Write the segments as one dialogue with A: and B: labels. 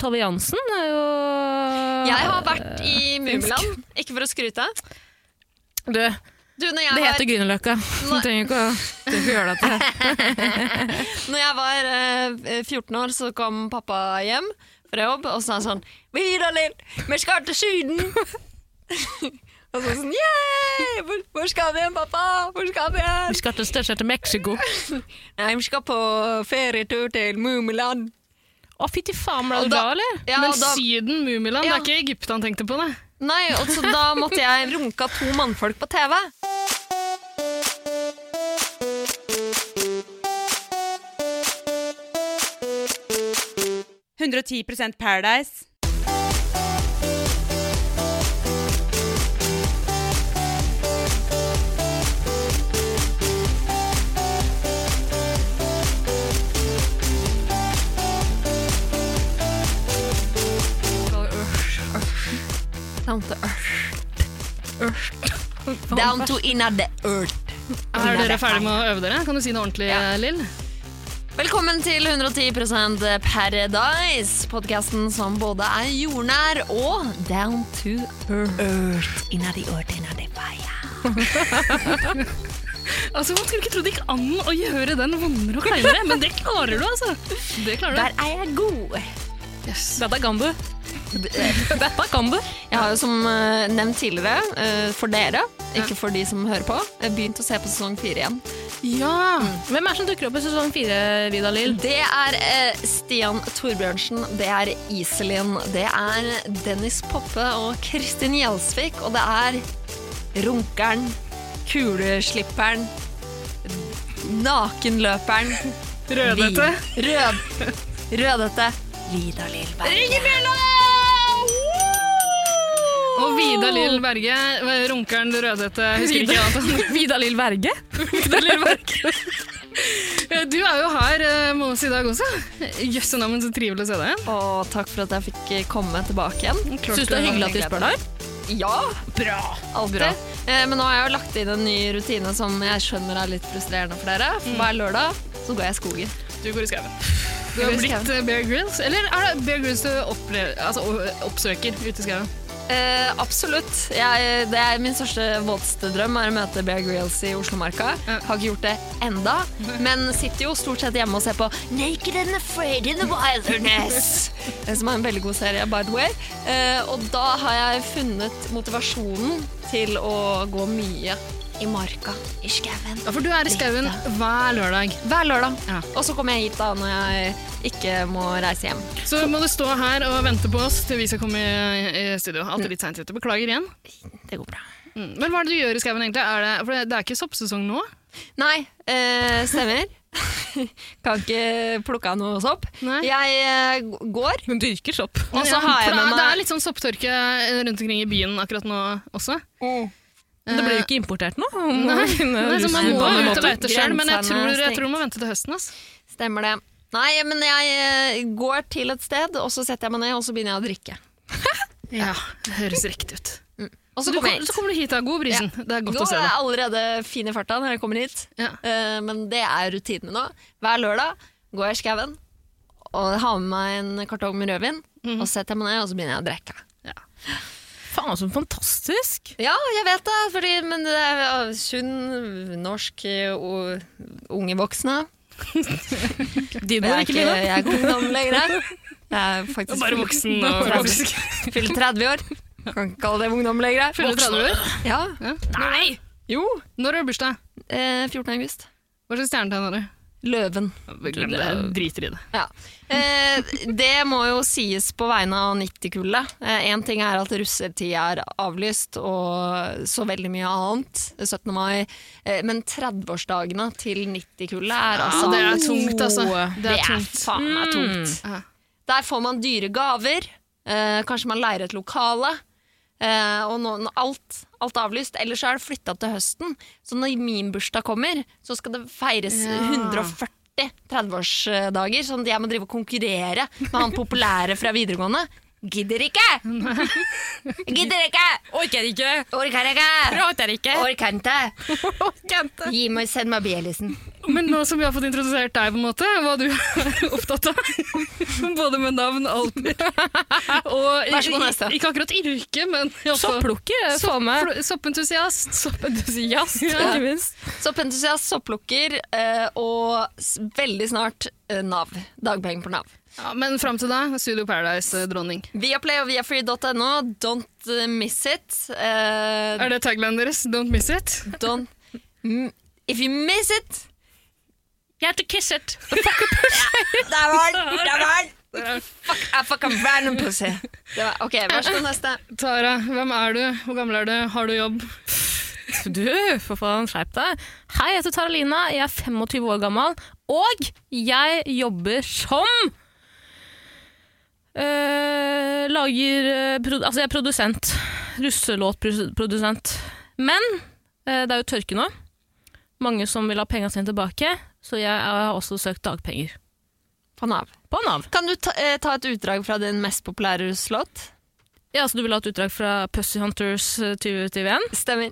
A: Tove Jansen er jo
B: Jeg har vært i Mumland, ikke for å skryte.
A: Du, det
B: Du, når jeg var,
A: heter Grünerløkka. Du
B: Nei.
A: trenger ikke å du trenger ikke å gjøre deg til det.
B: når jeg var eh, 14 år, så kom pappa hjem fra jobb, og så sa han sånn Vidar Lill, vi skal til Syden! og så sånn Yeah! Hvor, hvor skal vi hen, pappa? Hvor skal vi hen?
A: Vi skal til størst til Mexico. Å,
B: Nei, vi skal på ferietur til Mumland.
A: fytti faen, ble
B: Og
A: du
B: da-
A: bra, eller?
B: Ja,
C: Men
B: og da,
C: Syden, Mumiland,
B: Ja.
C: det er ikke Egypt han tenkte på, nei.
B: nei, og så da måtte jeg runke av to mannfolk på TV.
D: Paradise.
B: Down to earth. Down to inner the earth.
C: Er dere ferdige med å øve dere? Kan du si det ordentlig,
B: Ja.
C: Lill?
B: Velkommen til 110 Paradise, podkasten som både er jordnær og down to earth. Inner the earth, inner the fire.
C: Altså, Man skulle ikke tro det gikk an å gjøre den vondere og kleinere, men det klarer du, altså. Det klarer du.
B: Der er jeg god.
A: Dette kan du. Dette kan du.
B: Jeg har jo som eh, nevnt tidligere, eh, for dere, ikke for de som hører på, eh, begynt å se på sesong fire igjen.
A: Ja. Hvem er det som dukker opp i sesong fire, Vida Lill?
B: Det er eh, Stian Torbjørnsen, det er Iselin, det er Dennis Poppe og Kristin Gjelsvik, og det er runkeren, kuleslipperen, nakenløperen,
C: Rødhette.
B: vi- rød, rødhette, Vidar Lillberg.
C: Og Vida Lill Berge, runkeren Rødhette, husker ikke annet.
A: Vida Lill Verge? Vida Lill Verge.
C: Du er jo her, eh, Mons, i dag også. Jøss og navn, så trivelig å se deg igjen.
B: Og takk for at jeg fikk eh, komme tilbake igjen.
C: Klart
A: Syns du det er hyggelig at vi spør deg?
B: Ja, alltid. Eh, men nå har jeg jo lagt inn en ny rutine som jeg skjønner er litt frustrerende for dere.
A: Mm.
B: For hver lørdag så går jeg i skogen.
C: Du går i skauen. Du har
B: går i
C: blitt
B: skauen.
C: eh, Bear Grylls. Eller er det Bear Grylls du opplever, altså, o- oppsøker ute i skauen?
B: Eh, absolutt. Jeg, det er min største våteste drøm er å møte Bear Grylls i Oslomarka.
C: Ja.
B: Har ikke gjort det enda, men sitter jo stort sett hjemme og ser på Naked and Afraid in the Wilderness, eh, som er en veldig god serie, by the way. Eh, og da har jeg funnet motivasjonen til å gå mye i marka, i skauen.
C: Ja, for du er i skauen hver lørdag.
B: Hver lørdag.
C: Ja.
B: Og så kommer jeg hit da når jeg ikke må reise hjem.
C: Så må du stå her og vente på oss til vi skal komme i, i studio. Alltid litt seint ute. Beklager igjen.
B: Det går bra.
C: Mm. Men hva er det du gjør i skauen egentlig? Er det, for det- det er ikke soppsesong nå?
B: Nei, eh, stemmer. kan ikke plukke av noe sopp.
C: Nei.
B: Jeg eh, g- går,
A: Hun dyrker sopp.
B: og så har
C: For
B: jeg med
C: det er- Det er
B: meg
C: litt sånn sopptørke rundt omkring i byen akkurat nå også.
A: Men Det blir jo ikke importert nå.
C: Eh, Nei, nei, så man må
B: På
C: jo
B: alle
C: ut og
B: måter.
C: leite sjøl, men jeg
B: Grensene
C: tror, jeg
B: stengt.
C: tror man venter til høsten. ass.
B: Stemmer det. Nei, men jeg eh, går til et sted, og så setter jeg meg ned, og så begynner jeg å drikke.
C: Ja, det høres riktig ut.
B: Og
C: Så,
B: så kommer
C: du kom,
B: jeg
C: så
B: hit.
C: kommer du hit da, god brisen. Det er godt
B: Nå
C: å se
B: er jeg
C: deg.
B: allerede fin i farta når jeg kommer hit,
C: Ja.
B: Eh, men det er rutinen nå. Hver lørdag går jeg i skauen og har med meg en kartong med rødvin,
C: Mhm.
B: og setter jeg meg ned, og så begynner jeg å drikke.
A: Faen, så fantastisk!
B: Ja, jeg vet det, fordi, men det er ja, sunn, norsk eh, og unge voksne.
A: Din
B: Jeg
A: mor,
B: er
A: ikke
B: ikke,
A: mine.
B: jeg er ikke ungdom lenger. Jeg er faktisk
C: Bare voksen og voksen.
B: Fyller 30 år. Kan ikke kalle det ungdom lenger.
C: Fyller du 30 år?
B: Ja.
C: Ja.
B: Nei! Jo.
C: Når er bursdag?
B: Eh, 14. august.
C: Hva slags stjernetegn har du?
B: Løven.
C: Glem det, jeg driter i det.
B: Ja. Eh, det må jo sies på vegne av 90-kullet. Én ting er at russetida er avlyst, og så veldig mye annet. 17. mai. Eh, men 30-årsdagene til 90-kullet er altså
C: Ja, det er tungt, altså. Det
B: Det
C: er
B: er
C: tungt. Mm.
B: faen meg tungt.
C: Ja.
B: Der får man dyre gaver. Eh, kanskje man leier et lokale. Eh, og nå, nå alt, alt er avlyst. Ellers så er det flytta til høsten. Så når min bursdag kommer, så skal det feires 140 30-årsdager. Sånn at jeg må drive og konkurrere med han populære fra videregående. Gidder ikke! Gidder ikke!
A: Orker ikke!
B: Orker ikke!
A: Prater ikke!
B: Orker ikke!
A: Orker ikke!
B: Gi meg, send meg Bjellisen.
C: Men nå som vi har fått introdusert deg, på en måte, hva du er opptatt av, både med navn, alder og
B: Vær så god, neste.
C: Ikke akkurat yrke, men også-
A: Sopplukker,
C: Sopp-
A: faen meg.
C: fl- Soppentusiast.
A: Soppentusiast, ikke minst.
B: Soppentusiast, sopplukker eh, og s- veldig snart eh, Nav. Dagpenger på Nav.
C: Ja, men fram til da, Studio eh, Paradise-dronning.
B: Viaplay og viafree.no. Don't eh, miss it. Eh,
C: Er det taglinen deres? Don't miss it.
B: don't m- If you miss it
C: Jeg heter Kissert.
B: Der var den! Der var den!
C: Der er den.
B: Fuck, I fucking random pussy. Det var, ok, vær så god, neste.
C: Tara, hvem er du? Hvor gammel er du? Har du jobb?
A: Du, for faen, skjerp deg. Hei, jeg heter Taralina, jeg er 25 år gammel, og jeg jobber som øh, Lager øh, produ Altså, jeg er produsent. Russelåtprodusent. Men øh, det er jo tørke nå. Mange som vil ha pengene sine tilbake, så jeg har også søkt dagpenger
B: På Nav.
A: på Nav.
B: Kan du ta, eh, ta et utdrag fra din mest populære russelåt?
A: Ja, så du vil ha et utdrag fra Pussy Hunters øh, 2021?
B: Stemmer.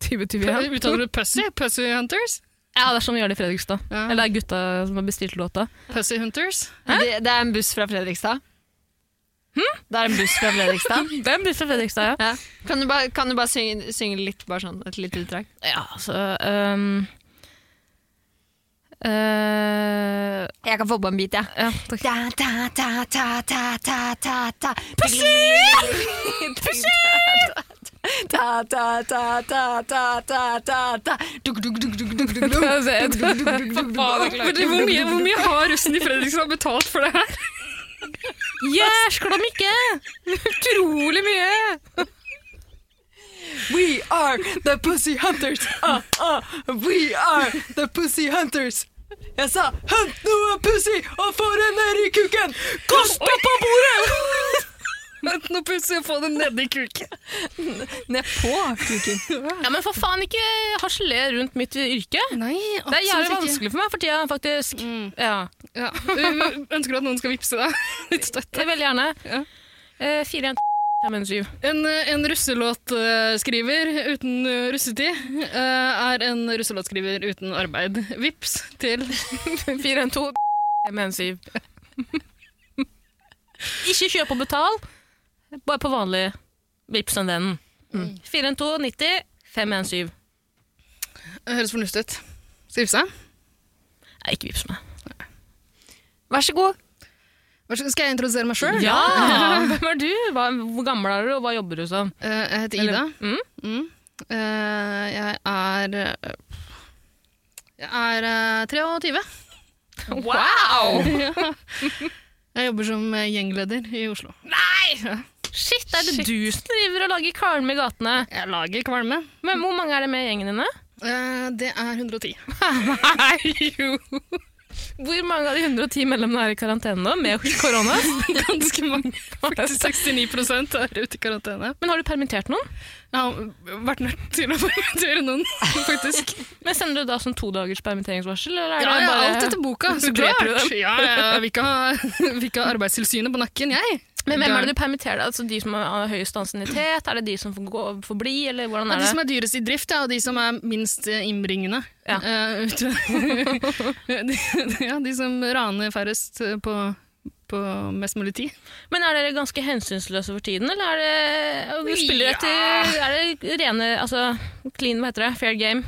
A: 2021.
C: Uttaler du Pussy? Pussy Hunters?
A: Ja, det er sånn vi gjør det i Fredrikstad.
C: Ja.
A: Eller det er gutta som har bestilt låta.
C: Pussy Hunters?
B: Det, det er en buss fra Fredrikstad. Det er en buss fra Fredrikstad.
A: Det er en buss fra Fredrikstad, ja.
B: Ja. Kan du bare, kan du bare synge, synge litt, bare sånn, et lite utdrag?
A: Ja, altså ehm, eh,
B: Jeg kan få på en bit, jeg.
A: Ja, takk.
B: Ja. Pussy! Pussy!
C: Hvor mye, hvor mye har russen i Fredrikstad betalt for det her?
A: Jæskla ikke! Utrolig mye!
B: We are the pussy hunters. Ah, ah. We are the pussy hunters. Jeg sa 'hunt noe pussy og få det ned i kuken'! Kast det på bordet!
C: Vent nå, Pussy, få dem nedi kuken.
B: Ned på kuken.
A: Ja, Men for faen, ikke harseler rundt mitt yrke.
C: Nei,
A: Det er jævlig vanskelig for meg for tida, faktisk. Ja,
C: Ja. Ø- Ønsker du at noen skal vippse deg? Litt støtte.
A: det er Veldig gjerne.
C: Ja.
A: Eh, fire, en, fem, en, syv.
C: En, en russelåtskriver uten eh, russetid eh, er en russelåtskriver uten arbeid. Vips til eh,
A: Fire, en, to, fem, en, syv. Ikke kjøp og betal, bare på vanlig Vipps enn den. Mm. Fire, en, to, 90, fem, en, syv.
C: Høres fornuftig ut. Skal jeg vippse?
A: Nei, Ikke vips meg.
B: Vær så god.
C: Vær så- Skal jeg introdusere meg sjøl?
A: Ja! Hvem er du? Hva, hvor gammel er du, og hva jobber du som?
C: Eh, Jeg heter Ida.
A: Eller- Mm?
C: Mm. Eh, jeg er eh, Jeg er eh, 23.
A: Wow!
C: Jeg jobber som eh, gjengleder i Oslo.
A: Shit, er det du som driver og lager kvalme i gatene?
C: Jeg lager kvalme.
A: Men hvor mange er det med i gjengen dine?
C: Eh, det er 110.
A: Nei, jo! Hvor mange av de 110 medlemmene er i karantene nå, med korona?
C: Ganske mange. 69 er ute i karantene.
A: Men har du permittert noen?
C: Jeg har vært nødt til å permittere noen, faktisk.
A: Men Sender du da sånn to dagers permitteringsvarsel? Eller er
C: Ja,
A: det
C: ja,
A: bare...
C: alt etter boka, så
A: Supplert
C: klart.
A: du dem?
C: Ja, ja, vi kan ha, vi kan ha Arbeidstilsynet på nakken, jeg.
A: Men hvem er det du permitterer? da? Altså De som har høyest ansiennitet? Er det de som får, gå, får bli, eller hvordan
C: Det er
A: er
C: de som
A: det?
C: er dyrest i drift, ja, og de som er minst eh, innbringende.
A: Ja.
C: Eh, ute. de, ja, de som raner færrest eh, på, på mest mulig tid.
A: Men er dere ganske hensynsløse for tiden, eller er det Spiller
C: Ja.
A: etter Er det rene Altså clean, hva heter det? Fair game?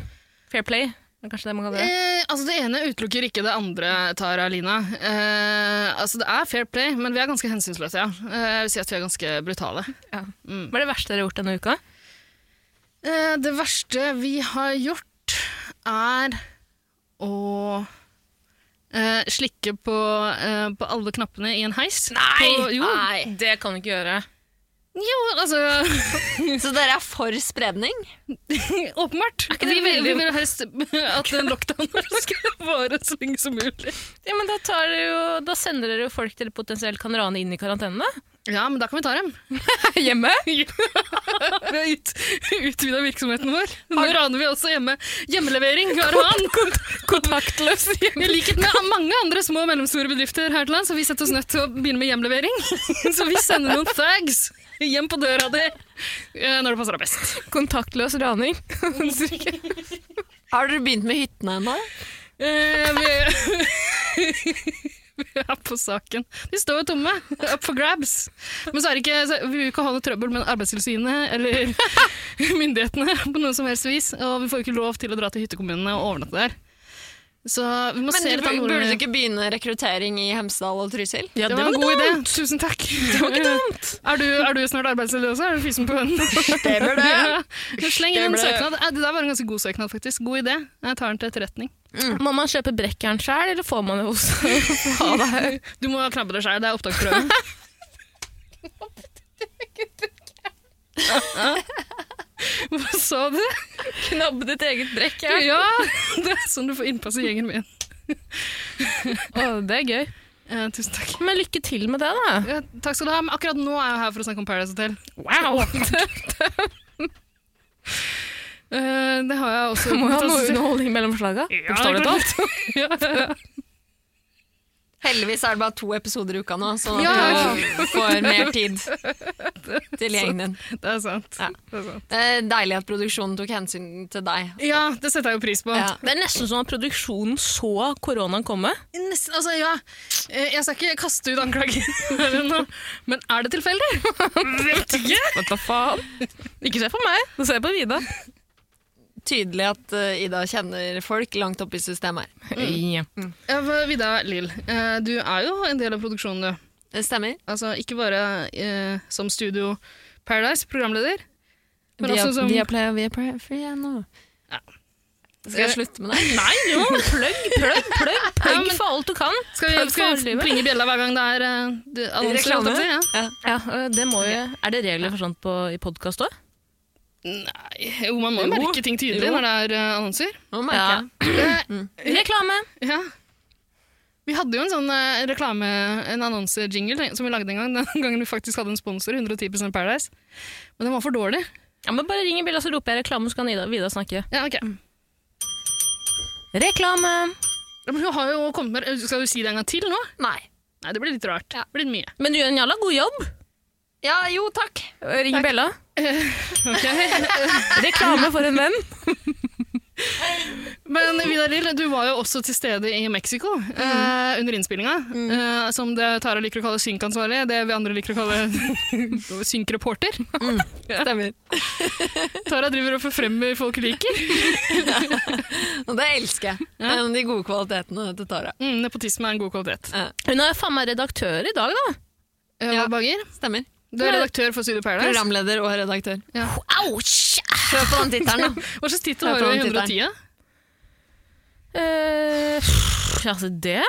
A: Fair play? Er Kanskje det man kaller det?
C: Eh, altså Det ene utelukker ikke det andre, Tara Lina. Eh, altså Det er fair play, men vi er ganske hensynsløse, ja. Eh, jeg vil si at vi er ganske brutale.
A: Ja. Hva er det verste dere har gjort denne uka?
C: Eh, det verste vi har gjort, er å eh, slikke på, eh, på alle knappene i en heis. På, jo,
A: Det kan du ikke gjøre.
C: jo, altså
B: Så dere er for spredning?
C: Åpenbart.
A: ikke det
C: Vi, vil-
A: veldig-
C: vi vil helst at den lockdownen skal vare så lenge som mulig.
A: Ja, men da, tar dere jo, da sender dere jo folk dere potensielt kan rane inn i karantene. da.
C: Ja, men da kan vi ta dem.
A: Hjemme?
C: Vi har ut, utvida virksomheten vår. Nå raner vi også hjemme. Hjemmelevering, Garvan.
A: Kontaktløs
C: I likhet med mange andre små og mellomstore bedrifter her til lands, har vi sett oss nødt til å begynne med hjemlevering. Så vi sender noen thugs hjem på døra di eh, når det passer deg best.
A: Kontaktløs raning.
B: Har dere begynt med hyttene ennå?
C: Eh, vi, vi er på saken. De står jo tomme. Up for grabs. Men så er det ikke, så vi vil ikke ha noe trøbbel med Arbeidstilsynet eller myndighetene på noe som helst vis. Og vi får jo ikke lov til å dra til hyttekommunene og overnatte der. Så vi må
B: Men
C: se
B: du,
C: litt an hvordan
B: burde
C: vi-
B: du ikke begynne rekruttering i Hemsedal og Trysil?
A: Ja,
C: det var en god idé. Tusen takk. Er du, er du snart arbeidsledig også? Er du fysen på hønen?
B: Stemmer det.
C: Ja. Sleng inn
B: Stemmer
C: en
B: det.
C: søknad. Eh, Det der var en ganske god søknad, faktisk. God idé. Jeg tar den til etterretning.
A: Må man kjøpe brekkjern sjøl, eller får man det hos
C: Du må knabbe deg sjæl. Det er opptaksprøven. Hva sa du?
A: Knabbe ditt eget brekkjern.
C: Ja, det er sånn du får innpass i gjengen min.
A: det er gøy.
C: Eh, tusen takk.
A: Men lykke til med det, da.
C: Ja, takk skal du ha. Men akkurat nå er jeg her for å snakke om Paradise Hotel.
A: Wow!
C: Eh, det har jeg også.
A: Du må jo ha noe underholdning mellom slaga.
C: Bokstavelig talt. Ja, ja, ja.
B: Heldigvis er det bare to episoder i uka nå, så
C: Ja.
B: du får mer tid til gjengen din.
C: Det er sant.
B: Ja.
C: Det er sant.
B: Det er deilig at produksjonen tok hensyn til deg.
C: Ja, det setter jeg jo pris på.
B: Ja.
A: Det er nesten som at produksjonen så koronaen komme.
C: Nesten, altså, ja. Eh, Jeg skal ikke kaste ut anklager, her nå, men er det tilfeldig? Vet ikke.
A: Hva da faen? Ikke se på meg, du ser på Vida.
B: Tydelig at eh, Ida kjenner folk langt oppe i systemet her.
A: Ja.
C: Ja, men Vidar Lill, eh, du er jo en del av produksjonen, du.
B: Det stemmer.
C: Altså, ikke bare eh, som Studio Paradise, programleder. Men
B: Via,
C: også som-
B: via Play og via Play Free er nå.
C: Ja.
B: Skal jeg slutte med det?
A: Nei, jo, pløgg, pløgg, pløgg,
C: Ja,
A: pløgg
C: men-
A: for alt du kan.
C: Skal vi, skal vi plinge bjella hver gang det er eh, du- annonser?
B: Reklame?
C: holdt jeg på å si,
B: Ja.
A: Ja, øh, det må jo, er det regler for sånt på, i podkast òg?
C: Ja. Jo, man må jo
B: Jo.
C: merke ting tydelig
B: Jo.
C: når det er eh, annonser.
B: Nå
A: Ja.
B: merker jeg.
A: Reklame!
C: Ja. Vi hadde jo en sånn eh, reklame, en annonsejingle som vi lagde en gang, den gangen vi faktisk hadde en sponsor, 110 Paradise. Men den var for dårlig.
A: Ja, men Bare ring i bilen, så roper jeg reklame, så kan Ida, Vida snakke.
C: Ja, ok.
B: Mm.
A: Reklame!
C: Ja, Men hun har jo kommet med, skal du si det en gang til nå?
B: Nei.
C: Nei, det blir litt rart.
B: Ja.
C: Det blir mye.
A: Men du gjør en jævla god jobb.
B: Ja, jo, takk.
A: Ring Bella.
C: Eh, Ok.
A: Reklame for en venn.
C: Men Vidar Lill, du var jo også til stede i Mexico
A: Mm.
C: eh, under innspillinga. Eh, som det Tara liker å kalle synkansvarlig, det vi andre liker å kalle synkreporter.
B: Stemmer.
C: Tara driver og forfremmer folk liker.
B: Og det elsker jeg. Det er en av de gode kvalitetene til Tara.
C: Mm, nepotisme er en god kvalitet.
A: Hun er faen meg redaktør i dag, da.
C: Eh,
B: Ja.
C: Bager,
B: Stemmer.
C: du er redaktør for Studio Paradise.
B: Programleder og redaktør.
C: Ja.
B: Ouch! Hør på den tittelen, da.
C: Hva slags tittel
B: Jeg
C: har
B: tar
C: du i
B: den tittelen.
C: 110?
A: Eh, pff, altså, det?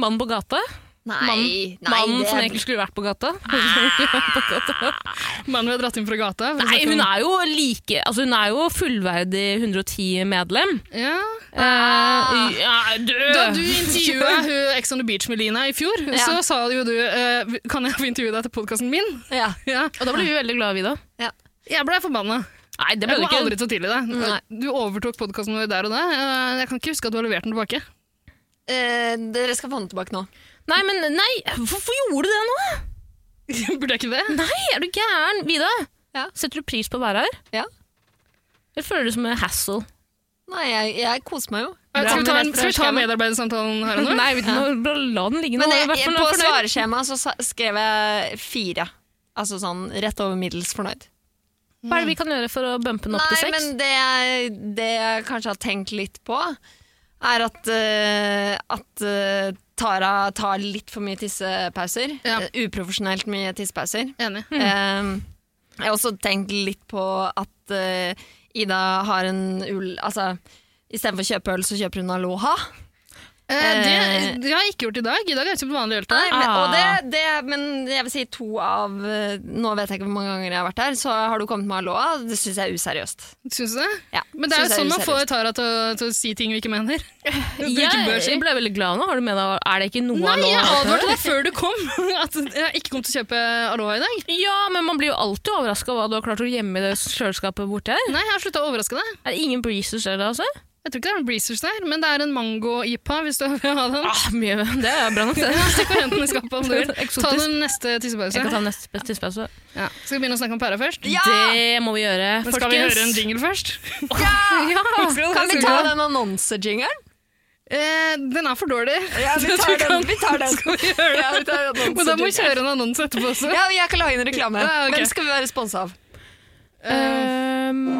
A: Mannen på gata?
B: Nei,
A: Mannen som
B: det,
A: egentlig skulle vært på gata?
C: Mannen vi har dratt inn fra gata. for å
A: Ah. Nei,
C: snakke om-
A: hun er jo like Altså, hun er jo fullverdig 110-medlem.
C: ja.
A: Eh, ja, død!
C: Da du intervjua hun Ex on the Beach med Lina i fjor,
B: Ja.
C: så sa jo du eh, Kan jeg få intervjue deg til podkasten min?
B: ja.
C: Ja.
A: Og da ble vi veldig glade, Vida.
B: Ja.
C: Jeg blei forbanna.
A: Nei, det
C: Jeg
A: ble du
C: kommer
A: ikke.
C: aldri til å tilgi deg.
B: Nei.
C: Du overtok podkasten vår der og da. Eh, Jeg kan ikke huske at du har levert den tilbake.
B: Eh, dere skal få den tilbake nå.
A: Nei, men nei, hvorfor gjorde du det nå?
C: Burde jeg ikke det?
A: Nei, er du gæren? Vida,
B: Ja.
A: setter du pris på å være her?
B: Ja.
A: Eller føler du det som en hassle?
B: Nei, jeg, jeg koser meg jo.
C: Eh, Skal vi ta, en-
B: Rett fra
C: skal vi ta
B: skjema.
C: medarbeidersamtalen her og nå?
A: Nei, vet du, nå, bare la den ligge nå.
B: Men
A: i
B: jeg,
A: hvert fall
B: jeg,
A: nå
B: på
A: er jeg fornøyd.
B: svareskjemaet så sa- skrev jeg fire. Altså sånn rett over middels fornøyd.
A: Hva er det vi kan gjøre for å bumpe den opp
B: Nei,
A: til seks?
B: men det jeg, det jeg kanskje har tenkt litt på, er at, eh, at eh, Tara tar litt for mye tissepauser.
C: Ja. Hmm.
B: Eh, Uprofesjonelt mye tissepauser.
C: Enig.
B: Eh, jeg har også tenkt litt på at eh, Ida har en ull... Altså, istedenfor å kjøpe øl, så kjøper hun Aloha.
C: Eh, det, det har jeg ikke gjort i dag. I dag har jeg kjøpt vanlig øl til
B: Nei,
C: deg.
B: men, og
A: Ah.
B: det, det, men jeg vil si to av eh, Nå vet jeg ikke hvor mange ganger jeg har vært her, så har du kommet med aloha. Det syns jeg er useriøst.
C: Syns du det?
B: Ja,
C: Men det er
B: synes
C: jo
B: jeg
C: sånn man får
B: useriøst.
C: Tara til, å- til å si ting vi ikke mener. Bruke
A: Jeg,
C: børsi.
A: jeg ble veldig glad nå. Har du med deg, er det ikke noe
C: Nei, jeg
A: aloha?
C: advarte deg før du kom at jeg ikke kom til å kjøpe Aloha i dag.
A: Ja, men man blir jo alltid overraska hva du har klart å gjemme i det kjøleskapet borti her.
C: Nei, jeg har slutta å overraske deg.
A: Er det ingen breezers der, altså?
C: Jeg tror ikke det er en breezers der, men det er en mango-jippa hvis du vil ha den.
A: Ah, mye, det er bra nok, det.
C: Stikk og hent den i skapet om du vil.
A: Eksotisk.
C: Ta den neste
A: Jeg
C: tissepause.
A: kan ta neste tidspause.
C: Ja. Skal vi begynne å snakke om pæra først?
B: Ja!
A: Det må vi gjøre,
C: Men skal vi
A: folkens.
C: høre en jingle først?
A: Ja!
B: Kan vi ta den annonsejingeren?
C: Eh, den er for dårlig.
B: Ja, vi tar den. Vi tar den.
C: Skal vi gjøre det?
B: Ja, vi tar annonsejingeren.
C: Men da må vi kjøre en annonse etterpå også.
B: Ja, jeg kan lage en reklame.
C: Ja, ok.
B: Hvem skal vi være sponsa av?
A: Ehm,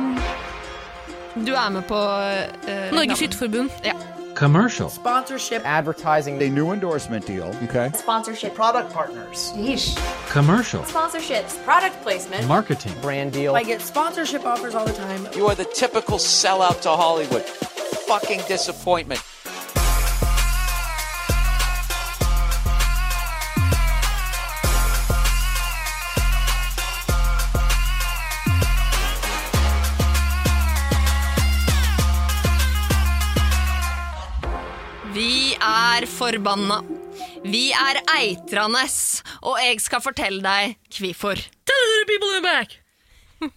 B: Du er med på eh, reklamen.
A: Norges Hytteforbund.
E: Commercial.
F: Sponsorship,
G: advertising a new endorsement deal. Okay.
F: sponsorship,
G: Product partners,
E: Commercial.
F: sponsorships, product placement.
E: Marketing.
G: brand deal.
F: I get sponsorship offers all the time.
H: You are the typical sellout to Hollywood. Fucking disappointment.
B: Vi er forbanna. Vi er eitrende, og jeg skal fortelle deg hvorfor.
A: Tell the people in the back!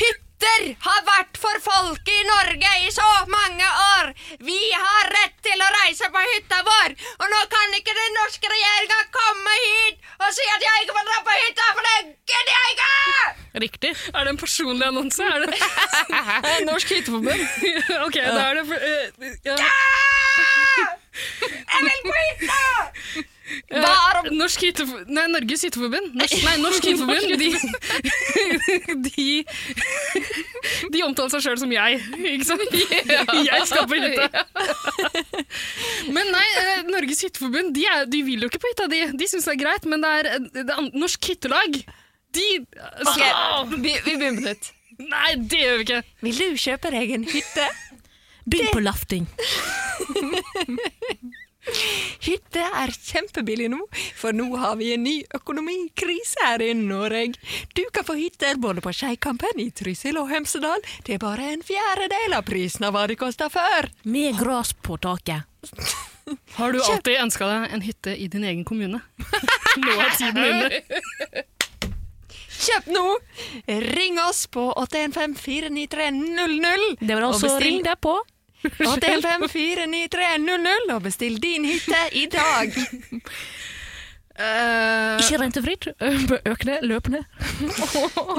B: Hytter har vært for folket i Norge i så mange år! Vi har rett til å reise på hytta vår! Og nå kan ikke den norske regjeringa komme hit og si at jeg ikke får dra på hytta, for det gidder jeg ikke!
A: Riktig.
C: Er det en personlig annonse? Er det Norsk Hytteforbund? ok, da er det for, eh, ja.
B: Jeg vil på hytta!
C: Eh,
B: Hva er om-
C: Norsk Hyttefo- Nei, Norges Hytteforbund. Norsk, nei, Norsk Hytteforbund. De, de, de omtaler seg sjøl som jeg, ikke sant? Jeg skal på hytta. Men nei, eh, Norges Hytteforbund de, er, de vil jo ikke på hytta, de. De syns det er greit, men det er, eh, det er an- Norsk Hyttelag. De eh,
B: Ok, vi, vi begynner på nytt.
C: Nei, det gjør vi ikke.
B: Vil du kjøpe deg en hytte?
A: Bygg på lafting.
B: Hytte er kjempebillig nå, for nå har vi en ny økonomikrise her i Norge. Du kan få hytter både på Skeikampen, i Trysil og Hemsedal. Det er bare en fjerdedel av prisen av hva det kosta før.
A: Med gress på taket.
C: Har du alltid ønska deg en hytte i din egen kommune? Nå er tiden inne.
B: Kjøp nå! Ring oss på 815 493
A: Det var altså
B: Og bestill-
A: Ring deg på.
B: 815 493 og bestill din hytte i dag. Eh,
A: Ikke rentefritt. Øk ned, løp ned.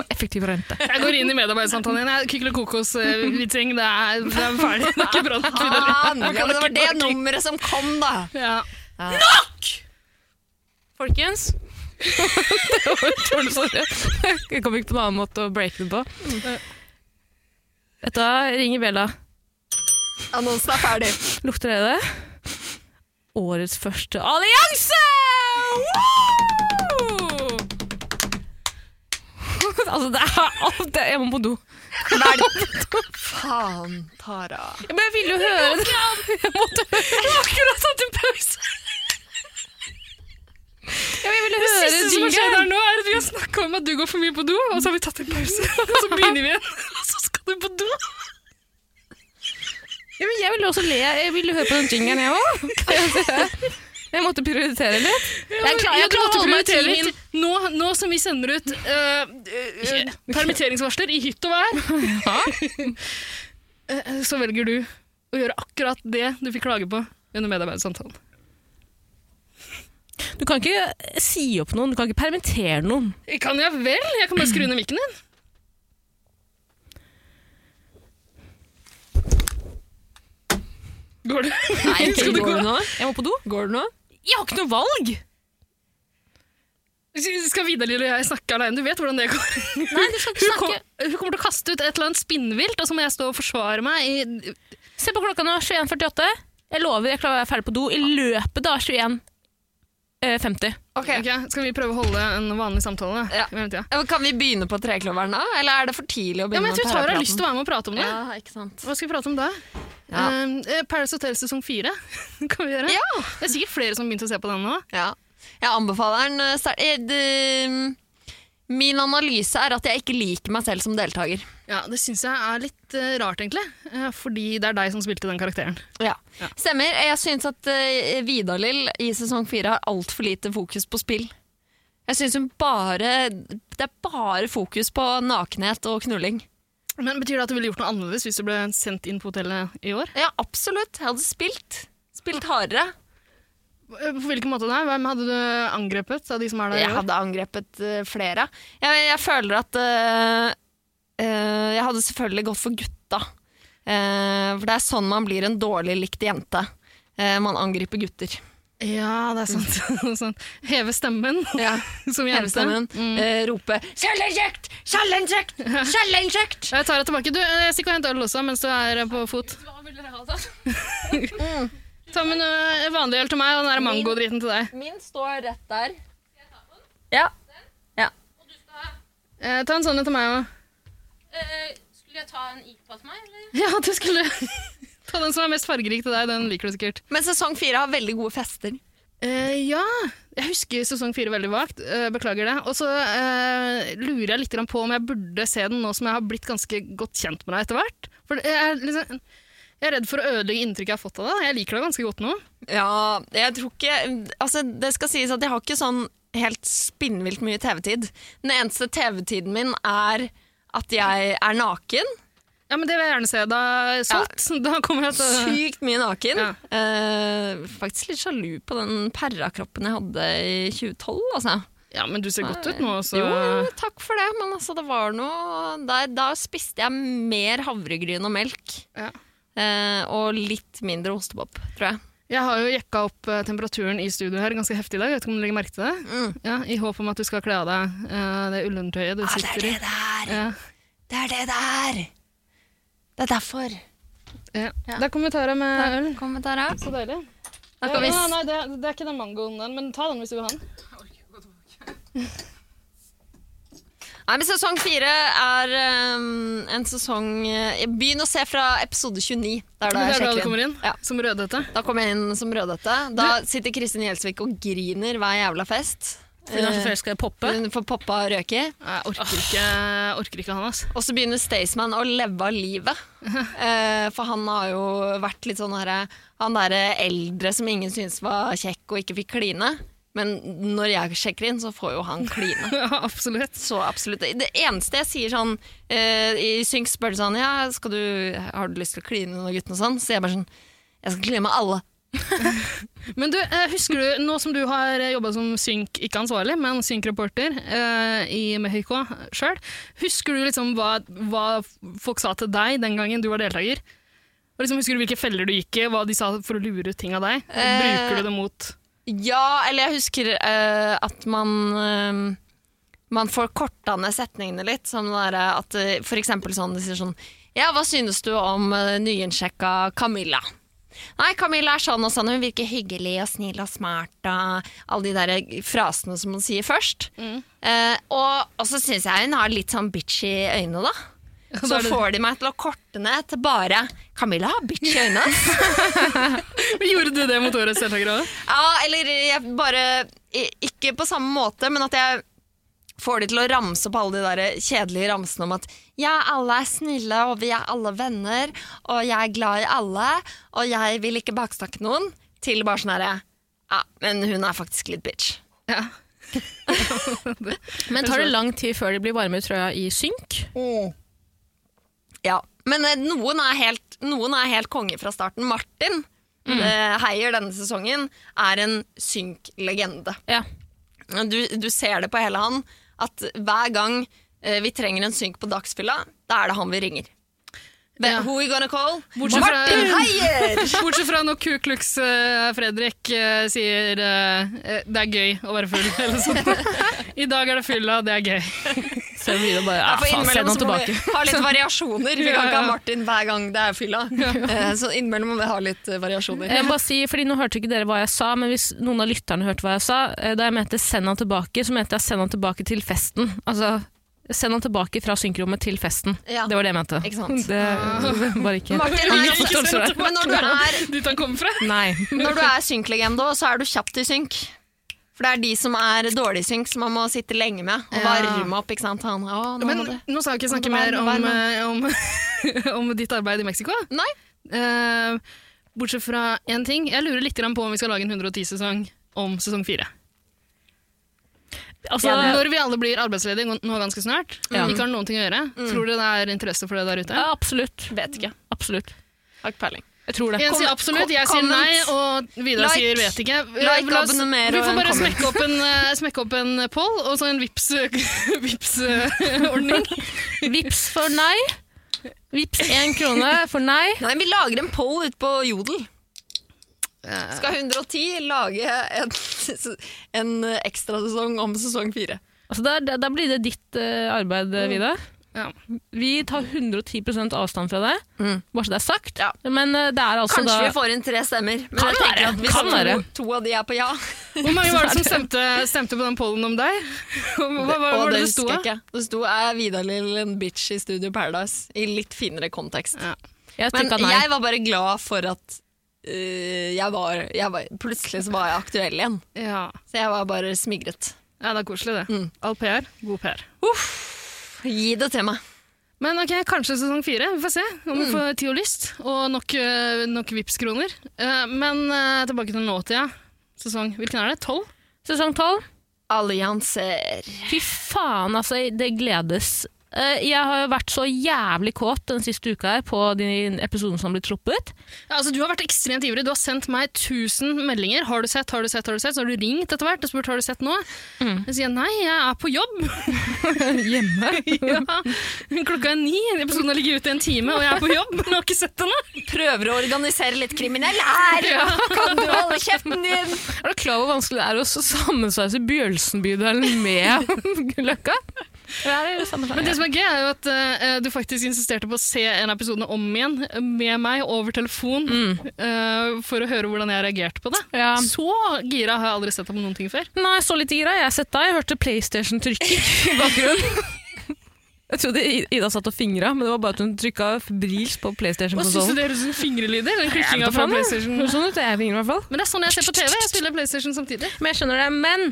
A: Effektiv rente.
C: Jeg går inn i medarbeidersamtalen igjen. Kykle kokos-vitsing. eh, Det, er- det er ferdig. Det er ikke bra nok videre.
B: Faen! Ja, men det var det nummeret som kom, da.
C: Ja.
A: Folkens. det var dårlig, sorry. Jeg kom ikke på noen annen måte å breake det på. Dette ringer bjella.
B: Annonsen er ferdig.
A: Lukter dere det? Årets første allianse! Woo! altså, det er alt det Jeg må på do.
B: Faen, Tara.
A: Men jeg ville jo høre det. Jeg måtte akkurat
C: sånn
A: tatt en pause. Ja, men jeg ville
C: Det
A: høre
C: siste som har skjedd her nå, er at vi har snakka om at du går for mye på do, og så har vi tatt en pause. Og så begynner vi igjen, og så skal du på do.
A: Ja, men jeg ville også le. Jeg ville høre på den jingeren, jeg òg. Jeg måtte prioritere litt. Jeg, klar, jeg klarer å holde meg til min
C: Nå, nå som vi sender ut eh, eh, permitteringsvarsler i hytt og vær, eh, så velger du å gjøre akkurat det du fikk klage på under medarbeidersamtalen.
A: Du kan ikke eh, si opp noen, du kan ikke permittere noen.
C: Eh, Kan jeg vel? Jeg kan bare skru ned mikken din. Går det?
B: Nei,
C: Skal du gå?
B: nå?
A: Jeg må på do.
B: Går det nå?
A: Jeg har ikke noe valg!
C: Skal Vidar-Lill og jeg snakke alene? Du vet hvordan det går.
A: Nei, du skal
C: Hun,
A: ikke
C: kom,
A: snakke.
C: hun kommer til å kaste ut et eller annet spinnvilt, og så må jeg stå og forsvare meg. I,
A: Se på klokka nå, 21.48. Jeg lover, jeg klarer å være ferdig på do i løpet av eh, 21.50.
B: Ok.
C: Ok, Skal vi prøve å holde en vanlig samtale? da?
B: Ja.
C: I mellomtida?
B: Ja, men Kan vi begynne på trekloveren da, eller er det for tidlig å
C: Ja,
B: begynne
C: men jeg tror Tara har lyst til
B: å
C: å være med og prate om det.
B: Ja, ikke sant.
C: Hva skal vi prate om da?
B: Ja.
C: Um, eh, Paradise Hotel sesong fire kan vi gjøre.
B: Ja.
C: Det er sikkert flere som har begynt å se på den nå.
B: Ja. Jeg anbefaler den. eh, sterkt. Eh, det- Min analyse er at jeg ikke liker meg selv som deltaker.
C: Ja, Det syns jeg er litt eh, rart, egentlig. Eh, fordi det er deg som spilte den karakteren.
B: Ja. Stemmer. Jeg syns at eh, Vidar-Lill i sesong fire har altfor lite fokus på spill. Jeg syns hun bare Det er bare fokus på nakenhet og knulling.
C: Men Betyr det at du ville gjort noe annerledes hvis du ble sendt inn på hotellet i år?
B: Ja, absolutt. Jeg hadde spilt. Spilt hardere.
C: Eh, På hvilken måte da? Hvem hadde du angrepet av de som er der
B: Jeg
C: i år?
B: hadde angrepet eh, flere. Jeg, jeg føler at eh, eh, Jeg hadde selvfølgelig gått for gutta. Eh, for det er sånn man blir en dårlig likt jente. Eh, man angriper gutter.
C: Ja, det er
B: Mm.
C: sant. Sånn, Heve stemmen som jente.
B: Hjemmestemmen. eh, rope 'Kjellingkjekt! Kjellingkjekt! Kjellingkjekt!'
C: Jeg tar det tilbake. Du, eh, stikk og hent øl også mens du er eh, på fot.
A: Hva ville dere ha, da?
C: Ta med noe vanlig øl til meg og den der mangodriten til deg.
B: Min står rett der. Ja.
C: Eh, ta en sånn en til meg òg.
A: Eh, skulle jeg ta en IPA til meg, eller?
C: Ja, du skulle ta den som er mest fargerik til deg. Den liker du sikkert.
B: Men sesong fire har veldig gode fester.
C: Eh, ja, jeg husker sesong fire veldig vagt. eh, beklager det. Og så eh, lurer jeg litt grann på om jeg burde se den nå som jeg har blitt ganske godt kjent med deg etter hvert. For jeg er, liksom, jeg er redd for å ødelegge inntrykket jeg har fått av deg. Jeg liker deg ganske godt nå.
B: Ja, jeg tror ikke Altså, det skal sies at jeg har ikke sånn helt spinnvilt mye TV-tid. Den eneste TV-tiden min er at jeg er naken.
C: Ja, men Det vil jeg gjerne se. Da er solgt. Da kommer jeg til å
B: Sykt mye naken.
C: Ja.
B: Eh, faktisk litt sjalu på den perrakroppen jeg hadde i 2012, altså.
C: Ja, men du ser godt ut nå, så
B: Jo, jo, takk for det, men altså, det var noe der, Da spiste jeg mer havregryn og melk.
C: Ja.
B: Eh, og litt mindre ostepop, tror jeg.
C: Jeg har jo jekka opp eh, temperaturen i studio her ganske heftig i dag. Jeg vet ikke om du legger merke til det?
B: Mm.
C: Ja, I håp om at du skal kle av deg eh, det ullundertøyet du sitter i.
B: der!
C: Ja.
B: Det er det der! Det er derfor.
C: Ja. Der kommer Tara med øl.
B: Kom med Tara.
C: Så deilig.
B: Da kan vi
C: Ja,
B: s-
C: nei, det, det er ikke den mangoen der, men ta den hvis du vil ha den.
B: Nei, men Sesong fire er um, en sesong eh, Begynn å se fra episode 29. Det er da
C: det
B: jeg
C: er da
B: sjekker
C: du kommer inn,
B: Ja,
C: som rødhette.
B: da kommer jeg inn som rødhette. Da sitter Kristin Gjelsvik og griner hver jævla fest. Eh,
A: Hun er så forelska i Poppe.
B: Hun får poppa og røke.
C: Jeg orker ikke, orker ikke han, ass.
B: Og så begynner Staysman å leve av livet. Eh, for han har jo vært litt sånn herre Han derre eldre som ingen syntes var kjekk og ikke fikk kline. Men når jeg sjekker inn, så får jo han kline.
C: Ja, absolutt.
B: Så absolutt. Det eneste jeg sier sånn eh, I Synk spør du sånn Ja, skal du, har du lyst til å kline med guttene og sånn? Så jeg bare sånn Jeg skal kline med alle.
C: Men du, eh, husker du, nå som du har jobba som synk, ikke ansvarlig, men synkreporter eh, i Mexico sjøl, husker du liksom hva, hva folk sa til deg den gangen du var deltaker? Og liksom, husker du hvilke feller du gikk i, hva de sa for å lure ut ting av deg?
B: Eh.
C: Bruker du det mot
B: Ja, eller jeg husker eh, at man eh, Man får korta ned setningene litt. Som det derre at eh, for eksempel sånn De sier sånn Ja, hva synes du om uh, nyinsjekka Camilla? Nei, Camilla er sånn og sånn. Hun virker hyggelig og snill og smart og alle de der frasene som hun sier først. Eh, og, og så syns jeg hun har litt sånn bitch i øynene, da. Så får de meg til å korte ned til bare Camilla har bitch i øynene.
C: Gjorde du det mot årets deltakere òg?
B: Ja, eller jeg bare i- Ikke på samme måte, men at jeg får de til å ramse opp alle de der kjedelige ramsene om at ja, alle er snille, og vi er alle venner, og jeg er glad i alle, og jeg vil ikke baksnakke noen, til bare sånn herre Ja, men hun er faktisk litt bitch.
C: Ja.
A: Men tar det lang tid før de blir varme i trøya i synk?
B: Ja. Men eh, noen er helt, noen er helt konge fra starten. Martin, eh, heier denne sesongen, er en synk-legende.
A: Ja.
B: du, du ser det på hele han, at hver gang eh, vi trenger en synk på dagsfylla, da er det han vi ringer. Hvem- Who we gonna call?
C: Bortsett fra-
B: Martin Heier!
C: Bortsett fra når Ku Klux eh, Fredrik eh, sier eh, eh, det er gøy å være full, eller sånt. I dag er det fylla, det er gøy.
A: Så jeg blir bare, ja,
B: Ja, for
A: faen, send
B: innimellom
A: han
B: så må vi
A: tilbake.
B: ha litt variasjoner. Vi kan
C: Ja,
B: ikke ha
C: ja.
B: Martin hver gang det er fylla. Eh, Så innimellom må vi ha litt eh, variasjoner.
A: Jeg må bare si, fordi Nå hørte ikke dere hva jeg sa, men hvis noen av lytterne hørte hva jeg sa eh, Da jeg mente 'send han tilbake', så mente jeg 'send han tilbake til festen'. Altså, eh, Send han tilbake fra synkrommet til festen.
B: Ja.
A: Det var det jeg mente.
B: Ikke sant?
A: Det, det var ikke Han
B: Martin er
A: misforstår seg.
B: Men når du er,
C: Dit han kommer fra.
A: Nei.
B: når du er synklegende, også, så er du kjapt i synk. For det er de som er dårlig synk, som man må sitte lenge med og
C: Ja.
B: varme opp. ikke sant? Han, å, nå
C: Men
B: må du.
C: nå skal vi ikke
B: Nå
C: snakke
B: må
C: mer
B: du være
C: om,
B: med,
C: eh, om, eh, om ditt arbeid i Mexico.
B: Nei,
C: Eh, bortsett fra én ting. Jeg lurer litt grann på om vi skal lage en 110-sesong om sesong fire.
A: Altså,
C: Når vi alle blir arbeidsledige nå- nå ganske snart,
A: Ja.
C: ikke har noen ting å gjøre, tror dere det er interesse for det der ute?
A: ja, absolutt.
B: Mm. vet ikke.
A: Absolutt.
B: Har ikke peiling.
A: Jeg tror det.
C: En sier absolutt, jeg sier nei, og Vidar
B: Like.
C: sier vet ikke. Eh,
B: Like,
C: La oss-
B: abonner
C: vi
B: og
C: får bare
B: en comment.
C: smekke opp en, eh, smekke opp en poll, og så en eh, Vipps-ordning.
A: Vips for nei. Vips én krone for nei.
B: Nei, Vi lager en poll ute på Jodel. Skal 110 lage en, en ekstrasesong om sesong fire?
A: Altså, der, der, der blir det ditt eh, arbeid, eh, Vidar.
C: Ja.
A: Vi tar 110 avstand fra det,
B: Mm.
A: bare så det er sagt.
B: Ja.
A: Men eh, det er altså
B: Kanskje
A: da
B: vi får inn tre stemmer. Men
A: Kan
B: jeg tenker
A: være,
B: at hvis
A: kan
B: to,
A: være.
B: to av de er på ja
C: Hvor mange var det som stemte, stemte på den pollen om deg? Hva hva- hva
B: Og
C: var
B: det
C: det det sto?
B: husker jeg
C: av?
B: ikke. Det sto er Vidar Lill en bitch i Studio Paradise. I litt finere kontekst.
C: Ja.
A: Jeg
B: Men
A: tenker at nei.
B: jeg var bare glad for at øh, jeg, var, jeg var Plutselig så var jeg aktuell igjen.
C: Ja.
B: Så jeg var bare smigret.
C: ja, det er koselig det.
B: Mm.
C: All PR, god PR.
B: Gi det til meg.
C: Men ok, kanskje sesong fire. Vi får se om
B: Mm.
C: vi får tid og lyst, og nok, eh, nok Vipps-kroner. Eh, Men eh, tilbake til nåtida. Sesong, hvilken er det? Tolv?
A: Sesong tolv.
B: Allianser.
A: Fy faen, altså. Det gledes. Eh, Jeg har jo vært så jævlig kåt den siste uka her på de episodene som har blitt sluppet.
C: Ja, altså, du har vært ekstremt ivrig. Du har sendt meg 1000 meldinger. Har du sett, har du sett, har du sett? Så har du ringt etter hvert og spurt har du sett nå. Jeg sier nei, jeg er på jobb.
A: Mm. Hjemme.
C: ja. Klokka er ni, episoden har ligget ute i en time, og jeg er på jobb. Men jeg har ikke sett henne.
B: Prøver å organisere litt kriminell her! Kan du holde kjeften din?
A: Er du klar over hvor vanskelig det er å sammensveise Bjølsen-bydelen med Løkka? Det er jo samme
C: Men det
A: sak.
C: som er gøy, er jo at eh, du faktisk insisterte på å se en av episodene om igjen med meg over telefon eh, for å høre hvordan jeg reagerte på det.
A: Mm. Ja.
C: Så gira har jeg aldri sett deg på noen ting før.
A: Nei, så litt gira. Jeg har sett deg. Jeg hørte PlayStation trykke i bakgrunnen. Jeg trodde I- Ida satt og fingra, men det var bare at hun trykka febrilsk på
C: Hva syns du
A: PlayStation-konsollen.
C: det høres ut som fingrelyder?
A: Jeg
C: Den
A: vet da
C: klikkinga Sånn fra
A: faen, jeg.
C: PlayStation.
A: Sånn ut, jeg fingrer i hvert fall.
C: Men det er sånn jeg ser på TV. Jeg spiller PlayStation samtidig.
A: Men jeg skjønner det. Men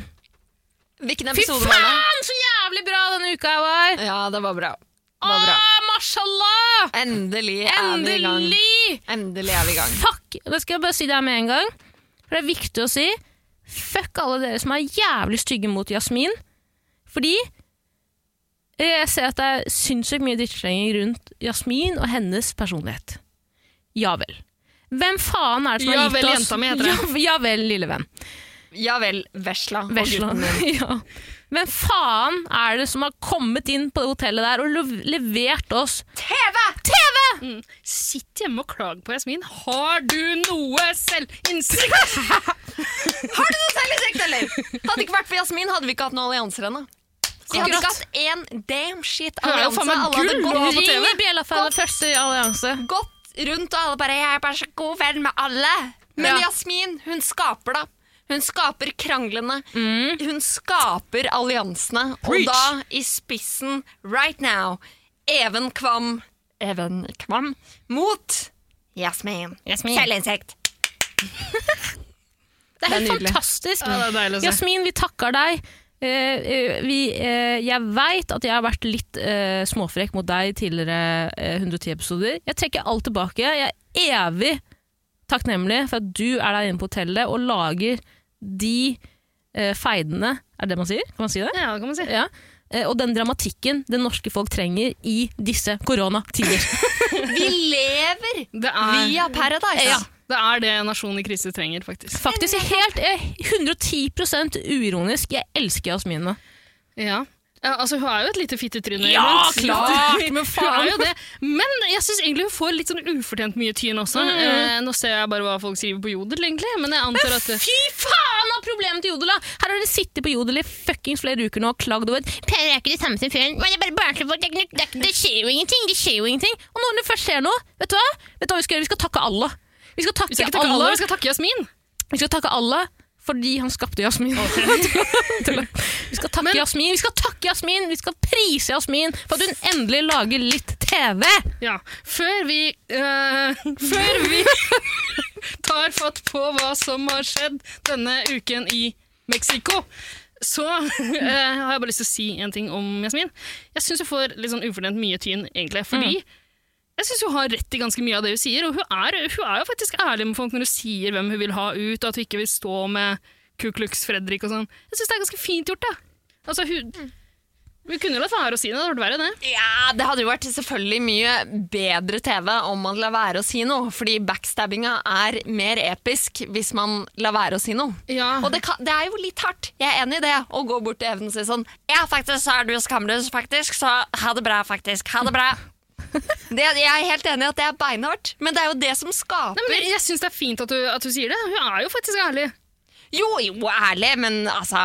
B: Hvilken
A: fy
B: episode var det?
A: faen, så jævlig bra denne uka her var!
B: Ja, det var bra. Det
A: Åh,
B: var
C: Ah!
B: bra.
A: mashallah!
B: Endelig er vi i gang.
A: Endelig!
B: Endelig er vi i gang.
A: Fuck! Da skal jeg bare si det her med en gang. For det er viktig å si fuck alle dere som er jævlig stygge mot Jasmin. Fordi eh, jeg ser at det er sinnssykt mye drittslenging rundt Jasmin og hennes personlighet. Ja vel. Hvem faen er det som har
C: Ja
A: gitt
C: vel,
A: oss
C: jenta mi heter det.
A: Ja, ja vel, lille venn.
B: Ja vel, vesla og
A: Vesla.
B: gutten min.
A: ja. Hvem faen er det som har kommet inn på det hotellet der og lev- levert oss
C: Sitt hjemme og klag på Jasmin. Har du noe selvinnsikt?
B: Har du noe selvinnsikt, eller? Hadde det ikke vært for Jasmin, hadde vi ikke hatt noen allianser ennå. Vi hadde ikke
A: Akkurat.
B: hatt én damn shit
C: er jo
B: allianse.
C: faen meg
B: Alle hadde
C: gull å ha på
B: gått,
C: TV.
A: Ring i bjella for
B: Godt.
A: den første allianse.
B: gått rundt, og alle bare 'Jeg er bare så god venn med alle'. Men Jasmin, hun skaper, da. Hun skaper kranglene. Hun skaper alliansene. Og da i spissen right now Even Kvam Even Kvam mot Jasmin. Selvinnsikt.
A: Det er helt
B: nydelig.
A: fantastisk.
C: Ja, det er deilig å se.
A: Jasmin, vi takker deg. Eh, eh, vi, eh, jeg veit at jeg har vært litt eh, småfrekk mot deg i tidligere eh, 110 episoder. Jeg trekker alt tilbake. Jeg er evig takknemlig for at du er der inne på hotellet og lager de eh, feidene Er det det man sier? Kan man si det?
C: Ja, det kan man si.
A: Ja. Eh, og den dramatikken det norske folk trenger i disse koronatider.
B: Vi lever
C: Det er,
B: via altså. Paradise.
C: ja, det er det en nasjon i krise trenger, faktisk.
A: Faktisk helt eh, 110 uironisk. Jeg elsker Jasmin nå.
C: Ja. Ja, altså Hun er jo et lite fittetryne.
A: Ja,
C: iblant.
A: klart, men faen.
C: Hun er jo det. Men jeg syns egentlig hun får litt sånn ufortjent mye tyn også. Eh, nå ser jeg bare hva folk skriver på Jodel, egentlig. Men jeg antar at det,
A: Fy faen av problemet til Jodel, da! Her har dere sittet på Jodel i fuckings flere uker nå og klagd over Per er ikke det samme som før. Men det, er bare barnslig, for det, er ikke- det, er ikke- det skjer jo ingenting! Det skjer jo ingenting! Og når det først skjer noe, vet du hva? Vet du hva vi skal gjøre? Vi skal takke Allah. Vi skal takke,
C: Vi skal ikke takke
A: Allah.
C: alle, vi skal takke Jasmin.
A: Vi skal takke Allah Fordi han skapte Jasmin. Tuller. vi skal takke Jasmin, vi skal takke Jasmin, vi skal prise Jasmin for at hun endelig lager litt TV!
C: Ja. Før vi eh, Før vi tar fatt på hva som har skjedd denne uken i Mexico, så eh, har jeg bare lyst til å si en ting om Jasmin. Jeg syns hun får litt sånn ufortjent mye tyn, egentlig. Fordi jeg syns hun har rett i ganske mye av det hun sier. Og hun er, hun er jo faktisk ærlig med folk når hun sier hvem hun vil ha ut, og at hun ikke vil stå med Ku Klux Fredrik og sånn. Jeg syns det er ganske fint gjort, da. Altså, hun, hun kunne jo latt være å si det, det hadde vært verre, det.
B: Ja, Det hadde jo vært selvfølgelig mye bedre TV om man lar være å si noe, fordi backstabbinga er mer episk hvis man lar være å si noe.
C: Ja.
B: Og det, kan, det er jo litt hardt, jeg er enig i det, å gå bort til Even og si sånn Ja, faktisk så er du skamløs, faktisk, så ha det bra, faktisk. Ha det bra. Det, jeg er helt enig i at det er beinhardt, men det er jo det som skaper
C: Nei, men jeg jeg syns det er fint at du, at du sier det. Hun er jo faktisk ærlig.
B: Jo, jo, ærlig, men altså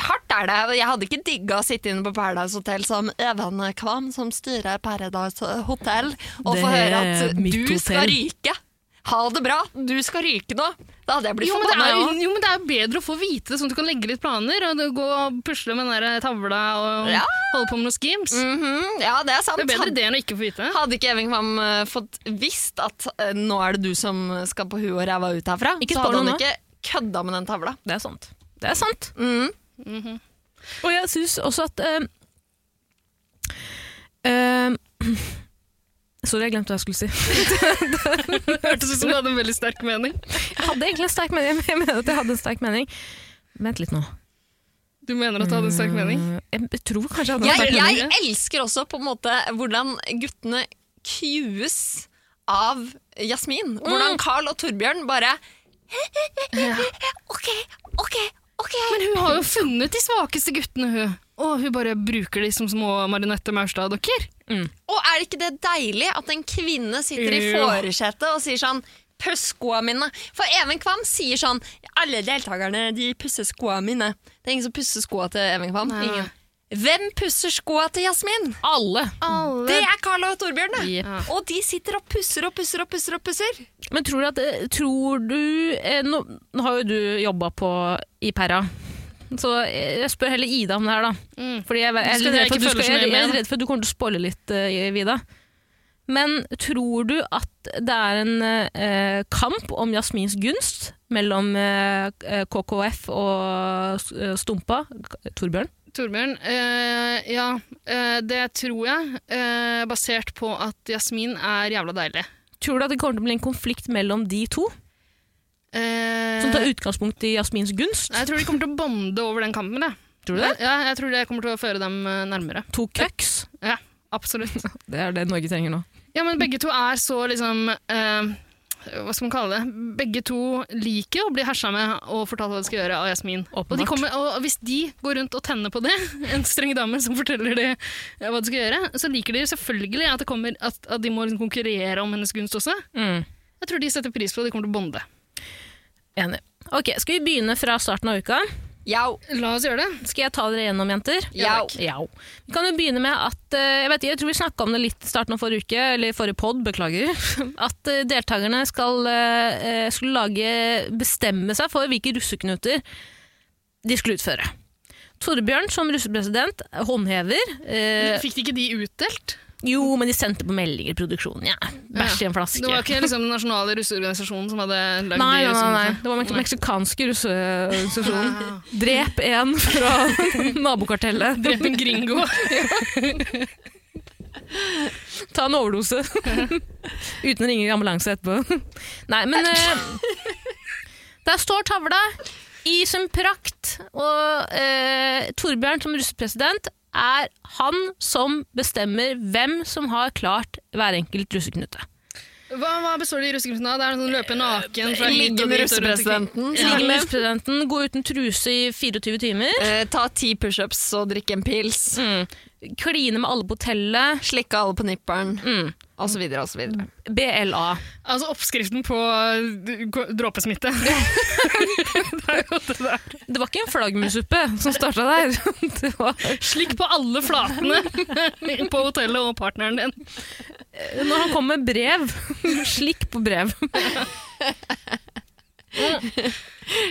B: Hardt er det. Jeg hadde ikke digga å sitte inne på Paradise Hotel som Even Kvam, som styrer Paradise Hotel, og
A: Det
B: få høre
A: er
B: at
A: mitt
B: du skal
A: hotell.
B: ryke. Ha det bra, du skal ryke nå. Da hadde jeg blitt
C: Jo men, det
B: forbanna,
C: er,
B: jeg òg.
C: jo, men det er jo bedre å få vite det, sånn at du kan legge litt planer og gå og pusle med den der eh, tavla og
B: Ja. Mm.
C: holde på med noen schemes.
B: Mhm, Ja, det er sant.
C: Det er bedre det enn å ikke få vite det.
B: Hadde ikke Even Kvam eh, fått visst at eh, nå er det du som skal på huet og ræva ut herfra,
A: Ikke
B: så
A: spar
B: hadde han
A: noe nå.
B: ikke kødda med den tavla.
A: Det er sant. Det er sant. Og jeg syns også at eh, eh, Sorry, jeg glemte hva jeg skulle si.
C: Hørtes ut som du hadde en veldig sterk mening.
A: Jeg hadde egentlig en sterk mening. Jeg mener at jeg hadde en sterk mening. Vent litt nå.
C: Du mener at du hadde en sterk
A: Mm.
C: mening?
A: Jeg tror kanskje jeg hadde en
B: Jeg,
A: sterk mening.
B: jeg elsker også på en måte hvordan guttene cues av
A: Mm.
B: Jasmin. Hvordan Carl og Torbjørn bare OK, OK, OK.
C: Men hun har jo funnet de svakeste guttene, hun. Og hun bare bruker de som små marionette Maurstad-dokker.
B: Og er det ikke det deilig at en kvinne sitter i
C: Jo.
B: foresetet og sier sånn Puss skoa mine. For Even Kvam sier sånn Alle deltakerne de pusser skoa mine. Det er ingen som pusser skoa til Even Kvam.
C: Nei.
B: Ingen. Hvem pusser skoa til Jasmin?
A: Alle.
B: Det er Carl og Torbjørn, det.
A: Jep.
B: Og de sitter og pusser og pusser og pusser. og pusser.
A: Men tror du at eh, Tror du eh, Nå, nå har jo du jobba på i Perra. Så eh, jeg jeg spør heller Ida om det her, da. Fordi jeg, jeg, er
C: Skal
A: litt
C: dere
A: redd for at Mm. du
C: ikke følge
A: skal-
C: så mye
A: jeg, jeg
C: med,
A: er
C: da?
A: redd for at du kommer til å spoile litt, eh, Vida. Men tror du at det er en eh, kamp om Jasmins gunst mellom eh, KKF og s- eh, Stumpa, K- Torbjørn?
C: Torbjørn, eh, ja, eh, det tror jeg, eh, basert på at Jasmin er jævla deilig.
A: Tror du at det kommer til å bli en konflikt mellom de to,
C: Eh,
A: som tar utgangspunkt i Jasmins gunst?
C: Nei, Jeg tror de kommer til å bonde over den kampen. Jeg.
A: Tror du det?
C: Ja, jeg tror det kommer til å føre dem eh, nærmere.
A: To cucks?
C: Ja, absolutt.
A: Det er det Norge trenger nå.
C: Ja, men begge to er så liksom eh, hva skal man kalle det? Begge to liker å bli hersa med og fortalt hva de skal gjøre av Jasmin. Og, de
A: Åpenbart.
C: kommer, og hvis de går rundt og tenner på det, en streng dame som forteller de eh, hva de skal gjøre, så liker de selvfølgelig at, det kommer, at, at de må liksom konkurrere om hennes gunst også.
A: Mm.
C: Jeg tror de setter pris på det, de kommer til å bonde.
A: Enig. Ok, Skal vi begynne fra starten av uka?
B: Jau.
C: La oss gjøre det.
A: Skal jeg ta dere gjennom, jenter?
B: Ja, takk.
A: Ja. Vi kan jo begynne med at eh, Jeg vet ikke, jeg tror vi snakka om det litt i starten av forrige uke, eller i forrige pod, beklager. At eh, deltakerne skal, eh, eh, skulle lage, bestemme seg for hvilke russeknuter de skulle utføre. Torbjørn som russepresident håndhever. eh,
C: Fikk de ikke de utdelt?
A: jo, men de sendte på meldinger i produksjonen. Ja. Bæsj i en flaske.
C: Det var ikke liksom den nasjonale russeorganisasjonen som hadde
A: Nei,
C: lagd de
A: nei, nei, nei.
C: russeorganisasjonene?
A: Det var den meksikanske russeorganisasjonen. Drep en fra nabokartellet.
C: Drept en gringo.
A: Ta en overdose. Uten å ringe ambulanse etterpå. Nei, men eh, Der står tavla i sin prakt, og eh, Torbjørn som russepresident er han som bestemmer hvem som har klart hver enkelt russeknute.
C: Hva, hva består de russeknutene av? Det er noen som løper
A: Eh,
C: naken fra hit
B: Ligge
C: og
B: med
C: dit og rundt omkring.
B: russepresidenten.
A: Ja. Russepresidenten går uten truse i 24 timer,
B: Eh, ta ti pushups og drikke en pils.
A: kline med alle på hotellet,
B: Slikke alle på nipperen. Og så videre og så videre.
A: BLA.
C: Altså oppskriften på uh, k- dråpesmitte. det er jo det der.
A: Det var ikke en flaggmusuppe som starta der. Det var,
C: Slikk på alle flatene på hotellet og partneren din.
A: når han kom med brev Slikk på brev.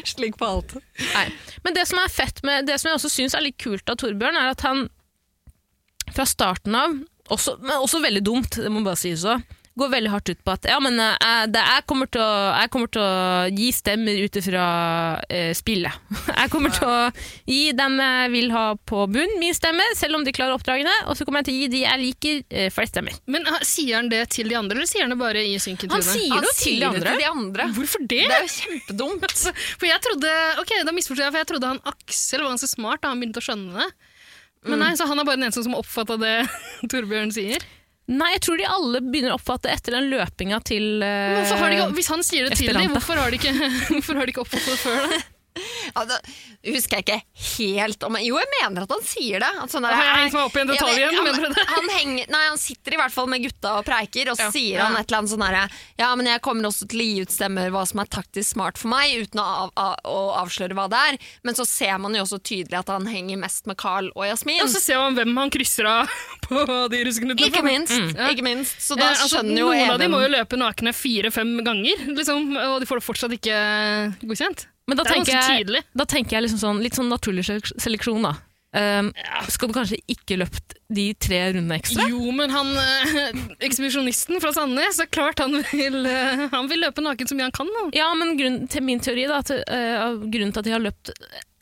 B: Slik på alt.
A: Nei. Men det som er fett med Det som jeg også syns er litt kult av Torbjørn, er at han fra starten av, også, men også veldig dumt, det må bare sies òg, går veldig hardt ut på at ja, men eh, det, jeg, kommer til å, jeg kommer til å gi stemmer ut ifra eh, spillet. Jeg kommer til å gi dem jeg vil ha på bunn, min stemme, selv om de klarer oppdragene. Og så kommer jeg til å gi de jeg liker, eh, flest stemmer.
C: Men ha- sier han det til de andre, eller sier han det bare i synken
A: Han sier det jo til de andre.
B: til de andre.
C: Hvorfor det?
B: Det
C: Altså,
B: er jo kjempedumt.
C: For jeg trodde, ok, da misforstod jeg, for jeg trodde han Aksel var ganske smart da han begynte å skjønne det.
A: Mm.
C: Men nei, så han er bare den eneste som oppfatta det Torbjørn sier.
A: Nei, jeg tror de alle begynner å oppfatte etter den løpinga til eh,
C: Hvorfor har de ikke, hvis han sier det til
A: Esperanto.
C: dem, hvorfor har de ikke, hvorfor har de ikke oppfattet det før? Da?
B: Ja, da Altså, husker jeg ikke helt om Jo, jeg mener at han sier det. At sånn der-
C: Da har Altså, jeg hengt meg opp i en
B: Ja,
C: detalj
B: men-
C: igjen,
B: ja,
C: mener du
B: men
C: det?
B: Han, henger, nei, han sitter i hvert fall med gutta og preiker, og så sier han
C: Ja.
B: et eller annet sånn herre Ja, men jeg kommer også til å gi ut stemmer hva som er taktisk smart for meg, uten å, av, av, å avsløre hva det er. Men så ser man jo også tydelig at han henger mest med Carl og Jasmin.
C: Og så ser man hvem han krysser av på de russeknutene.
B: ikke minst. Mm. Ikke minst. Så
C: Eh,
B: da
C: altså,
B: skjønner jo
C: noen av de
B: Even
C: må jo løpe nakne fire-fem ganger, liksom, og de får det fortsatt ikke eh, godkjent.
A: Men da
C: Det er
A: tenker,
C: ganske
A: jeg,
C: tydelig.
A: da tenker jeg liksom sånn, litt sånn naturlig selek- seleksjon, da. Um, Skal du kanskje ikke løpt de tre rundene ekstra?
C: Jo, men han eh, ekspedisjonisten fra Sandnes, det er klart han vil, eh, han vil løpe naken så mye han kan. Da.
A: Ja, men grunn, til min teori, da, til, eh, av grunnen til at de har løpt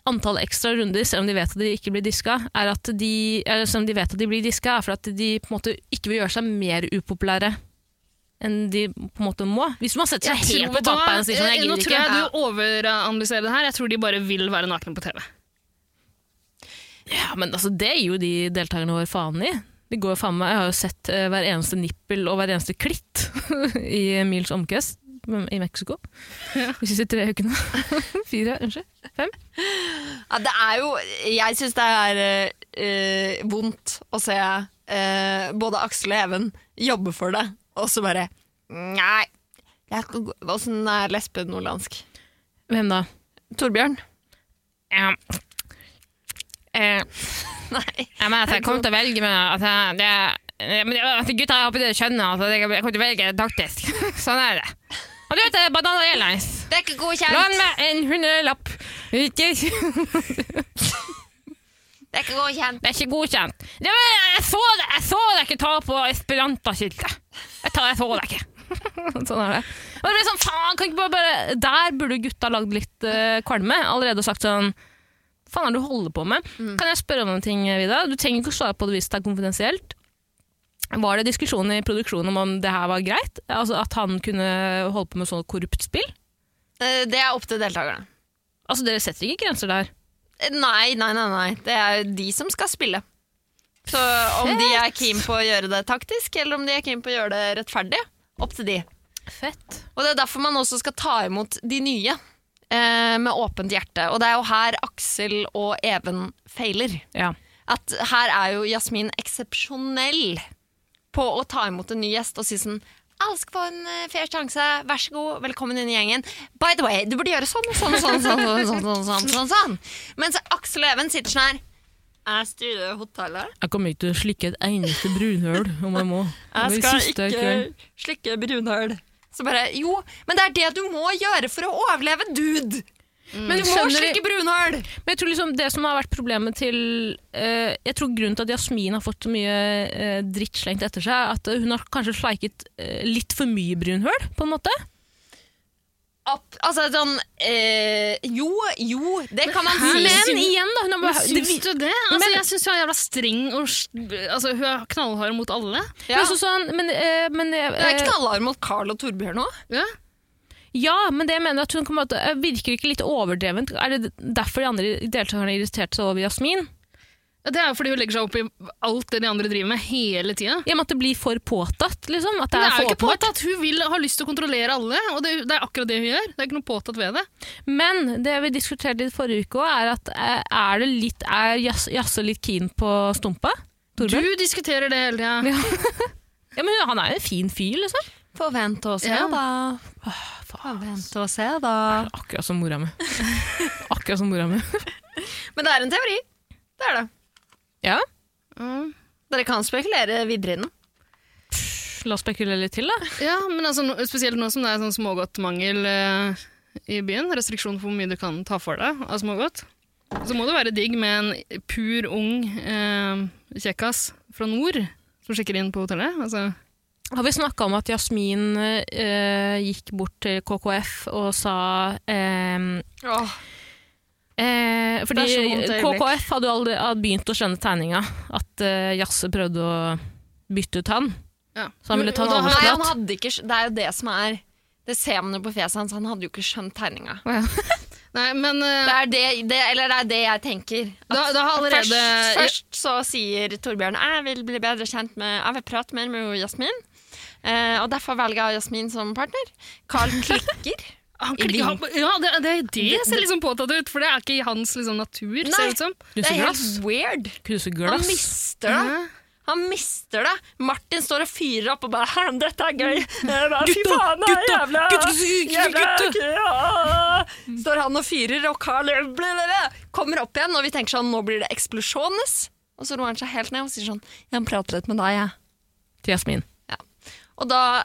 A: antall ekstra runder, selv om de vet at de ikke blir diska, er at de, eller selv om de vet at de blir diska, er for at de på en måte ikke vil gjøre seg mer upopulære enn de på en måte må. Hvis man setter seg helt på bakbeina og sier sånn, jeg
C: Eh, Nå
A: gidder
C: tror jeg
A: ikke.
C: du overanalyserer det her. Jeg tror de bare vil være nakne på TV.
A: Ja, men altså, det gir jo de deltakerne våre faen i. De går jo faen meg, Jeg har jo sett eh, hver eneste nippel og hver eneste klitt i mils omkrets i Mexico. De siste tre ukene. Fire, unnskyld. Fem.
B: Ja, det er jo Jeg syns det er eh, vondt å se eh, både Aksel og Even jobbe for det, og så bare Nei. jeg skal gå- Åssen er lesbe nordlandsk?
A: Hvem da?
B: Torbjørn?
A: Eh, eh,
B: Nei.
A: jeg mener at jeg kommer til å velge med at jeg, det, eh, men det- at gutta jeg håper dere skjønner at jeg, jeg kommer til å velge taktisk. Sånn er det. Og du vet det, Banana Airlines.
B: Det er ikke
A: Lån
B: godkjent!
A: meg en hundrelapp. Ikke
B: Det er ikke godkjent.
A: Det er ikke godkjent. Det var, jeg, så, det- jeg så deg ikke ta på Esperanta-skiltet. Jeg, tar- jeg så deg ikke. sånn er det. Og det ble sånn, faen, kan ikke bare, bare Der burde gutta lagd litt eh, kvalme allerede og sagt sånn Hva faen er det du holder på med? Kan jeg spørre om en ting, Vida? Du trenger ikke å svare på det hvis det er konfidensielt. Var det diskusjon i produksjonen om om det her var greit? Altså At han kunne holde på med sånn korrupt spill?
B: Eh, Det er opp til deltakerne.
A: Altså Dere setter ikke grenser der.
B: Eh, Nei, nei, nei. nei. Det er de som skal spille. Så om de er keen på å gjøre det taktisk, eller om de er keen på å gjøre det rettferdig, opp til de.
A: Fett.
B: Og det er derfor man også skal ta imot de nye eh, med åpent hjerte. Og det er jo her Aksel og Even feiler.
A: Ja.
B: At her er jo Jasmin eksepsjonell på å ta imot en ny gjest og si sånn alle skal få en eh, fair sjanse. Vær så god, velkommen inn i gjengen. By the way, du burde gjøre sånn og sånn og sånn. og sånn, og sånn, og sånn, sånn, sånn, sånn. Mens Aksel og Even sitter sånn her. Jeg styrer hotellet.
A: Jeg kommer ikke til å slikke et eneste brunhull om jeg må.
B: Jeg skal ikke slikke brunhull. Så bare, jo, men det er det du må gjøre for å overleve, dude!
A: Men
B: Du må slikke brunhull!
A: Men jeg tror liksom det som har vært problemet til eh, Jeg tror grunnen til at Jasmin har fått så mye eh, dritt slengt etter seg, er at hun har kanskje sleiket eh, litt for mye brunhull, på en måte.
B: Opp, altså sånn eh, Jo, jo, det kan man si.
A: Men igjen, da. Hun har bare, det,
C: Syns
A: vi-
C: du det? Altså,
A: Men-
C: jeg syns hun er jævla streng og s- altså, hun er knallhard mot alle.
A: men
B: Ja.
A: også sånn, men, eh, men, eh,
B: Jeg er knallhard mot Carl og Torbjørn òg.
C: Ja.
A: ja, men det jeg mener at hun på en måte, eh, virker ikke litt overdrevent. Er det derfor de andre deltakerne irriterte seg over Jasmin?
C: Det er jo fordi hun legger seg opp i alt det de andre driver med hele tida.
A: I og med at det blir for påtatt, liksom? At
C: Det
A: det
C: er,
A: er
C: jo
A: for
C: ikke
A: åpenbart.
C: påtatt. Hun vil ha lyst til å kontrollere alle, og det, det er akkurat det hun gjør. Det er ikke noe påtatt ved det.
A: Men det vi diskuterte i forrige uke også, er at eh, er det litt Er Jas- Jasse litt keen på Stumpa? Torbjørn?
C: Du diskuterer det hele tida.
A: Ja, men han er jo en fin fyr, liksom.
B: Få vente og se,
C: Ja.
B: da. Få vente og se, da.
A: Akkurat som mora mi. Akkurat som mora mi.
B: Men det er en teori. Det er det.
A: Ja,
B: Dere kan spekulere videre i den.
A: la oss spekulere litt til, da.
C: Ja, men altså, nå- spesielt nå som det er sånn smågodtmangel eh, i byen. Restriksjoner på hvor mye du kan ta for deg av smågodt. Så må det være digg med en pur ung eh, kjekkas fra nord som sjekker inn på hotellet. Altså,
A: Har vi snakka om at Jasmin eh, gikk bort til KKF og sa ehm, eh, Fordi
C: Det er så vondt øyeblikk.
A: KKF hadde jo aldri hadde begynt å skjønne tegninga. At eh, Jasse prøvde å bytte ut han.
C: ja.
A: Så han ville ta
C: Og
A: den
C: da har-
A: overflaten.
B: Nei,
A: Forstått.
B: han hadde ikke, skj- det er jo det som er Det ser man jo på fjeset hans, han hadde jo ikke skjønt tegninga.
C: Nei, men eh,
B: Det er det, det, eller det er det jeg tenker. At
C: Da- da har allerede-
B: først, først så sier Torbjørn jeg vil bli bedre kjent med Jeg vil prate mer med Jasmin. Eh, og derfor velger jeg Jasmin som partner. Carl klikker.
C: han
B: i
C: klikker,
B: byen.
C: han, ja, det, det, det ser liksom påtatt ut, for det er ikke i hans liksom, natur,
B: Nei.
C: ser det ut som.
A: Du
B: Det
A: ser
B: er
A: glass.
B: helt weird.
A: Knuse
B: Han
A: glass.
B: mister det. Han mister det. Martin står og fyrer opp og bare «Hæ, 'Dette er gøy'. Jeg Bare, Fy
A: Gutta,
B: faen, det er
A: gutta,
B: jævla,
A: gutta, gutta,
B: jævla
A: gutta!»
B: gøy, ja. Står han og fyrer, og Carl blablabla, kommer opp igjen, og vi tenker sånn 'Nå blir det eksplosjones'. Og så roer han seg helt ned og sier sånn 'Jeg må prate litt med deg, jeg'.
A: Til Jasmin.
B: Og da,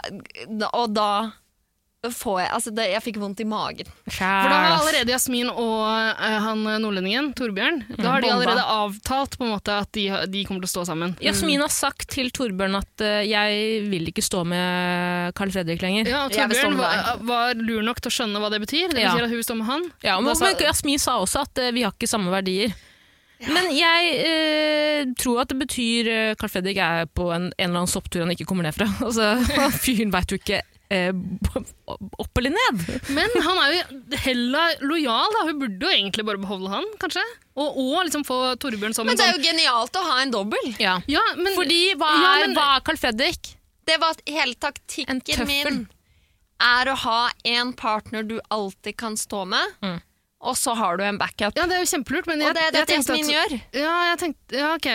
B: og da får jeg Altså, det, jeg fikk vondt i magen.
C: For da har allerede Jasmin og eh, han eh, nordlendingen, Torbjørn, da har de
B: Bonda.
C: allerede avtalt på en måte at de, har- de kommer til å stå sammen.
A: Jasmin har sagt til Torbjørn at eh, 'jeg vil ikke stå med Carl Fredrik lenger'.
C: Ja, og
B: Jeg vil stå
C: Torbjørn
B: med
C: var, var lur nok til å skjønne hva det betyr. Det
A: Ja.
C: betyr at hun står med han.
A: Ja, men,
C: Da sa-
A: men Jasmin sa også at eh, vi har ikke samme verdier. Men jeg eh, tror at det betyr eh, Carl Fredrik er på en, en eller annen sopptur han ikke kommer ned fra. Altså, han Fyren veit jo ikke eh, opp eller ned.
C: Men han er jo heller lojal, da. Hun burde jo egentlig bare beholde han, kanskje. Og, og liksom få Torbjørn som
B: Men
C: en
B: det er
C: sånn
B: jo genialt å ha en dobbel.
A: Ja.
C: ja, men,
A: Fordi hva er,
C: Ja, men-
A: hva er Carl Fredrik?
B: Det var
A: En
B: hele taktikken
A: tøffel.
B: min. Er å ha en partner du alltid kan stå med,
A: Mm.
B: og så har du en backup.
C: Ja, det er jo kjempelurt, men jeg,
B: og det er det
C: jeg tenkte
B: Jasmin
C: at
B: gjør.
C: Ja, jeg tenkte, ja, ok.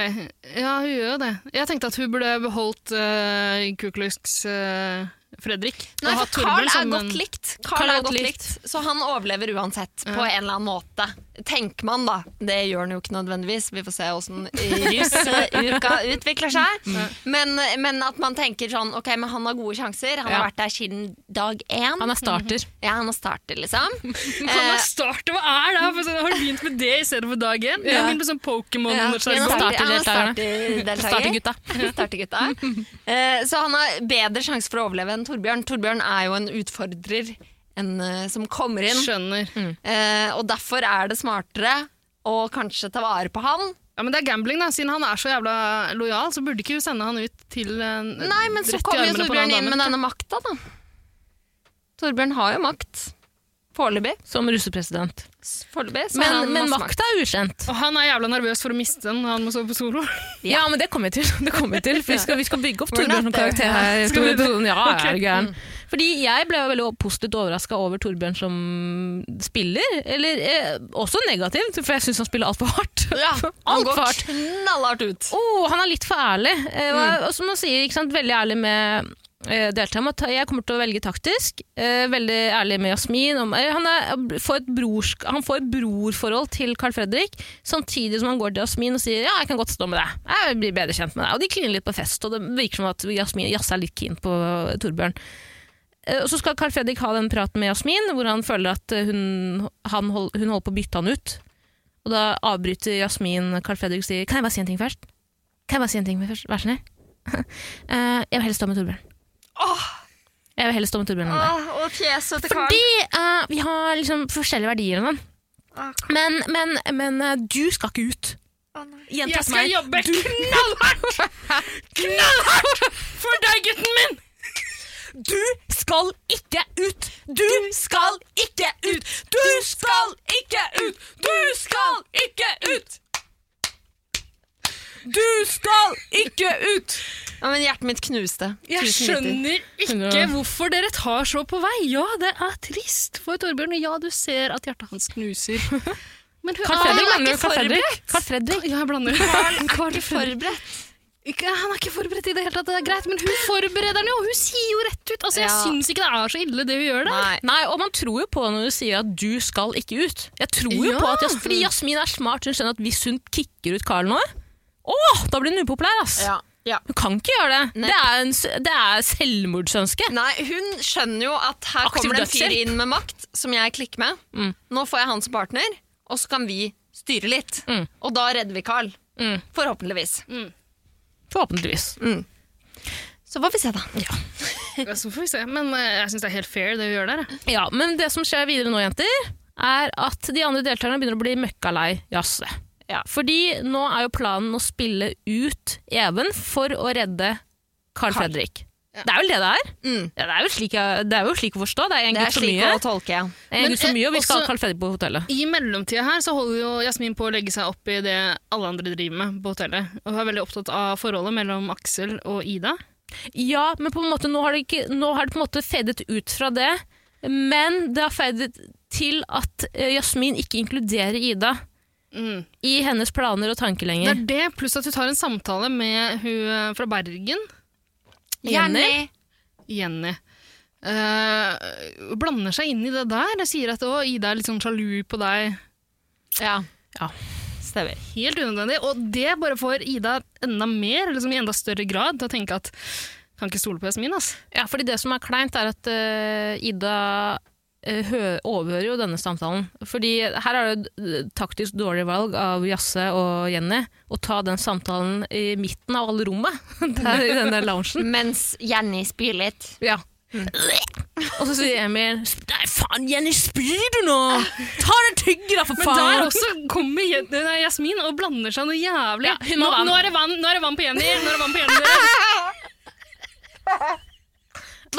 C: Ja, hun gjør jo det. Jeg tenkte at hun burde beholdt uh, Kukluks eh, Fredrik.
B: Nei,
C: Og hatt
B: for Carl
C: Torbjørn
B: er
C: som en-
B: godt likt. Carl er godt likt. Så han overlever uansett, på en eller annen måte. Tenker man, da. Det gjør han jo ikke nødvendigvis. Vi får se åssen rusuka utvikler seg. Men, men at man tenker sånn OK, men han har gode sjanser. Han har
A: Ja.
B: vært der siden dag én.
A: Han er starter.
B: ja, han har startet, liksom.
C: Mm. Han
B: Eh,
C: har startet, hva er det? For så Har du begynt med det i stedet for dag én? Jeg har begynt med sånn Pokémon.
B: Ja,
C: og sånn.
B: han er
A: starter- starterdeltakerne.
B: starterdeltaker.
A: Startergutta.
B: Startergutta. Eh, Så han har bedre sjanse for å overleve enn Torbjørn. Torbjørn er jo en utfordrer en, eh, som kommer inn,
C: Skjønner.
B: eh, og derfor er det smartere å kanskje ta vare på han.
C: Ja, men det er gambling, da. Siden han er så jævla lojal, så burde ikke hun sende han ut til en,
B: Nei, men så kommer jo Torbjørn inn med denne makta, da. Torbjørn har jo makt. Foreløpig.
A: Som russepresident.
B: Foreløpig. så har
A: Men,
B: han
A: men
B: masse
A: makta er ukjent.
C: Og han er jævla nervøs for å miste den når han må sove på solo.
A: Ja, men det kommer vi til. Det kommer vi til. For vi skal, vi skal bygge opp
B: We're
A: Torbjørn som
B: not there.
A: karakter her.
C: Skal vi det?
A: Torbjørn, Ja, er du gæren. Mm. Fordi jeg ble jo veldig positivt overraska over Torbjørn som spiller. Eller eh, også negativt, for jeg syns han spiller altfor hardt.
B: Ja, han
A: alt
B: går
A: for hardt.
B: knallhardt ut.
A: Oh, han er litt for ærlig. Eh, og- Og som han sier, ikke sant? veldig ærlig med eh, deltakerne om at jeg kommer til å velge taktisk. Eh, veldig ærlig med Jasmin. Om, eh, han, er, får et brorsk, han får et brorforhold til Carl Fredrik, samtidig som han går til Jasmin og sier ja, jeg kan godt stå med deg. Jeg blir bedre kjent med deg. Og de kliner litt på fest, og det virker som at Jasmin Jasse er litt keen på Torbjørn. Eh, Og så skal Carl Fredrik ha den praten med Jasmin, hvor han føler at eh, hun, han hold, hun holder på å bytte han ut. Og da avbryter Jasmin Carl Fredrik og sier Kan jeg bare si en ting først? Kan jeg bare si en ting først? Vær så snill. Eh, jeg vil helst stå med Torbjørn. Jeg vil helst stå med Torbjørn enn deg.
B: Åh, og fjeset til Carl.
A: Fordi eh, vi har liksom forskjellige verdier enn han.
B: Åh,
A: Men, men, men eh, du skal ikke ut. Gjenta
C: Jeg
A: til meg.
C: skal jobbe knallhardt! Knallhardt for deg, gutten min!
A: Du skal ikke ut! Du skal ikke ut! Du skal ikke ut! Du skal ikke ut! Du skal ikke ut!
B: Ja, men hjertet mitt knuste.
C: Jeg
B: Tusen liter.
C: skjønner ikke hvorfor dere tar så på vei. Ja, det er trist for Torbjørn, og ja, du ser at hjertet hans knuser. Men hun
A: Carl Fredrik,
B: er
A: mener du?
B: ikke
A: Carl Fredrik?
B: forberedt.
A: Carl Fredrik?
C: Ja, jeg blander.
B: Carl er forberedt.
C: Ikke, han er ikke forberedt i det hele tatt, det er greit, men hun forbereder den jo, og hun sier jo rett ut. Altså, jeg
B: Ja.
C: syns ikke det er så ille det hun gjør der.
B: Nei.
A: Nei, og man tror jo på når du sier at du skal ikke ut. Jeg tror jo
C: Ja.
A: på at Jas Fordi Jasmin er smart, hun skjønner at hvis hun kicker ut Carl nå, å, da blir hun upopulær, ass.
B: Ja. Ja.
A: Du kan ikke gjøre det.
B: Nei.
A: Det er, en, s- det er selvmordsønske.
B: Nei, hun skjønner jo at her
A: Aktiv
B: kommer det en fyr
A: dødshjelp. Mm.
B: inn med makt som jeg klikker med. Nå får jeg han som partner, og så kan vi styre litt.
A: Mm.
B: Og da redder vi Carl.
A: Mm.
B: Forhåpentligvis.
A: Forhåpentligvis.
B: Så får vi se, da.
C: Ja, Så får vi se. Men eh, jeg syns det er helt fair, det vi gjør der. jeg.
A: Ja, Men det som skjer videre nå, jenter, er at de andre deltakerne begynner å bli møkkalei Jasse.
B: Ja.
A: Fordi nå er jo planen å spille ut Even for å redde Carl, Fredrik. Det er vel det det er?
B: Mm.
A: Ja, det, er jo slik, jeg- det er jo slik å forstå. Det er en
B: Det er
A: gutt for
B: slik
A: mye.
B: å tolke. ja.
A: En
C: Men,
A: gutt for mye, og vi skal
C: eh, også-
A: ha Carl Fredrik på hotellet.
C: I mellomtida her så holder jo Jasmin på å legge seg opp i det alle andre driver med på hotellet. Og hun er veldig opptatt av forholdet mellom Aksel og Ida.
A: Ja, men på en måte, nå har det, ikke, nå har det på en måte fedet ut fra det. Men det har fedet til at eh, Jasmin ikke inkluderer Ida
C: Mm.
A: i hennes planer og tanker
C: Det
A: lenger.
C: er det, pluss at hun tar en samtale med hun eh, fra Bergen,
A: Jenny?
C: Jenny. Eh, Hun blander seg inn i det der. Jeg sier at å, Ida er litt sånn sjalu på deg.
B: Ja.
A: Ja.
B: Stemmer.
C: Helt unødvendig. Og det bare får Ida enda mer, liksom i enda større grad, til å tenke at kan ikke stole på Jasmin, ass.
A: Ja, fordi det som er kleint, er at eh, Ida eh, hø overhører jo denne samtalen. Fordi her er det jo et taktisk dårlig valg av Jasse og Jenny å ta den samtalen i midten av alle rommet. Der i den der loungen.
B: Mens Jenny spyr litt.
A: Ja.
C: Mm.
A: Og så sier Emil Nei, faen, Jenny, spyr du nå? Ta deg tygger, da, for
C: Men der
A: faen!
C: også kommer Jen- nei, Jasmin og blander seg noe jævlig.
A: Ja, hun
C: nå,
A: har vann.
C: nå, er det vann, nå er det vann på Jenny! Nå er det vann på Jenny dere.